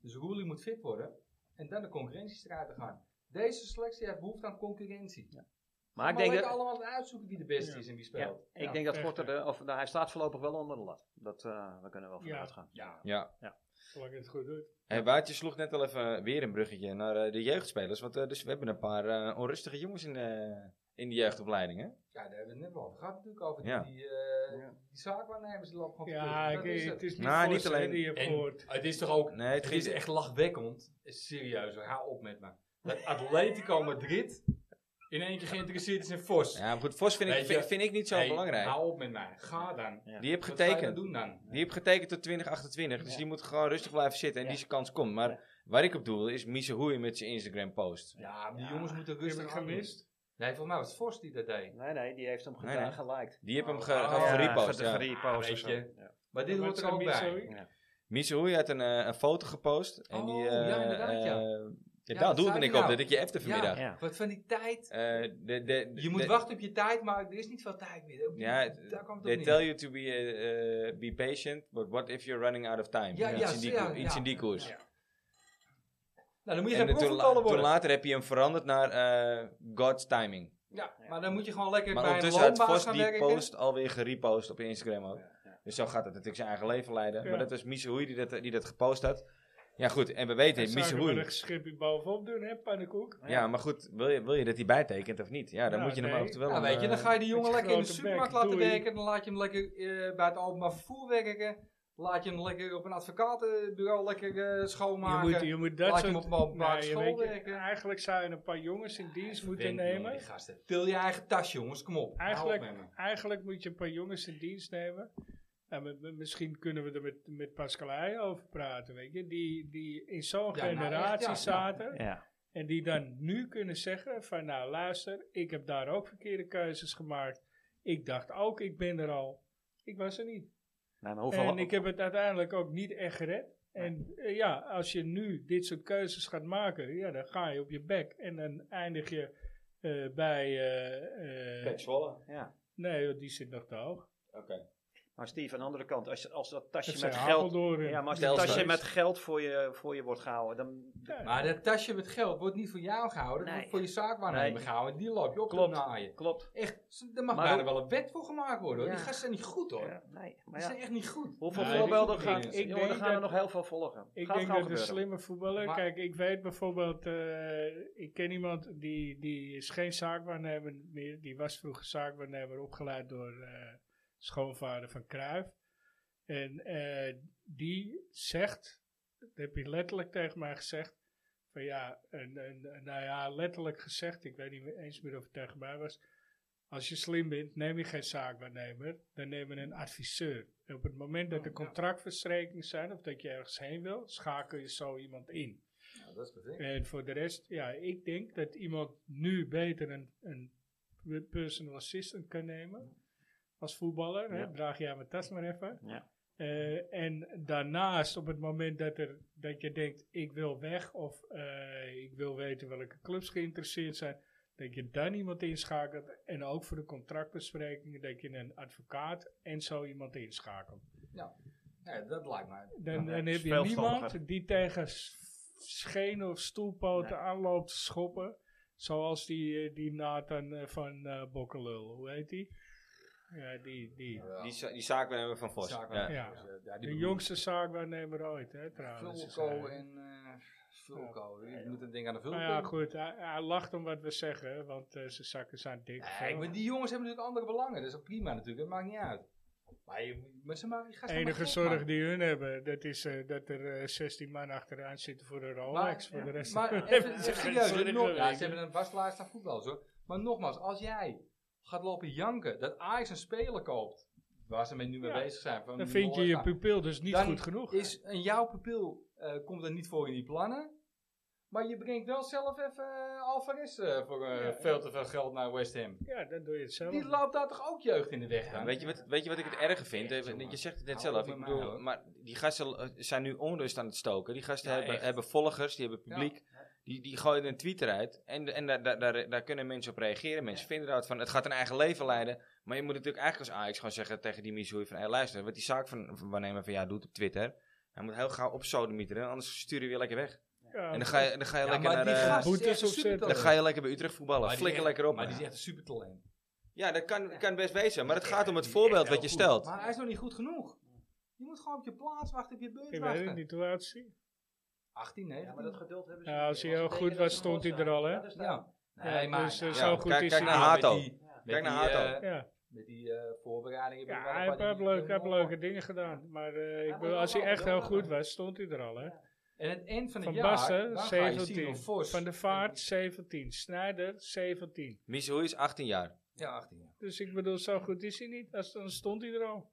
S5: Dus Roelie moet fit worden en dan de concurrentiestrijd te gaan. Deze selectie heeft behoefte aan concurrentie. Maar,
S4: Maar ik denk
S5: lekker
S4: dat...
S5: allemaal uitzoeken wie de beste
S2: Ja.
S5: is en wie
S4: Ja,
S5: speelt.
S4: ik denk dat
S2: echt,
S4: Gorter, de- of, nou, hij staat voorlopig wel onder de lat. Dat, eh, we kunnen wel
S2: Ja.
S4: vanuit gaan.
S5: Ja.
S1: Ja,
S2: Zolang je het goed doet.
S1: Hey, Woutje sloeg net al even weer een bruggetje naar eh, de jeugdspelers. Want eh, dus we hebben een paar eh, onrustige jongens in, eh, in de jeugdopleiding. Hè?
S5: ja, daar hebben we het net wel over gehad natuurlijk over
S1: Ja.
S5: die, eh die zaakwaarnemers die lopen gewoon
S2: Ja,
S5: verkeerd. Dat
S2: ik-
S5: is
S2: het is niet,
S1: Nou,
S2: voor
S1: niet alleen-
S2: alleen die je hebt
S5: En
S2: gehoord.
S5: het is toch ook,
S1: Nee, het
S5: het is
S1: ging,
S5: echt lachwekkend. Serieus, hoor, hou op met me. Dat Atletico Madrid in één keer geïnteresseerd is in Vos.
S1: ja, maar goed, Vos vind ik,
S5: Weet je-
S1: vind, vind ik niet zo
S5: Hey,
S1: belangrijk.
S5: Hou op met mij, ga dan.
S1: die heeft
S5: Wat ga je dan
S1: getekend.
S5: doen dan?
S1: Die heeft getekend tot 2028. Dus die moet gewoon rustig blijven zitten en
S4: Ja.
S1: die zijn kans komt. Maar waar ik op doel is Mise Hoei met zijn Instagram post.
S5: Ja, die jongens moeten
S2: Heb
S5: rustig
S2: ik
S5: aan doen.
S2: gemist?
S5: Nee, volgens mij was het Vos die dat deed.
S4: Nee, nee, die heeft hem
S1: Nee,
S4: gedaan,
S1: nee.
S4: geliked.
S1: Die heeft hem ge-
S5: Oh,
S1: ge-
S5: ja,
S1: gerepost.
S4: Ja,
S1: Ja,
S4: gerepost
S5: Ah,
S4: of
S5: weet
S4: zo.
S5: je.
S4: Ja.
S5: Maar dit
S2: Ja,
S5: hoort
S2: maar
S5: er ook
S2: het
S5: bij.
S2: zijn niet zo-
S1: Mise Hoei had een, eh, een foto gepost. En
S5: Oh,
S1: die, eh,
S5: ja, inderdaad, ja.
S1: eh,
S5: Ja,
S1: daar
S5: dat
S1: doelde
S5: zei
S1: ik
S5: hij
S1: op.
S5: nou.
S1: Dat ik je effe vanmiddag.
S4: Ja.
S5: Wat van die tijd.
S1: Eh, de, de,
S5: Je moet
S1: de-
S5: wachten op je tijd, maar er is niet veel tijd meer. Ook
S1: Ja,
S5: niet- daar kwam het
S1: They
S5: op
S1: tell
S5: neer.
S1: you to be, eh, eh, be patient, but what if you're running out of time?
S5: Ja,
S1: iets
S5: ja,
S1: in die,
S5: ja,
S1: ko- iets
S5: ja.
S1: in die koers.
S5: Ja. Nou, dan moet je
S1: En
S5: geen
S1: eh, toen, la-
S5: proefvoetballer
S1: toen
S5: worden.
S1: later heb je hem veranderd naar eh, God's timing.
S5: ja, maar dan moet je gewoon lekker
S1: Maar
S5: bij een
S1: ondertussen had
S5: loonbaas
S1: Vos
S5: gaan
S1: die
S5: werken.
S1: post alweer gerepost op Instagram ook. Dus zo gaat het natuurlijk zijn eigen leven leiden.
S2: Ja.
S1: Maar dat was Mies Hoei die dat, die dat gepost had. Ja goed, en we weten,
S2: Zou
S1: Mies
S2: ik er
S1: Hoei.
S2: een schipje bovenop doen, hè, pannenkoek?
S1: Ja, maar goed, wil je, wil je dat hij bijtekent of niet? Ja, dan
S2: Ja,
S1: moet je hem
S2: nee.
S1: eventueel...
S5: Ja,
S1: een,
S5: weet je, dan
S1: eh,
S5: ga je die
S2: met
S5: jongen
S2: je
S5: lekker in de
S2: grote
S5: supermarkt
S2: bek,
S5: laten
S2: doei.
S5: werken. Dan laat je hem lekker eh, bij het openbaar vervoer werken. Laat je hem lekker op een advocatenbureau lekker eh,
S2: Je
S5: schoonmaken.
S2: moet, je moet dat
S5: Laat je
S2: soort...
S5: hem op een openbare
S2: Nee, je
S5: school
S2: weet je,
S5: werken.
S2: Eigenlijk zou je een paar jongens in dienst moeten
S5: Verwend, jongen,
S2: nemen.
S5: die gasten. Til je eigen tas, jongens. Kom op. Hou op met
S2: Eigenlijk,
S5: me.
S2: eigenlijk moet je een paar jongens in dienst nemen. En we- we- misschien kunnen we er met, met Pascalij over praten, weet je. Die, die in zo'n
S5: Ja, nou,
S2: generatie
S5: echt, ja, ja.
S2: zaten.
S4: Ja.
S2: En die dan nu kunnen zeggen van nou luister, ik heb daar ook verkeerde keuzes gemaakt. Ik dacht ook, ik ben er al. Ik was er niet.
S4: Nee, Nou, maar hoeveel...
S2: En ik heb het uiteindelijk ook niet echt gered. En eh, ja, als je nu dit soort keuzes gaat maken, ja, dan ga je op je bek. En dan eindig je eh, bij... eh, eh,
S1: Pek Zwolle.
S4: ja.
S2: nee, joh, die zit nog te hoog.
S1: Oké.
S4: Maar Steve, aan de andere kant, als, als dat
S2: Dat
S4: tasje
S2: zijn
S4: met geld...
S2: Apeldoorn.
S4: Ja, maar als dat
S1: Telstra.
S4: tasje met geld voor je, voor je wordt gehouden, dan...
S2: Ja.
S5: Maar dat tasje met geld wordt niet voor jou gehouden. Dat
S4: Nee.
S5: wordt voor je zaakwaarnemer
S4: Nee.
S5: gehouden. Die loop je op
S4: Klopt.
S5: te naaien.
S4: Klopt.
S5: Echt, ze- daar mag
S4: Maar
S5: bijna
S4: ook-
S5: wel een wet voor gemaakt worden. Hoor.
S4: Ja.
S5: Die gasten zijn niet goed hoor.
S4: Ja, nee, maar
S5: Die
S4: ja.
S5: zijn echt niet goed.
S4: Hoeveel
S2: Nee, dit
S4: voorbeelden
S5: is
S4: gaan...
S5: niet
S2: eens.
S4: Ik jongen,
S2: Ik
S4: er gaan
S2: denk
S4: er nog heel veel volgen.
S2: Ik
S4: Gaat
S2: denk
S4: gewoon
S2: dat de
S4: gebeuren.
S2: slimme voetballer.
S5: Maar-
S2: kijk, ik weet bijvoorbeeld, eh, ik ken iemand die, die is geen zaakwaarnemer meer. Die was vroeger zaakwaarnemer, opgeleid door eh, schoonvader van Cruijff. En eh, die zegt, dat heb je letterlijk tegen mij gezegd, van ja, en, en, nou ja, letterlijk gezegd, ik weet niet meer eens meer of het tegen mij was. Als je slim bent, neem je geen zaakwaarnemer, dan neem je een adviseur. En op het moment dat er contractverstrekingen zijn of dat je ergens heen wil, schakel je zo iemand in.
S5: Ja, dat is perfect.
S2: En voor de rest, ja, ik denk dat iemand nu beter een, een personal assistant kan nemen als voetballer. Hè?
S4: Ja.
S2: Draag jij mijn tas maar even.
S4: Ja.
S2: Eh, en daarnaast, op het moment dat, er, dat je denkt, ik wil weg of eh, ik wil weten welke clubs geïnteresseerd zijn, dat je dan iemand inschakelt. En ook voor de contractbesprekingen, dat je een advocaat en zo iemand inschakelt.
S5: Ja, dat lijkt mij.
S2: Dan,
S3: Ja,
S2: dan
S3: dat
S2: heb
S3: is
S2: je
S3: veel
S2: niemand
S3: verstandiger.
S2: die tegen s- schenen of stoelpoten aanloopt te schoppen. Zoals die, eh, die Nathan eh, van eh Bokkelul, hoe heet die? Ja, die, die.
S1: Die, za- die zaak we hebben van Vos.
S5: Zaakwaarnemer.
S1: Ja.
S2: Ja.
S5: Dus, eh, ja,
S2: De
S5: die bedoel-
S2: jongste zaakwaarnemer ooit, hè, trouwens.
S5: Vulco
S2: Eh,
S5: en eh Vulco. Ik moet een ding aan de Vulco.
S2: Nou ja, goed, hij, hij lacht om wat we zeggen, want eh, zijn zakken zijn dik.
S5: Nee, maar die jongens hebben natuurlijk andere belangen. Dat is ook prima natuurlijk. Dat maakt niet uit. Maar je moet- maar ze maken die
S2: de
S5: gasten
S2: enige
S5: maar gek,
S2: zorg
S5: man.
S2: die hun hebben, dat is eh, dat er eh, 16 man achteraan zitten voor een Rolex. voor de rest [laughs]
S5: Maar
S2: hebben
S5: even
S2: ze
S5: even
S2: geen
S5: serieus.
S2: zorgen.
S5: nog- ja, ze hebben een vastlijst aan voetbal. Hoor. Maar nogmaals, als jij gaat lopen janken dat Ajax een speler koopt. Waar ze mee nu mee
S2: Ja,
S5: bezig zijn. Van
S2: Dan vind je je pupil dus niet
S5: Dan
S2: goed genoeg.
S5: Is, en jouw pupil eh, komt er niet voor in die plannen. Maar je brengt wel zelf even eh, Alvarez eh, voor eh, veel te veel geld naar West Ham.
S2: Ja, dan doe je het zelf.
S5: Die loopt daar toch ook jeugd in de weg aan?
S1: Weet, je wat, weet je wat ik het erge vind?
S5: Echt,
S1: Even,
S5: jongen.
S1: je zegt het net
S5: Hou
S1: zelf.
S5: op
S1: Ik
S5: met mij,
S1: bedoel,
S5: hoor.
S1: maar die gasten eh, zijn nu onrust aan het stoken. Die gasten
S5: Ja,
S1: hebben,
S5: echt.
S1: hebben volgers, die hebben publiek. Die, die gooien een tweet eruit. En, en daar, daar, daar, daar kunnen mensen op reageren. Mensen vinden eruit van, het gaat een eigen leven leiden. Maar je moet natuurlijk eigenlijk als Ajax gewoon zeggen tegen die Missouri van... Hey, luister, wat die zaak van, van waarnemer van jou doet op Twitter... Hij moet heel gauw op sodemieteren, anders sturen we je lekker weg.
S2: Ja,
S1: En dan ga je, dan ga je lekker
S5: maar
S1: naar...
S5: die
S1: eh,
S5: gast is
S2: boetes
S5: echt een
S2: opzetten.
S1: dan
S5: supertalent.
S1: ga je lekker bij Utrecht voetballen.
S5: Maar die
S1: Flikker
S5: is echt-
S1: lekker op.
S5: Maar die is echt een supertalent.
S1: Ja, dat kan, kan best wezen. Maar het gaat om het voorbeeld wat je stelt.
S5: Maar hij is nog niet goed genoeg. Je moet gewoon op je plaats wachten, op je beurt
S2: ik weet het
S5: wachten.
S2: niet hoe oud is hij?
S5: 18, 19.
S4: Ja, maar dat geduld hebben ze
S2: Nou,
S4: niet.
S2: als hij
S4: Want
S2: heel
S4: ze
S2: goed
S4: denken
S2: was,
S4: dat ze
S2: stond hij
S4: een
S2: er al,
S4: goal
S2: hè?
S4: staan. Ja, daar staat hij.
S5: Ja. Nee,
S2: Ja,
S5: maar...
S2: dus, eh,
S5: ja,
S2: zo
S5: met
S2: goed
S1: kijk,
S2: is
S1: kijk
S2: hij
S1: naar
S2: niet.
S1: Hato.
S5: die- met
S1: Kijk naar
S5: die,
S1: Hato.
S5: eh,
S2: Ja,
S5: Met die eh, voorbereidingen.
S2: ja hij heeft wel leuke, hij heeft leuke dingen gedaan. Maar eh, ik bedoel, als hij echt heel goed was, stond hij er al, hè?
S5: En het eind van het
S2: Van
S5: jaar,
S2: Basten,
S5: dan ga je zien of
S2: 17.
S5: Vos...
S2: Van de Vaart, 17. Snijder, 17.
S1: Missouri is 18 jaar.
S5: Ja, 18 jaar.
S2: Dus ik bedoel, zo goed is hij niet. Als, dan stond hij er al.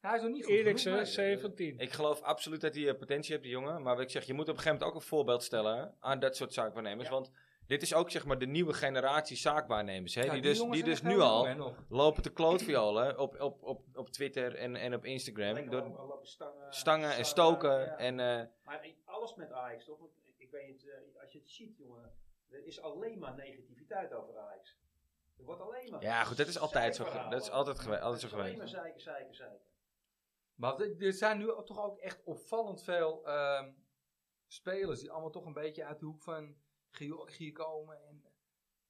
S5: Hij is nog niet goed eh,
S2: Eriksen,
S5: genoeg, nee. Dat-
S2: 17.
S1: Ik geloof absoluut dat hij eh, potentie heeft, die jongen. Maar wat ik zeg, je moet op een gegeven moment ook een voorbeeld stellen aan dat soort zaakwaarnemers. Want dit is ook zeg maar de nieuwe generatie zaakwaarnemers. Hè?
S5: Ja,
S1: die dus,
S5: jongens
S1: die dus
S5: zijn echt
S1: nu
S5: heel
S1: al
S5: jong, hè, nog.
S1: lopen te klootviolen op, op, op, op Twitter en, en op Instagram.
S4: Lijkt
S1: Door
S4: wel op stangen,
S1: stangen en stoken. En, eh,
S4: Maar in alles met Ajax toch? Want ik weet niet, eh, als je het ziet, jongen, er is alleen maar negativiteit over Ajax. Er wordt alleen maar.
S1: ja, goed, dat is altijd zo. ge- Dat is altijd, gewe- altijd zo
S4: Het is Alleen maar
S1: geweest.
S4: zeiken, zeiken, zeiken.
S5: Maar er er zijn nu ook toch ook echt opvallend veel ehm, spelers die allemaal toch een beetje uit de hoek van Georgië komen. En,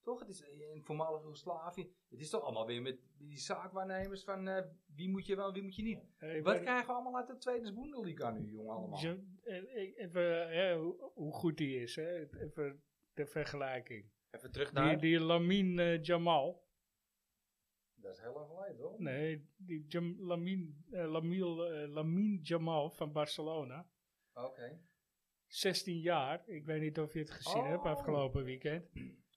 S5: toch, het is in voormalig Joegoslavië. Het is toch allemaal weer met die zaakwaarnemers van eh, wie moet je wel en wie moet je niet.
S2: Eh, ik
S5: Wat
S2: weet-
S5: krijgen we allemaal uit de Tweede Bundesliga nu, jongen, allemaal?
S2: Zo- eh, ik- Even, hè, hoe, hoe goed die is, hè? Even de vergelijking.
S1: Even terug
S2: Die,
S1: naar...
S2: die Lamin Jamal.
S5: Dat is heel lang geleden, hoor.
S2: Nee, die Jam, Lamin, eh, Lamiel, eh, Lamin Jamal van Barcelona.
S5: Oké.
S2: 16 jaar. Ik weet niet of je het gezien
S5: Oh.
S2: hebt afgelopen weekend.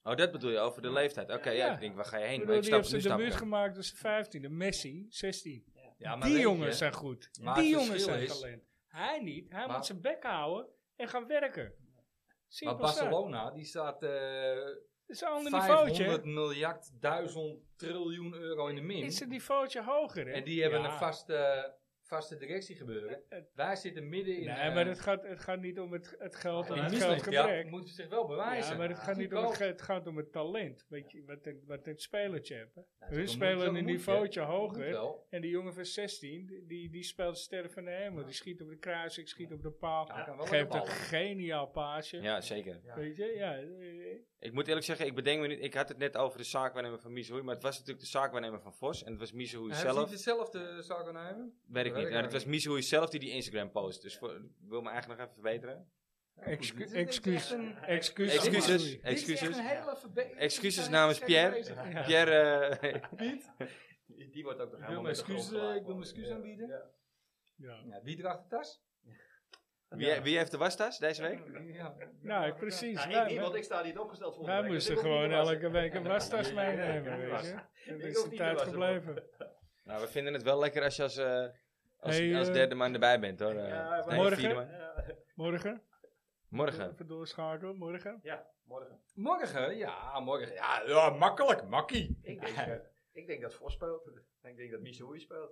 S1: Oh, dat bedoel je, over de leeftijd. Oké, ja,
S2: Ja.
S1: ik denk, waar ga je heen?
S2: Ik
S1: Maar
S2: bedoel,
S1: ik
S2: die
S1: snap,
S2: heeft
S1: nu
S2: zijn
S1: snap ik
S2: debuut
S1: hem.
S2: gemaakt als 15e. Messi, 16.
S5: Ja, Ah, maar
S2: die
S5: weet je,
S2: jongens zijn goed.
S5: Maar
S2: die
S5: het
S2: jongens
S5: verschil
S2: zijn
S5: is-
S2: talent. Hij niet. Hij
S5: Maar-
S2: moet zijn bek houden en gaan werken.
S5: Maar
S2: Simpel staat.
S5: Barcelona, die staat eh
S2: Het is een ander
S5: 500
S2: niveautje. hè.
S5: miljard, duizend triljoen euro in de min.
S2: Het is een niveautje hoger. Hè?
S5: En die hebben
S2: Ja.
S5: een vaste, vaste directie gebeuren. Wij zitten midden in... eh,
S2: Nee, maar het gaat, het gaat niet om het, het geld en
S5: die
S2: het
S5: mislukt,
S2: geldgebrek.
S5: ja, moeten zich wel bewijzen.
S2: Ja, maar het gaat niet om het, ge- het gaat om het talent. Weet je, wat het, wat het spelertje hebben. Hun spelen een niveautje hoger. En die jongen van 16, die- die, die speelt sterren van de hemel. Die schiet op de kruis, ik schiet op de paal.
S5: Ja, hij kan wel
S2: geeft een
S5: ballen.
S2: geniaal paasje.
S1: Ja, zeker.
S2: Weet je, ja. eh,
S1: Ik moet eerlijk zeggen, ik bedenk me niet. Ik had het net over de zaakwaarnemer van Misehoei, maar het was natuurlijk de zaakwaarnemer van Vos. En het was Misehoei
S5: Zelf. Heeft
S1: zelf.
S5: hij hetzelfde zou kunnen hebben?
S1: Weet ik
S5: Weet
S1: niet.
S5: ik
S1: Ja, het was
S5: eigenlijk
S1: Misehoei zelf die die Instagram post. Dus voor, ik wil me eigenlijk nog even verbeteren.
S2: Excu-
S5: dit is echt
S2: excuus,
S5: een-
S2: excuus.
S1: Excuses.
S2: sorry.
S5: Dit is
S1: Excuses.
S5: echt een hele verbe-
S1: Excuses
S5: Dit
S1: namens
S5: is echt
S1: Pierre.
S5: bezig. Ik
S1: Pierre, eh, [laughs]
S4: Die, die wordt ook nog
S5: wil
S4: helemaal met
S5: mijn
S4: de grond
S5: excuses, eh, ik wil
S4: gelaten.
S5: mijn excuses aanbieden.
S4: Ja.
S2: Ja.
S5: Ja, wie draagt de tas?
S1: wie, wie heeft de wastas deze week?
S5: Ja.
S2: Nou, precies.
S4: Nou, ik
S2: wij
S4: niet, want
S2: wij-
S4: ik sta niet opgesteld voor.
S2: wij moesten gewoon elke week een wastas meenemen, weet je. Dat
S4: Ik
S2: is
S4: hoef
S2: de
S4: niet
S2: tijd
S4: te wassen,
S2: gebleven.
S1: Nou, we vinden het wel lekker als je als, eh, als,
S2: Hey,
S1: als
S2: eh,
S1: derde man erbij bent hoor. eh.
S4: ja,
S1: Of
S4: maar-
S1: nee,
S2: Morgen?
S1: vierde man.
S2: Morgen,
S1: Morgen.
S2: even doorschakelen, morgen.
S4: Ja, morgen.
S5: Morgen? Ja, morgen. Ja, ja makkelijk, makkie.
S4: Ik denk, eh, ik denk dat Vos speelt. Ik denk dat Missouri speelt.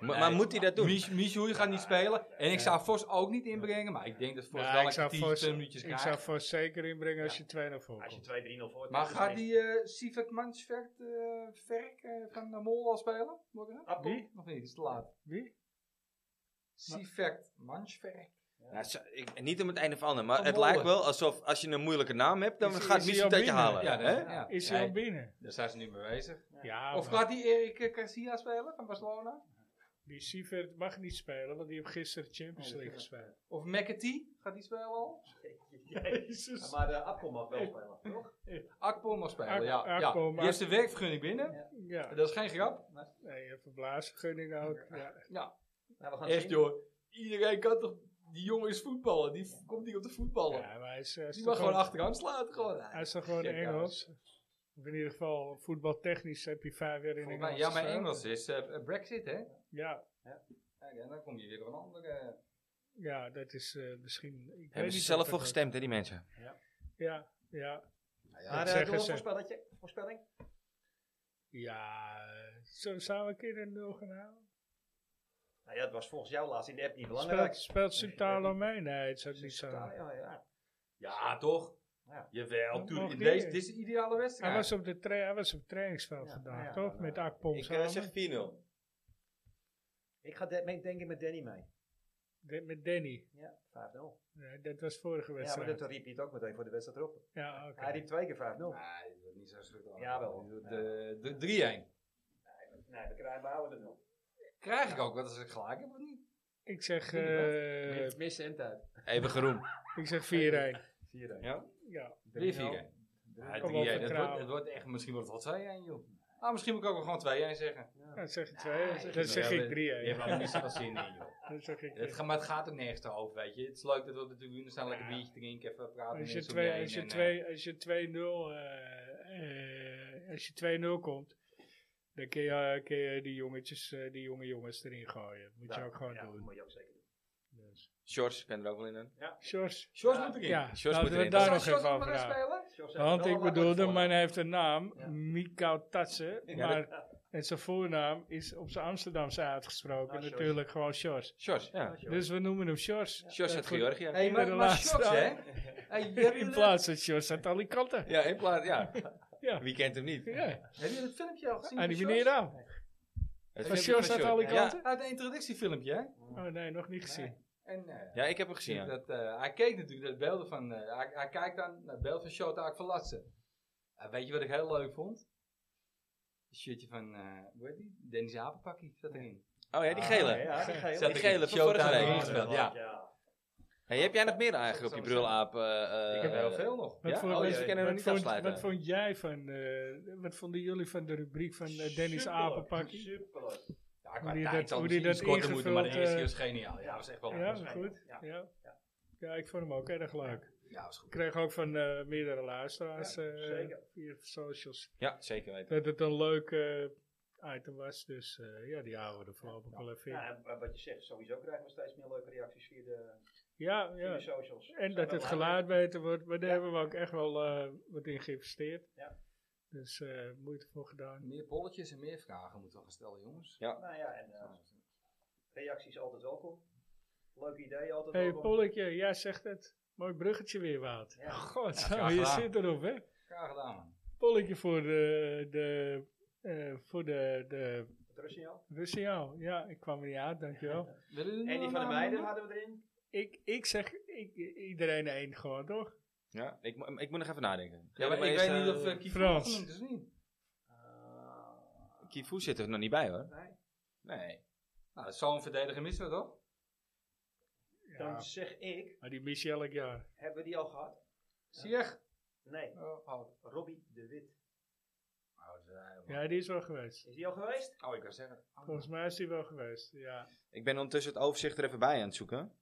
S1: Maar, maar moet hij dat doen?
S5: Mich- Michoui gaat niet spelen. En ik zou Vos ook niet inbrengen. Maar ik denk dat Vos
S2: Nou,
S5: wel
S2: ik
S5: een
S2: zou
S5: kwartier,
S2: voor,
S5: twee minuutjes
S2: ik zou
S5: krijgt.
S2: voor zeker inbrengen als je 2-0
S4: Als
S2: voorkomt.
S4: je 2-3-0 voor
S5: Maar gaat die eh Sivak Mansvert eh Verk eh, van de Mol al spelen? Morgen?
S4: Ah, wie?
S5: Nog niet, is te laat.
S2: Wie?
S5: Sivak Mansvert.
S1: Nou, zo- ik- niet om het einde van ander, maar
S5: Van
S1: het
S5: Molen.
S1: lijkt wel alsof als je een moeilijke naam hebt, dan
S2: Is-
S1: gaat
S2: is hij
S1: Michel
S2: al
S1: dat je
S2: binnen?
S1: halen.
S5: Ja,
S1: hè?
S5: dat, ja.
S2: Is
S5: Nee,
S2: hij al binnen?
S5: Daar zijn ze nu mee bezig.
S2: Ja,
S5: Of
S2: maar
S5: gaat die Erik eh, Garcia spelen van Barcelona?
S2: die Sievert mag niet spelen, want die heeft gisteren Champions League gespeeld.
S5: Of McAtee? Gaat die spelen al?
S4: [laughs]
S2: Jezus.
S4: Maar de Abkom mag wel spelen, toch?
S5: Akpom mag spelen,
S2: Ak-
S5: ja.
S2: Akpom,
S5: ja. Die heeft zijn werkvergunning binnen.
S2: Ja,
S5: Dat is geen grap.
S2: nee, je hebt een blaasvergunning ook. Ja.
S5: Ja,
S4: Nou, we gaan
S5: echt
S4: zien.
S5: joh. Iedereen kan toch... Die jongen is voetballen. Die v- komt niet op de voetballen.
S2: Ja, maar hij is, hij is
S5: die
S2: toch
S5: mag gewoon
S2: gewoon-
S5: achteraan slaan. Gewoon.
S2: hij is toch gewoon
S5: Gek,
S2: Engels? Of in ieder geval, voetbaltechnisch heb je vijf jaar in
S5: Volgens
S2: Engeland
S5: mij- Ja, maar
S2: gespeeld.
S5: Engels is eh, Brexit, hè?
S2: Ja,
S5: Kijk, en dan kom je weer op een andere...
S2: ja, dat is eh, misschien... Ik weet
S1: Hebben
S2: niet
S1: ze
S2: of
S1: zelf
S2: dat
S1: voor
S2: ook-
S1: gestemd, hè, die mensen?
S2: Ja, ja.
S4: Maar
S2: Dat
S4: eh,
S2: zeggen
S4: doen we een
S2: ze.
S4: voorspelletje- voorspelling?
S2: Ja, eh, zo zou ik in een nul gaan halen.
S4: Nou ja, het was volgens jou laatst in de app niet belangrijk.
S2: Speelt, speelt Sutalo mee? Nee, het zou niet zo.
S4: Ja, ja, ja.
S5: Ja, toch?
S4: Ja.
S5: Jawel,
S2: Dat mag
S5: toen, in
S2: niet.
S5: deze, dit is de ideale
S2: Hij,
S5: wedstrijd.
S2: was op de tra- hij was op het trainingsveld
S4: Ja,
S2: vandaag,
S4: ja,
S2: toch?
S4: ja.
S2: Met Akpom
S1: eh,
S2: samen.
S4: Ik ga de- mee- denk ik met Danny mee.
S2: De- met Danny.
S4: Ja, 5-0.
S2: Nee, dat was vorige
S4: Ja, maar
S2: wedstrijd.
S4: dat riep hij het ook meteen voor de wedstrijd erop.
S2: Ja, oké.
S4: Hij riep twee keer 5-0.
S5: Nee, dat is niet zo schrik.
S4: Jawel.
S5: De, de, de 3-1.
S4: Nee, we krijgen we houden het nog.
S5: Krijg ik ook wat als ik gelijk heb of niet?
S2: Ik zeg, eh,
S5: Met missen en tijd.
S1: Even geroemd.
S2: ik zeg 4-1.
S4: 4
S1: Ja?
S2: Ja.
S5: Weer 4-1.
S4: 4
S5: Ja,
S2: Kom op,
S5: 3-1. Dat
S2: vertrouwen.
S5: wordt, dat wordt echt, misschien wordt het wel 2-1, joh. Ah, misschien moet ik ook wel gewoon 2-1 zeggen.
S2: Dan zeg ik 2. Dan zeg ik 3-1.
S5: Je hebt er niet zoveel zin in,
S2: [laughs]
S5: joh.
S2: Dan zeg ik
S5: Het,
S2: drie.
S5: ga- maar het gaat ook nergens te hoog, weet je. Het is leuk dat we op de tribune staan, lekker
S2: Ja.
S5: biertje drinken, even praten.
S2: Als je
S5: mensen om
S2: twee-
S5: heen
S2: als je
S5: en, eh,
S2: twee- als je 2-0 eh, eh, als je 2-0 komt, dan kun je, kun je die jongetjes, eh, die jonge jongens erin gooien. Moet je ook gewoon
S4: Dat
S2: doen.
S4: moet je ook zeker doen.
S1: Shorts kan er ook wel in dan.
S2: Sjors.
S5: Sjors moet erin.
S2: Ja,
S1: Sjors
S2: laten
S1: moet
S2: we
S1: erin.
S2: daar
S5: Zou
S2: nog
S5: Sjors
S2: even
S5: ook
S2: over
S5: maar eens
S2: praten.
S5: spelen?
S2: Want ik bedoelde, maar hij heeft een naam,
S4: Ja.
S2: Mikau Tatsen.
S1: Ja,
S2: Maar en zijn voornaam is op zijn Amsterdamse uitgesproken
S4: Nou, Sjors.
S2: natuurlijk gewoon Sjors.
S1: Shorts, ja.
S2: Dus we noemen hem Sjors.
S1: Shorts uit Georgië.
S5: Hé, maar,
S2: de
S5: maar
S2: laatste
S5: Sjors, hè?
S2: avond.
S5: Hey, hebben
S2: [laughs] In
S5: jullie-
S2: plaats van Sjors uit Alicante.
S1: Ja, in plaats, ja.
S2: Ja.
S1: Wie kent hem niet?
S2: Ja,
S5: Hebben jullie het filmpje al gezien?
S2: en die
S5: van
S2: meneer nou.
S5: Sjors?
S2: dan.
S1: Het
S2: Van
S1: filmpje
S2: Sjors uit alle
S1: Ja.
S2: kanten?
S5: Uit een introductiefilmpje, hè?
S2: Oh nee, nog niet gezien.
S5: En eh,
S1: Ja, ik heb hem gezien, ja.
S5: dat, eh, hij keek natuurlijk naar de beelden van... eh, hij, hij kijkt dan naar het beeld van Showtaak van Latsen. En weet je wat ik heel leuk vond? Een shirtje van, eh hoe heet die? Dennis Apenpakkie zat erin.
S1: Oh ja, die
S5: Ah,
S1: gele.
S4: Ah, Ja, die gele.
S1: Zat die gele van
S5: Showtime
S1: vorige
S5: erin
S1: week.
S5: gespeeld, ja.
S1: Hey, heb jij nog meer eigenlijk op je brulaap? eh, eh,
S5: ik heb heel veel nog.
S2: Wat
S1: Ja?
S2: voor-
S1: Oh, dus
S2: wat-
S1: we kunnen hem
S2: wat
S1: niet
S2: vond-
S1: afsluiten.
S2: Wat vond jij van, eh, wat vonden jullie van de rubriek van eh, Dennis Apenpakkie?
S4: Superleuk.
S5: Ja,
S2: Hoe die dat-
S5: zal
S2: hoe
S5: misschien
S2: die
S5: iets
S2: dat
S5: korter moeten, maar de
S2: ingevuld,
S5: eerste keer
S2: eh,
S5: was geniaal. Ja, was echt wel
S2: Ja,
S5: leuk.
S2: was goed.
S4: Ja.
S2: Ja. ja, ik vond hem ook erg leuk.
S5: Ja, was goed.
S2: Ik kreeg ook van eh, meerdere luisteraars eh,
S4: zeker.
S2: via socials
S1: Ja, zeker weten.
S2: dat het een leuk eh, item was. Dus eh, ja, die houden we er voorlopig wel even in.
S4: Ja, Nou, en wa- wat je zegt, sowieso krijgen we steeds meer leuke reacties via de,
S2: Ja,
S4: via
S2: ja.
S4: de socials.
S2: En
S4: Zijn
S2: dat
S4: we
S2: het
S4: blij
S2: geluid beter wordt. Maar daar
S4: Ja.
S2: hebben we ook echt wel eh, wat in geïnvesteerd.
S4: Ja.
S2: Dus eh, moeite voor gedaan.
S5: Meer bolletjes en meer vragen moeten we gaan stellen, jongens.
S4: mee? Nou ja, en eh, reacties altijd welkom. Leuke ideeën altijd
S2: Hé, hey,
S4: welkom.
S2: Polletje, jij zegt het. Mooi bruggetje weer, Wout. Oh,
S4: Ja.
S2: God,
S5: graag
S2: je
S5: gedaan.
S2: zit erop, hè?
S5: Graag gedaan, man.
S2: Polletje voor de, de, eh, voor de, de
S4: Het rustsignaal.
S2: Russiaal. Ja, ik kwam er niet uit, dankjewel.
S5: Willen jullie
S4: En
S5: nog
S4: die van de
S5: een
S4: meiden
S5: naam
S4: hadden we erin.
S2: Ik, ik zeg ik, iedereen één gewoon, toch?
S1: Ja, ik, mo- ik moet nog even nadenken.
S5: Ja, maar
S1: Jij
S5: ik
S1: bent,
S5: weet niet
S1: eh,
S5: of eh, Kivu
S2: Frans.
S5: genoemd is of niet.
S4: Eh,
S1: Kivu zit er nog niet bij, hoor.
S4: nee.
S1: Nee.
S5: Nou, zo'n verdediger missen we toch?
S2: Ja.
S4: Dan zeg ik,
S2: Maar die mis je elk jaar.
S4: hebben we die al gehad?
S5: Zie je echt?
S4: Nee,
S5: Oh, oh.
S4: Robbie de Wit.
S2: Ja, die is wel geweest.
S4: Is die al geweest?
S5: oh, ik kan zeggen. Oh.
S2: Volgens mij is die wel geweest, ja.
S1: Ik ben ondertussen het overzicht er even bij aan het zoeken.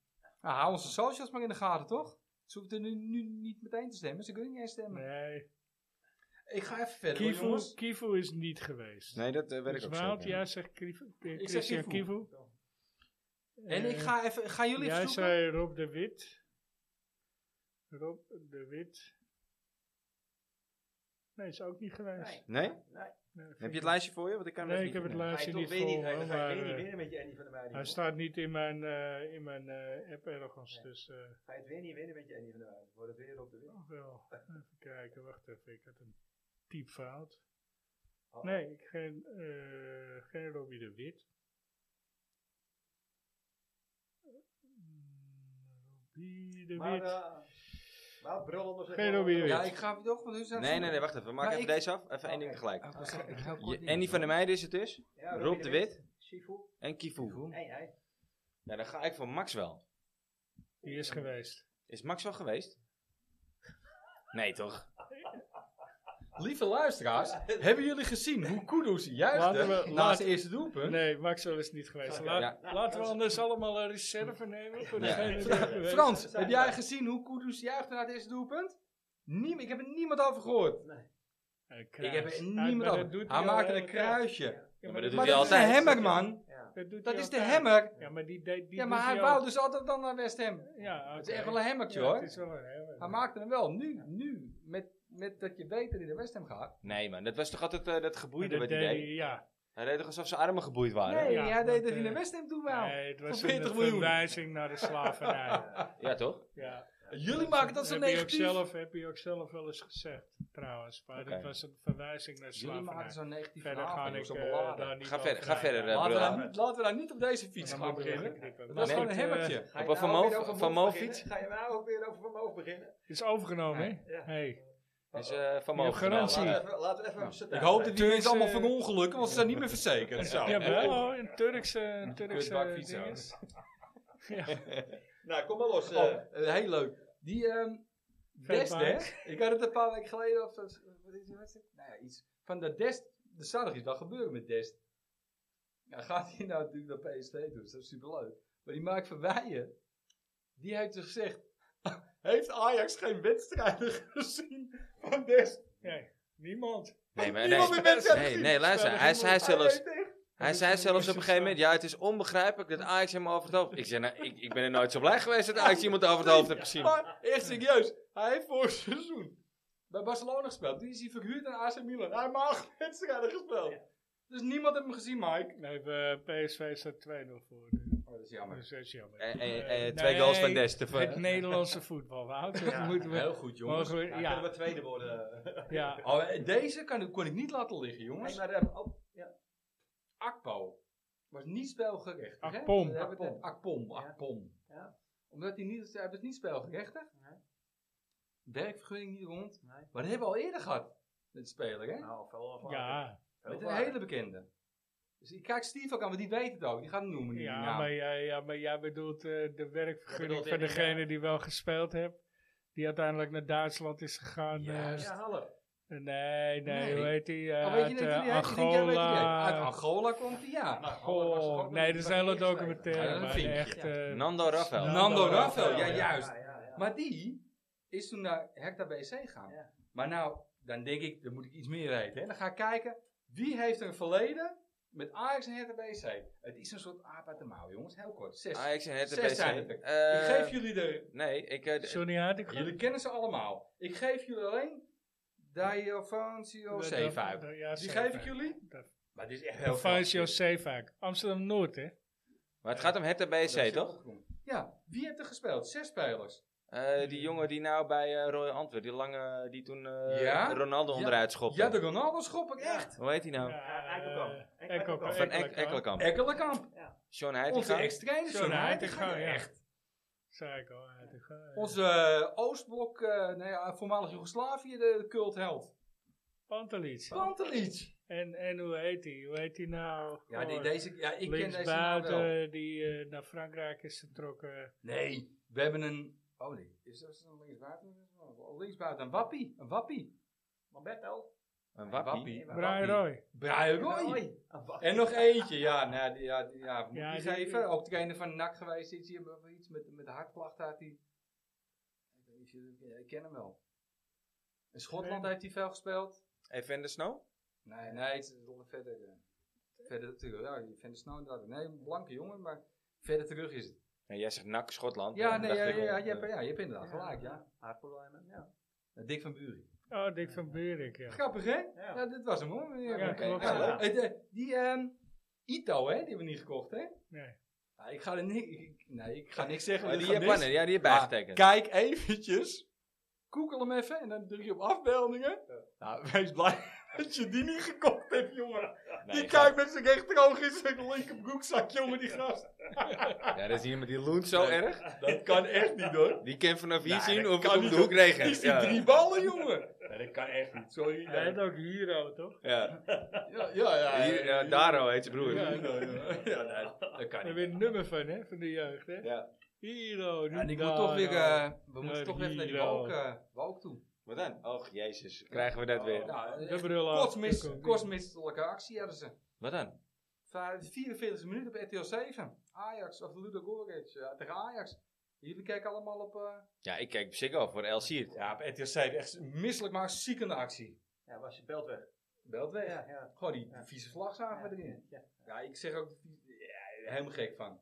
S5: Nou, hou onze socials maar in de gaten, toch? Ze hoeven er nu, nu niet meteen te stemmen. Ze kunnen niet eens stemmen.
S2: Nee.
S5: Ik ga even verder, hoor,
S2: Kivu,
S5: Oh. jongens.
S2: Kivu is niet geweest.
S1: Nee, dat eh, weet
S2: Dus
S1: ik ook zo.
S2: Wout, jij zegt Kivu, eh,
S5: zeg
S2: Christian
S5: Kivu.
S2: Kivu.
S5: En ik ga even... Gaan jullie
S2: Jij
S5: even zoeken?
S2: zei Rob de Wit. Rob de Wit. Nee, is ook niet geweest.
S4: Nee.
S1: Nee?
S4: Nee.
S1: Heb je het lijstje voor je? Want ik kan
S2: Nee,
S1: even
S2: ik heb
S1: niet
S2: het
S1: meer.
S2: lijstje
S4: toch
S2: niet
S4: weer niet,
S2: voor
S4: hij-
S2: me,
S4: dan ga
S2: maar
S4: je weer niet
S2: eh,
S4: winnen met je Annie van der Meijden.
S2: hij
S4: hoor.
S2: staat niet in mijn, eh, in mijn eh, app ergens, dus... eh,
S4: Ga je het weer niet winnen met je Annie van der Meijden. Wordt het weer op de win.
S2: Oh, wel. Even kijken, wacht even. Ik had een typfout.
S4: Oh.
S2: Nee, ik- geen, eh geen Robbie de Wit. Mm, Robbie de
S4: Maar,
S2: Wit.
S4: eh maar brul anders.
S2: geen Robbie de Wit.
S5: Ja, ik ga toch, want dus
S1: Nee, nee, nee, wacht even. We maken
S5: Maar
S1: even
S5: ik-
S1: deze af. Even één ding tegelijk.
S5: Oh, sorry, ik ga
S1: Je-
S5: kort
S1: Annie van der Meijden is het dus.
S4: Ja,
S1: Rob de Wit
S4: Sifu.
S1: en Kivu.
S4: Nee, nee.
S1: Nou, dan ga ik voor Maxwell.
S2: Die is geweest.
S1: Is Maxwell geweest? Nee, toch?
S5: Lieve [laughs] luisteraars, hebben jullie gezien hoe Kudus
S2: Laten
S5: juichte
S2: we-
S5: na
S2: laten-
S5: zijn eerste doelpunt?
S2: Nee, Maxwell is niet geweest. La-
S1: Ja.
S2: Laten we anders allemaal een reserve nemen voor degene die er geweest
S5: Frans,
S2: is.
S5: heb jij gezien hoe Kudus juichte na het eerste doelpunt? Niem- ik heb er niemand over gehoord.
S2: Een kruis.
S5: Ik heb er
S2: Ah,
S5: niemand
S2: maar dat
S5: over.
S2: doet
S5: Hij
S2: al de
S5: maakte een
S2: hele tijd.
S5: kruisje.
S2: Ja,
S1: maar dat doet
S5: Maar
S1: hij
S5: dat is de
S1: altijd.
S5: hammer, man.
S2: Dat, doet
S5: Dat
S2: hij
S5: is de
S2: altijd.
S5: hammer.
S2: Ja, maar die, die, die
S5: Ja, maar
S2: doet
S5: hij
S2: al-
S5: wou dus altijd dan naar West Ham.
S2: Ja,
S5: Het is
S2: oké.
S5: echt wel een hemmertje,
S2: Ja,
S5: hoor.
S2: het is wel een hemmer.
S5: Hij maakte hem wel. Nu, nu met, met dat je weet dat hij naar West Ham gaat.
S1: Nee, man. Dat was toch altijd eh, dat geboeide
S2: Dat
S1: wat hij
S2: deed
S1: deed?
S2: hij, Ja.
S1: Hij deed toch alsof zijn armen geboeid waren?
S5: Nee,
S2: ja,
S5: hij deed
S2: dat,
S5: dat hij
S2: eh,
S5: naar West Ham toe wou.
S2: Nee, het was
S5: Voor 40
S2: een
S5: miljoen.
S2: verwijzing naar de
S5: [laughs]
S2: slavernij.
S1: Ja, toch?
S2: ja.
S5: Jullie maken dat zo
S2: heb
S5: negatief.
S2: Je ook zelf, eh, heb je ook zelf wel eens gezegd, trouwens. Maar
S1: Oké.
S2: het was een verwijzing naar de
S5: Jullie maken
S2: slavernij.
S5: zo'n negatief
S2: Verder
S5: verhaal
S2: ga
S5: van,
S2: ik
S5: zo
S2: eh,
S5: beladen.
S2: daar niet
S1: Ga
S2: over
S1: verder- ga verder, eh,
S2: nadenken.
S5: Laten we,
S1: Brullen.
S5: daar niet, laten we daar niet op deze fiets
S2: Dan
S5: gaan
S2: moet ik even
S5: beginnen.
S2: knippen.
S5: Dat was
S1: Nee.
S5: gewoon een
S2: goed, eh,
S5: hemmertje.
S4: Ga je
S1: Op een
S4: nou
S1: Van Moof-
S4: weer over
S1: Van
S4: Moof
S1: Moof
S4: beginnen?
S1: iets?
S4: Ga je nou ook weer over Van Moof beginnen?
S2: is eh, overgenomen, hè?
S4: Ja.
S2: Hey.
S1: Dus eh van
S2: Je hebt
S1: mogen gedaan.
S2: garantie.
S1: Laten
S4: Laten we even- Laten we even... zitten.
S5: Ik hoop dat die
S2: Turkse-
S5: mensen allemaal van ongelukken, want ze zijn niet meer verzekerd. Zo.
S2: Ja, wel een Turkse, een Turkse
S5: Kutbakfiets
S2: [laughs]
S5: ook.
S2: dinges.
S4: Nou, kom maar los. eh.
S5: Oh, eh, heel leuk. Die ehm Dest, hè?
S2: Maas.
S5: Ik had het een paar weken geleden of zo. Wat is die wedstrijd? Nou ja, iets. Van dat Dest, de zaterdag is wat gebeurd met Dest. Ja, gaat hij nou natuurlijk naar PSV toe, dus dat is superleuk. Maar die Mark van Weijen, die heeft dus gezegd, [laughs] heeft Ajax geen wedstrijden [laughs] gezien van Dest?
S2: Nee, niemand.
S1: we- Nee,
S5: [laughs]
S1: maar,
S5: Niemand
S1: nee.
S5: meer mensen
S1: Nee,
S5: gezien.
S1: nee, luister. Hij zei zelfs...
S5: weet echt.
S1: Hij zei zelfs op een gegeven moment, ja, het is onbegrijpelijk dat Ajax hem over het hoofd... Ik zei, nou, ik, ik ben er nooit zo blij geweest dat Ajax iemand over het hoofd heeft gezien.
S5: Maar echt serieus, hij heeft vorig seizoen bij Barcelona gespeeld. Die is hij verhuurd aan AC Milan. Hij heeft maar acht [laughs] wedstrijden gespeeld. Dus niemand heeft hem gezien, Mike.
S2: Nee, we- PSV staat 2-0 voor. nu.
S5: Oh, dat is jammer.
S2: Dus dat is jammer.
S1: Eh, eh,
S2: Eh,
S1: eh, twee goals
S2: nee,
S1: van Des. te
S2: [laughs] Het
S1: ver-
S2: Nederlandse voetbal, Wout. Dat moeten we...
S5: Heel goed, jongens.
S2: mogen we-
S4: Nou,
S2: ja,
S4: kunnen we tweede worden.
S2: ja.
S5: Oh, eh, deze kan, kon ik niet laten liggen,
S4: Nee,
S5: jongens.
S4: maar, eh, oh, ja.
S5: Akpo was niet spelgerechtig. hè?
S2: Akpom.
S5: We hebben het net- Akpom. Akpom.
S4: Ja.
S5: Omdat hij niet, hij was niet spelgerechtig.
S4: Nee.
S5: Werkvergunning niet rond.
S4: Nee.
S5: Maar dat hebben we al eerder gehad. Met de speler, hè?
S4: Nou, veel van.
S2: Ja,
S5: Met een hele bekende. Dus ik kijk Steve ook aan, want die weet het ook. Die gaat hem noemen. nu, die
S2: ja,
S5: naam.
S2: maar jij, ja, maar jij bedoelt eh, de
S4: Dat
S2: werkvergunning
S4: bedoelt
S2: van
S4: ik,
S2: degene die wel gespeeld heeft. Die uiteindelijk naar Duitsland is gegaan. eh,
S4: Ja, hallo.
S2: nee, nee,
S5: Nee.
S2: hoe heet die? eh,
S5: Oh, weet je
S2: uit
S5: niet wie
S2: eh,
S5: hij heet? Ik denk, jij weet wie hij heet.
S2: Angola.
S5: Uit Angola komt hij, ja.
S4: Nou,
S2: Oh, nee, dat is een hele
S5: Ja,
S2: documentaire.
S5: dat
S2: maar
S5: vind ik,
S2: echt, eh,
S1: Nando Rafael.
S2: Nou,
S5: Nando
S2: Nando
S5: Rafael,
S2: Raphael,
S5: ja,
S2: ja.
S5: juist.
S4: ja, ja.
S5: Maar die is toen naar Hector BC gegaan.
S4: Ja.
S5: Maar nou, dan denk ik, dan moet ik iets meer weten. Hè. Dan ga ik kijken, wie heeft een verleden met Ajax en Hector BC? Het is een soort aap uit de mouw, jongens. Heel kort. Zes.
S1: Ajax en het
S5: Zes zijn het. ik geef jullie de...
S1: Eh, Nee, ik... eh, d-
S2: Johnny Hartig.
S5: Jullie kennen ze allemaal. Ik geef jullie alleen... Diofancio
S2: eh,
S5: Zeefuik. Die geef ik jullie. Maar dit is echt heel
S2: Fancio
S5: veel.
S2: Zeefuik. Amsterdam Noord, hè?
S1: maar het gaat om het BSC, toch?
S5: Ja, wie heeft er gespeeld? Zes spelers.
S1: Eh, die jongen die nou bij eh Royal Antwerp, die lange, die toen eh,
S5: Ja?
S1: Ronaldo
S5: Ja.
S1: onderuit schopte.
S5: Ja, de Ronaldo schop ik echt.
S1: Hoe heet hij nou?
S4: Ja, Eikelkamp.
S2: Eh, Eikelkamp.
S1: Van Ek Ekkelenkamp.
S2: Ekkelenkamp.
S5: Ekkelenkamp.
S1: Sean nou?
S5: Onze
S1: Heitinga.
S5: ex-trainer.
S2: John
S5: John
S2: Heitinga,
S5: Heitinga,
S2: oh, ja.
S5: echt.
S2: Zei ik al, Heitinga, eh.
S5: Onze eh, Oostblok, eh, nee, ja, voormalig Joegoslavië, de cultheld.
S2: Pantelic.
S5: Pantelic.
S2: En, en hoe heet die? Hoe heet die nou?
S5: Ja, die,
S2: Goh,
S5: deze, ja, ik ken deze naam
S2: linksbuiten
S5: wel.
S2: die eh, naar Frankrijk is getrokken.
S5: Nee, we hebben een... Oh nee, is dat een linksbuiten? Oh, Linksbuiten, een wappie. Een wappie.
S4: Lamberto.
S1: Een wappie.
S2: Brian Roy.
S5: Brian Roy.
S4: Hoi. Ah, wat?
S5: En nog eentje, ja, nou, die, ja, die, ja, moet
S2: Ja,
S5: die
S2: die-
S5: geven. Ook trainer van NAC geweest is hier, maar iets met, met de hartklachten had hij. Ik weet niet of jullie ja, ik ken hem wel. In Schotland
S2: Nee.
S5: heeft hij veel gespeeld.
S1: Evander Snow?
S5: Nee, nee, het is nog verder. eh, verder terug. Ja, je vindt het snel inderdaad. Nee, een blanke jongen, maar verder terug is het.
S1: Nee, jij zegt nak Schotland.
S5: Ja,
S1: Dan
S5: nee,
S1: dacht
S5: ja,
S1: ik,
S5: ja, ja,
S1: eh,
S5: je, hebt, ja je hebt inderdaad gelijk, ja.
S4: Haarproblemen. Ja.
S5: Dik van Buren.
S2: Oh, Dick van Berik, ja.
S5: Grappig, hè? Nou, dit was hem, hoor. Ja,
S2: Ja,
S5: oké.
S2: klopt.
S5: Nou,
S2: Ja.
S5: het, eh, die ehm, Ito, hè? Die hebben we niet gekocht, hè?
S2: Nee.
S5: Nou, ik ga er ni- ik- Nee, ik ga niks zeggen.
S1: Oh,
S5: want
S1: die
S5: ik ga niks-
S1: Japaner, ja, die heb bijgetekend.
S5: Maar Kijk eventjes. Google hem even en dan druk je op afbeeldingen. Nou, wees blij [laughs] dat je die niet gekocht hebt, jongen.
S1: Nee,
S5: die
S1: ga-
S5: kijkt met zijn rechteroog in zijn linker broekzak, jongen, die gast.
S1: Ja, dat is hier met die loont zo erg.
S5: Dat kan echt niet, hoor.
S1: Die kan vanaf hier
S5: Nee,
S1: zien
S5: dat
S1: of het
S5: kan
S1: om de
S5: niet,
S1: hoek
S5: Die
S1: regent.
S5: ziet drie ballen, jongen. dat kan echt niet. Sorry.
S2: Hij had ook Hero, toch?
S1: Ja.
S5: Ja, ja, ja.
S1: Hier, ja, Daro heet zijn broer.
S5: Ja, ja, ja. Ja, nee, dat kan
S2: Daar
S5: niet.
S2: weer een nummer van, hè? Van de jeugd, hè?
S1: Ja.
S2: Hero,
S5: Ja, en ik moet
S2: Nidaro.
S5: toch weer, eh, we moeten
S2: Ja,
S5: toch weer even naar die
S2: hier,
S5: walk,
S2: ja.
S5: eh, walk toe. Nou,
S1: Wat dan? Och, jezus. Krijgen we dat weer.
S5: Ja,
S2: De
S5: echt
S2: bril af.
S5: kosmis,
S2: Kom.
S5: kosmisselijke actie hadden ze.
S1: Wat dan?
S5: eh, Vijf- 44 minuten op RTL 7. Ajax of Ludo Goretz eh, tegen Ajax. Jullie kijken allemaal op... eh,
S1: Ja, ik kijk Psycho voor El Siert.
S5: Ja, op RTL 7. Echt misselijk maar ziekende actie.
S4: Ja, was je belt weg.
S5: Belt weg.
S4: Ja, ja.
S5: Gewoon die vieze vlag zagen we erin.
S4: ja.
S5: Ja, ik zeg ook... Ja, helemaal gek van.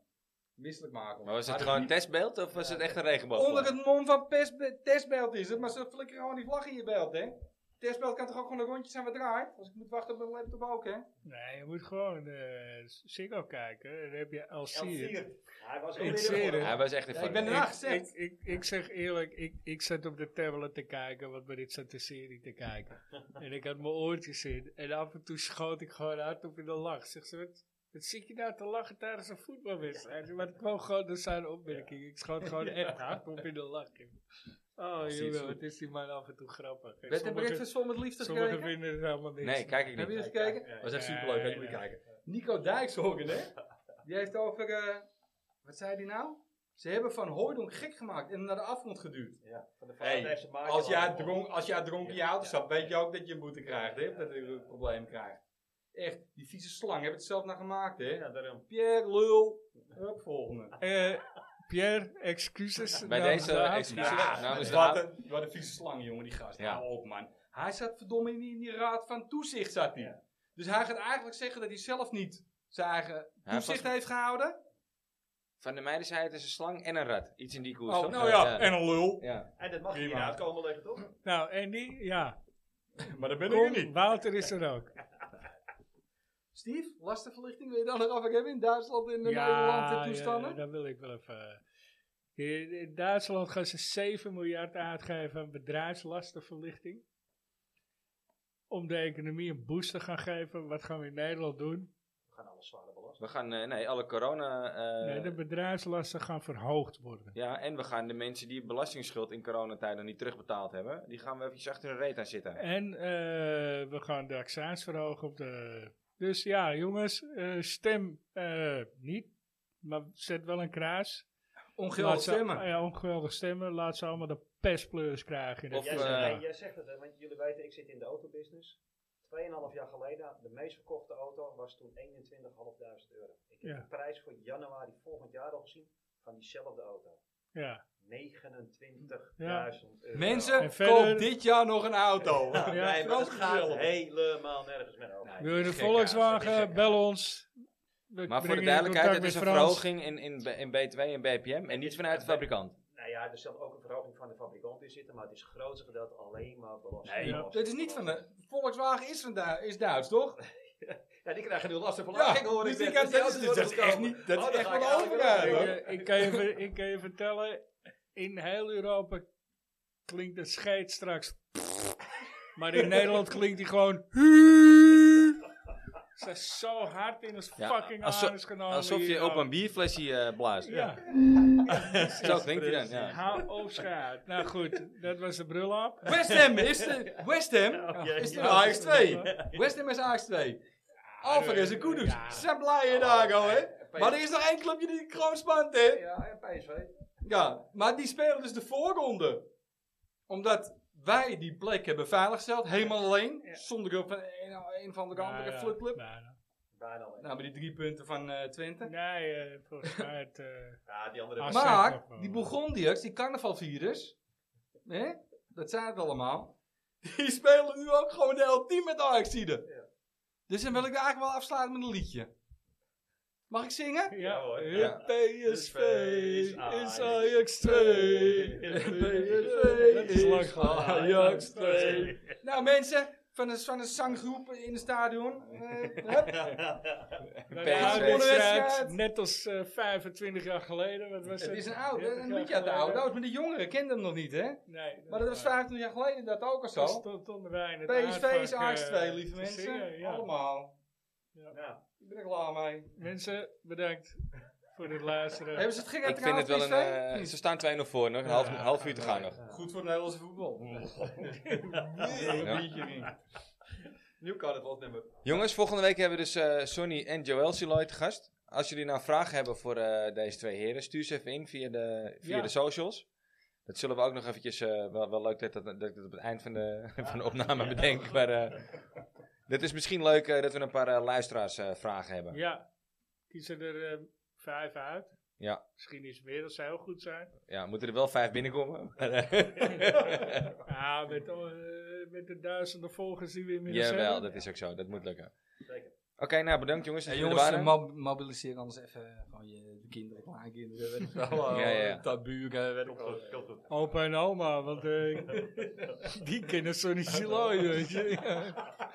S5: Misselijk maken.
S1: Maar was het gewoon een testbeeld of was het echt een regenboog?
S5: Onder het mom van pestbe- testbeeld is het, maar ze flikkeren gewoon die vlag in je beeld, hè? Testbeeld kan toch ook gewoon een rondje zijn wat draait? Als ik moet wachten op mijn laptop ook, hè?
S2: Nee, je moet gewoon eh Ziggo kijken. Dan heb je al
S4: Hij was
S2: Ik zie het.
S1: Hij was echt een
S5: Ja, ik
S1: fan.
S5: ben erna
S2: Ik,
S5: gezegd.
S2: ik, ik zeg eerlijk, ik, ik zat op de tablet te kijken, want bij dit zat de serie te
S1: [laughs]
S2: kijken. en ik had mijn oortjes in. En af en toe schoot ik gewoon hardop in de lach. Zeg ze, wat, wat zit je nou te lachen tijdens een voetbalwedstrijd? Maar het kwam gewoon door zijn opmerking. Ik
S1: [laughs]
S2: schoot gewoon echt hardop in de lach. Oh jongen, wat is die man af en toe grappig. En
S5: Bed en
S2: Sommigen,
S5: breakfast vol met liefde
S2: sommigen
S5: gekeken.
S2: vinden het helemaal niks.
S1: Nee, kijk ik
S5: Hebben
S1: niet.
S5: jullie gekeken?
S1: Was echt superleuk, hè? Moet je
S2: Ja.
S1: kijken.
S5: Nico Dijkshoorn, hè? Die heeft over, eh, wat zei die nou? Ze hebben Van Hooydonk gek gemaakt en hem naar de afgrond geduwd.
S4: Ja, van de
S5: Hey,
S4: vader heeft ze maatje
S5: Als jij,
S4: laten
S5: dronk, als jij dronken in je auto stapt, weet je ook dat je een boete krijgt, hè? Dat je een probleem krijgt. Echt, die vieze slang hebben het zelf naar gemaakt,
S4: vallen.
S5: hè?
S4: Ja, daarom.
S5: Pierre, lul. Hup, volgende.
S2: Eh, Pierre, excuses. Nou,
S1: Bij
S2: namens
S1: deze
S2: de Haag.
S1: excuses Nou,
S5: Ja,
S1: namens de
S5: wat,
S1: Haag.
S5: een, wat een vieze slang, jongen, die gast.
S1: Ja.
S5: Hou op, man. Hij zat verdomme in die, in die raad van toezicht, zat hij. Dus hij gaat eigenlijk zeggen dat hij zelf niet zijn eigen
S1: Hij
S5: toezicht
S1: vast-
S5: heeft gehouden.
S1: Van de meiden zei het is een slang en een rat. Iets in die koers,
S5: Oh,
S1: toch?
S5: nou ja, en een lul.
S1: Ja.
S4: En dat mag
S5: Prima.
S4: hier niet uitkomen liggen, toch?
S2: Nou, en die, ja.
S5: Maar dat ben
S2: Kom, Wouter is er ook.
S5: Steve, lastenverlichting wil je dan nog af hebben in Duitsland en in Nederland en toestanden?
S2: Ja, dat wil ik wel even. In in Duitsland gaan ze 7 miljard uitgeven aan bedrijfslastenverlichting. Om de economie een boost te gaan geven. Wat gaan we in Nederland doen?
S4: We gaan alles zwaarder belasten.
S1: We gaan, eh, nee, alle corona... eh,
S2: nee, de bedrijfslasten gaan verhoogd worden.
S1: Ja, en we gaan de mensen die belastingsschuld in coronatijd nog niet terugbetaald hebben, die gaan we eventjes achter hun reet aan zitten.
S2: En eh, we gaan de accijns verhogen op de... Dus ja, jongens, eh, stem eh, niet. Maar zet wel een kruis.
S5: Ongeldig
S2: Laat ze-
S5: stemmen.
S2: Ja, ongeweldig stemmen. Laat ze allemaal de pestpleurs krijgen. in de
S1: Of,
S4: jij,
S2: Tweede
S4: zegt,
S1: eh,
S4: nee, jij zegt het, hè, want jullie weten, ik zit in de autobusiness. Tweeënhalf jaar geleden, de meest verkochte auto was toen 21.500 euro. Ik heb
S2: Ja.
S4: de prijs voor januari volgend jaar al gezien van diezelfde auto.
S2: Kamer. Ja.
S4: 29.000
S2: Ja.
S4: euro.
S5: Mensen,
S2: En verder-
S5: koop dit jaar nog een [laughs] auto.
S4: Ja,
S2: Ja,
S4: nee, maar dat
S5: Frans
S4: gaat
S5: gezellig.
S4: helemaal nergens meer over.
S2: Wil je de
S1: Gekhuis, dat is
S2: Volkswagen,
S1: gekhuis.
S2: bel ons. We
S1: Maar voor de
S2: brengen je in
S1: duidelijkheid, het
S2: contact
S1: is een
S2: met Frans.
S1: verhoging in, in, B- in B2 en BPM en niet vanuit de fabrikant.
S4: Nou ja, er zal ook een verhoging van de fabrikant in zitten, maar het is grootste gedeelte alleen maar belasting.
S2: Nee,
S4: Belasting,
S5: Dit is niet van
S4: belasting.
S5: de... Volkswagen is, van Du- is Duits, toch?
S4: Ja, die krijgen nu lasten van.
S5: Ja,
S4: ah, gek hoor,
S5: dus
S4: ik
S5: die
S4: net,
S5: kan-
S4: die
S5: dat is-
S4: auto's
S5: dat is
S4: worden
S5: echt
S4: gekomen.
S5: niet- dat is
S4: Oh, daar
S5: echt
S4: ga ik
S5: wel
S4: eigenlijk
S5: overgaan,
S4: wel
S5: hoor.
S4: mee,
S2: Ik, eh, ik, kan je, ver- ik kan je vertellen, in heel Europa klinkt de scheid straks. [laughs]
S1: [laughs]
S2: Maar in Nederland klinkt die gewoon. [laughs] Ze is zo hard in ons
S1: Ja,
S2: fucking
S1: alsof-
S2: anus genomen.
S1: Alsof je
S2: hier,
S1: op
S2: nou.
S1: een bierflesje eh, blaast.
S2: Ja.
S1: Zo klinkt hij dan, ja.
S2: Hou op schaat. Nou goed, dat was de brul op.
S5: [laughs] West Ham is de... West Ham is de Ajax 2. West Ham is Ajax 2. Alvarez en Kudus.
S2: Ja.
S5: Ze zijn blij in Dago, hè? Maar er is nog één clubje die kroon spant, hè?
S4: Ja, en PSV.
S5: Ja, maar die spelen dus de voorronde. Omdat wij die plek hebben veiliggesteld, helemaal alleen. Zonder hulp van een, een van de andere
S2: Nou ja,
S5: flutclub.
S2: bijna.
S4: Bijna alleen.
S5: Nou, maar die drie punten van eh, Twente.
S2: Nee, eh, volgens mij het. eh,
S4: Ja, die andere.
S2: As- zeg
S5: Maar
S2: nog wel.
S5: die Burgondiërs, die carnavalvirus, hè? dat zijn het allemaal, die spelen nu ook gewoon de LT met Ajaxide. Dus dan wil ik eigenlijk wel afsluiten met een liedje. Mag ik zingen?
S2: Ja, hoor.
S1: Ja.
S5: PSV is Ajax 2.
S2: Dat
S5: PSV
S2: is lang
S5: is
S2: geleden.
S5: Ajax 2. Nou mensen, van een, van een zanggroep in het stadion. eh, hup.
S2: Nou,
S1: PSV.
S2: de oude
S5: Wedstrijd.
S2: wedstrijd, net als eh, 25 jaar geleden. Wat was
S5: [laughs] Het
S2: het?
S5: is een oud, een
S2: 30
S5: liedje
S2: jaar
S5: uit de oude
S2: geleden.
S5: doos, maar de jongeren kenden hem nog niet, hè?
S2: Nee,
S5: Maar dat was 25 jaar geleden dat ook al
S2: Dat
S5: zo.
S2: stond onder wij in het
S5: PSV is
S2: uitvak,
S5: Ajax
S2: eh,
S5: 2, lieve
S2: te
S5: mensen.
S2: zingen, ja.
S5: Allemaal.
S3: Ja.
S5: Ik ben er klaar mee.
S2: Mensen, bedankt voor het luisteren.
S5: Hebben ze het gek uit
S1: Ik vind het wel een... eh,
S5: PSV?
S1: ze staan 2-0 voor nog. Een half, een half uur te gaan nog.
S5: Goed voor het Nederlandse voetbal.
S1: Mm. [laughs] Ja.
S5: Nieuw carnavalsnummer.
S1: Jongens, volgende week hebben we dus eh, Sonny en Joël Siloy te gast. Als jullie nou vragen hebben voor eh, deze twee heren, stuur ze even in via de, via
S2: Ja.
S1: de socials. Dat zullen we ook nog eventjes... eh, wel, wel leuk dat, dat, dat ik dat op het eind van de, [laughs] van de opname bedenk. Maar eh dat is misschien leuk eh, dat we een paar eh, luisteraars luisteraarsvragen hebben.
S2: Ja, kiezen er eh, vijf uit.
S1: Ja.
S2: Misschien is het meer dat zij heel goed zijn.
S1: Ja, moeten er wel vijf binnenkomen. Maar, eh,
S2: Ah, met, eh, met de duizenden volgers die we inmiddels
S1: Jawel,
S2: hebben.
S1: dat is ook zo. Dat moet lukken.
S3: Zeker.
S1: Oké, nou bedankt jongens. dat
S5: Hey,
S1: jullie er
S5: Eh, jongens,
S1: waren.
S5: mob- mobiliseer anders even gewoon je de kinderen, kleinkinderen, weet ik wel.
S1: [laughs] Ja, ja.
S5: Taburen, weet ik
S3: Komt
S5: wel.
S3: goed, komt goed.
S2: Opa en oma, want eh, [laughs] die kennen Sonny Siloy, weet je. [laughs] Ja.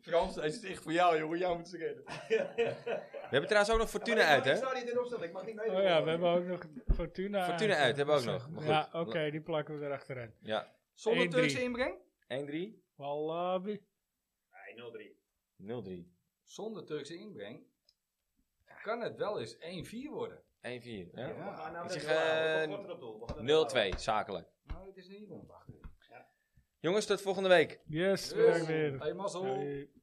S5: Frans, hij zit echt voor jou, jongen. Jou moet ze redden.
S1: We hebben trouwens ook nog Fortuna uit, hè?
S4: Ik sta niet in opstelling, ik mag niet meedoen.
S2: Oh ja, we hebben ook nog Fortuna. Dus,
S1: Fortuna uit hebben we ook nog. Maar goed.
S2: Ja, oké, die plakken we erachteraan.
S1: Ja.
S5: Zonder
S2: 1-3.
S5: Turkse inbreng?
S1: 1-3, 0-3.
S2: Wallabi.
S3: Nee, 0-3.
S5: Zonder Turkse inbreng kan het wel eens 1-4 worden.
S1: 1-4. Ja?
S5: Ja.
S3: We gaan nou net
S1: Ik zeg,
S3: wel aan,
S1: eh,
S3: we gaan korter op doel, we gaan net wel aan.
S1: 0-2, zakelijk.
S5: Nou, dat is niet onwacht.
S1: Jongens, tot volgende week.
S2: Yes, bedankt weer.
S5: Dus, Hey, mazzel.
S2: Doei.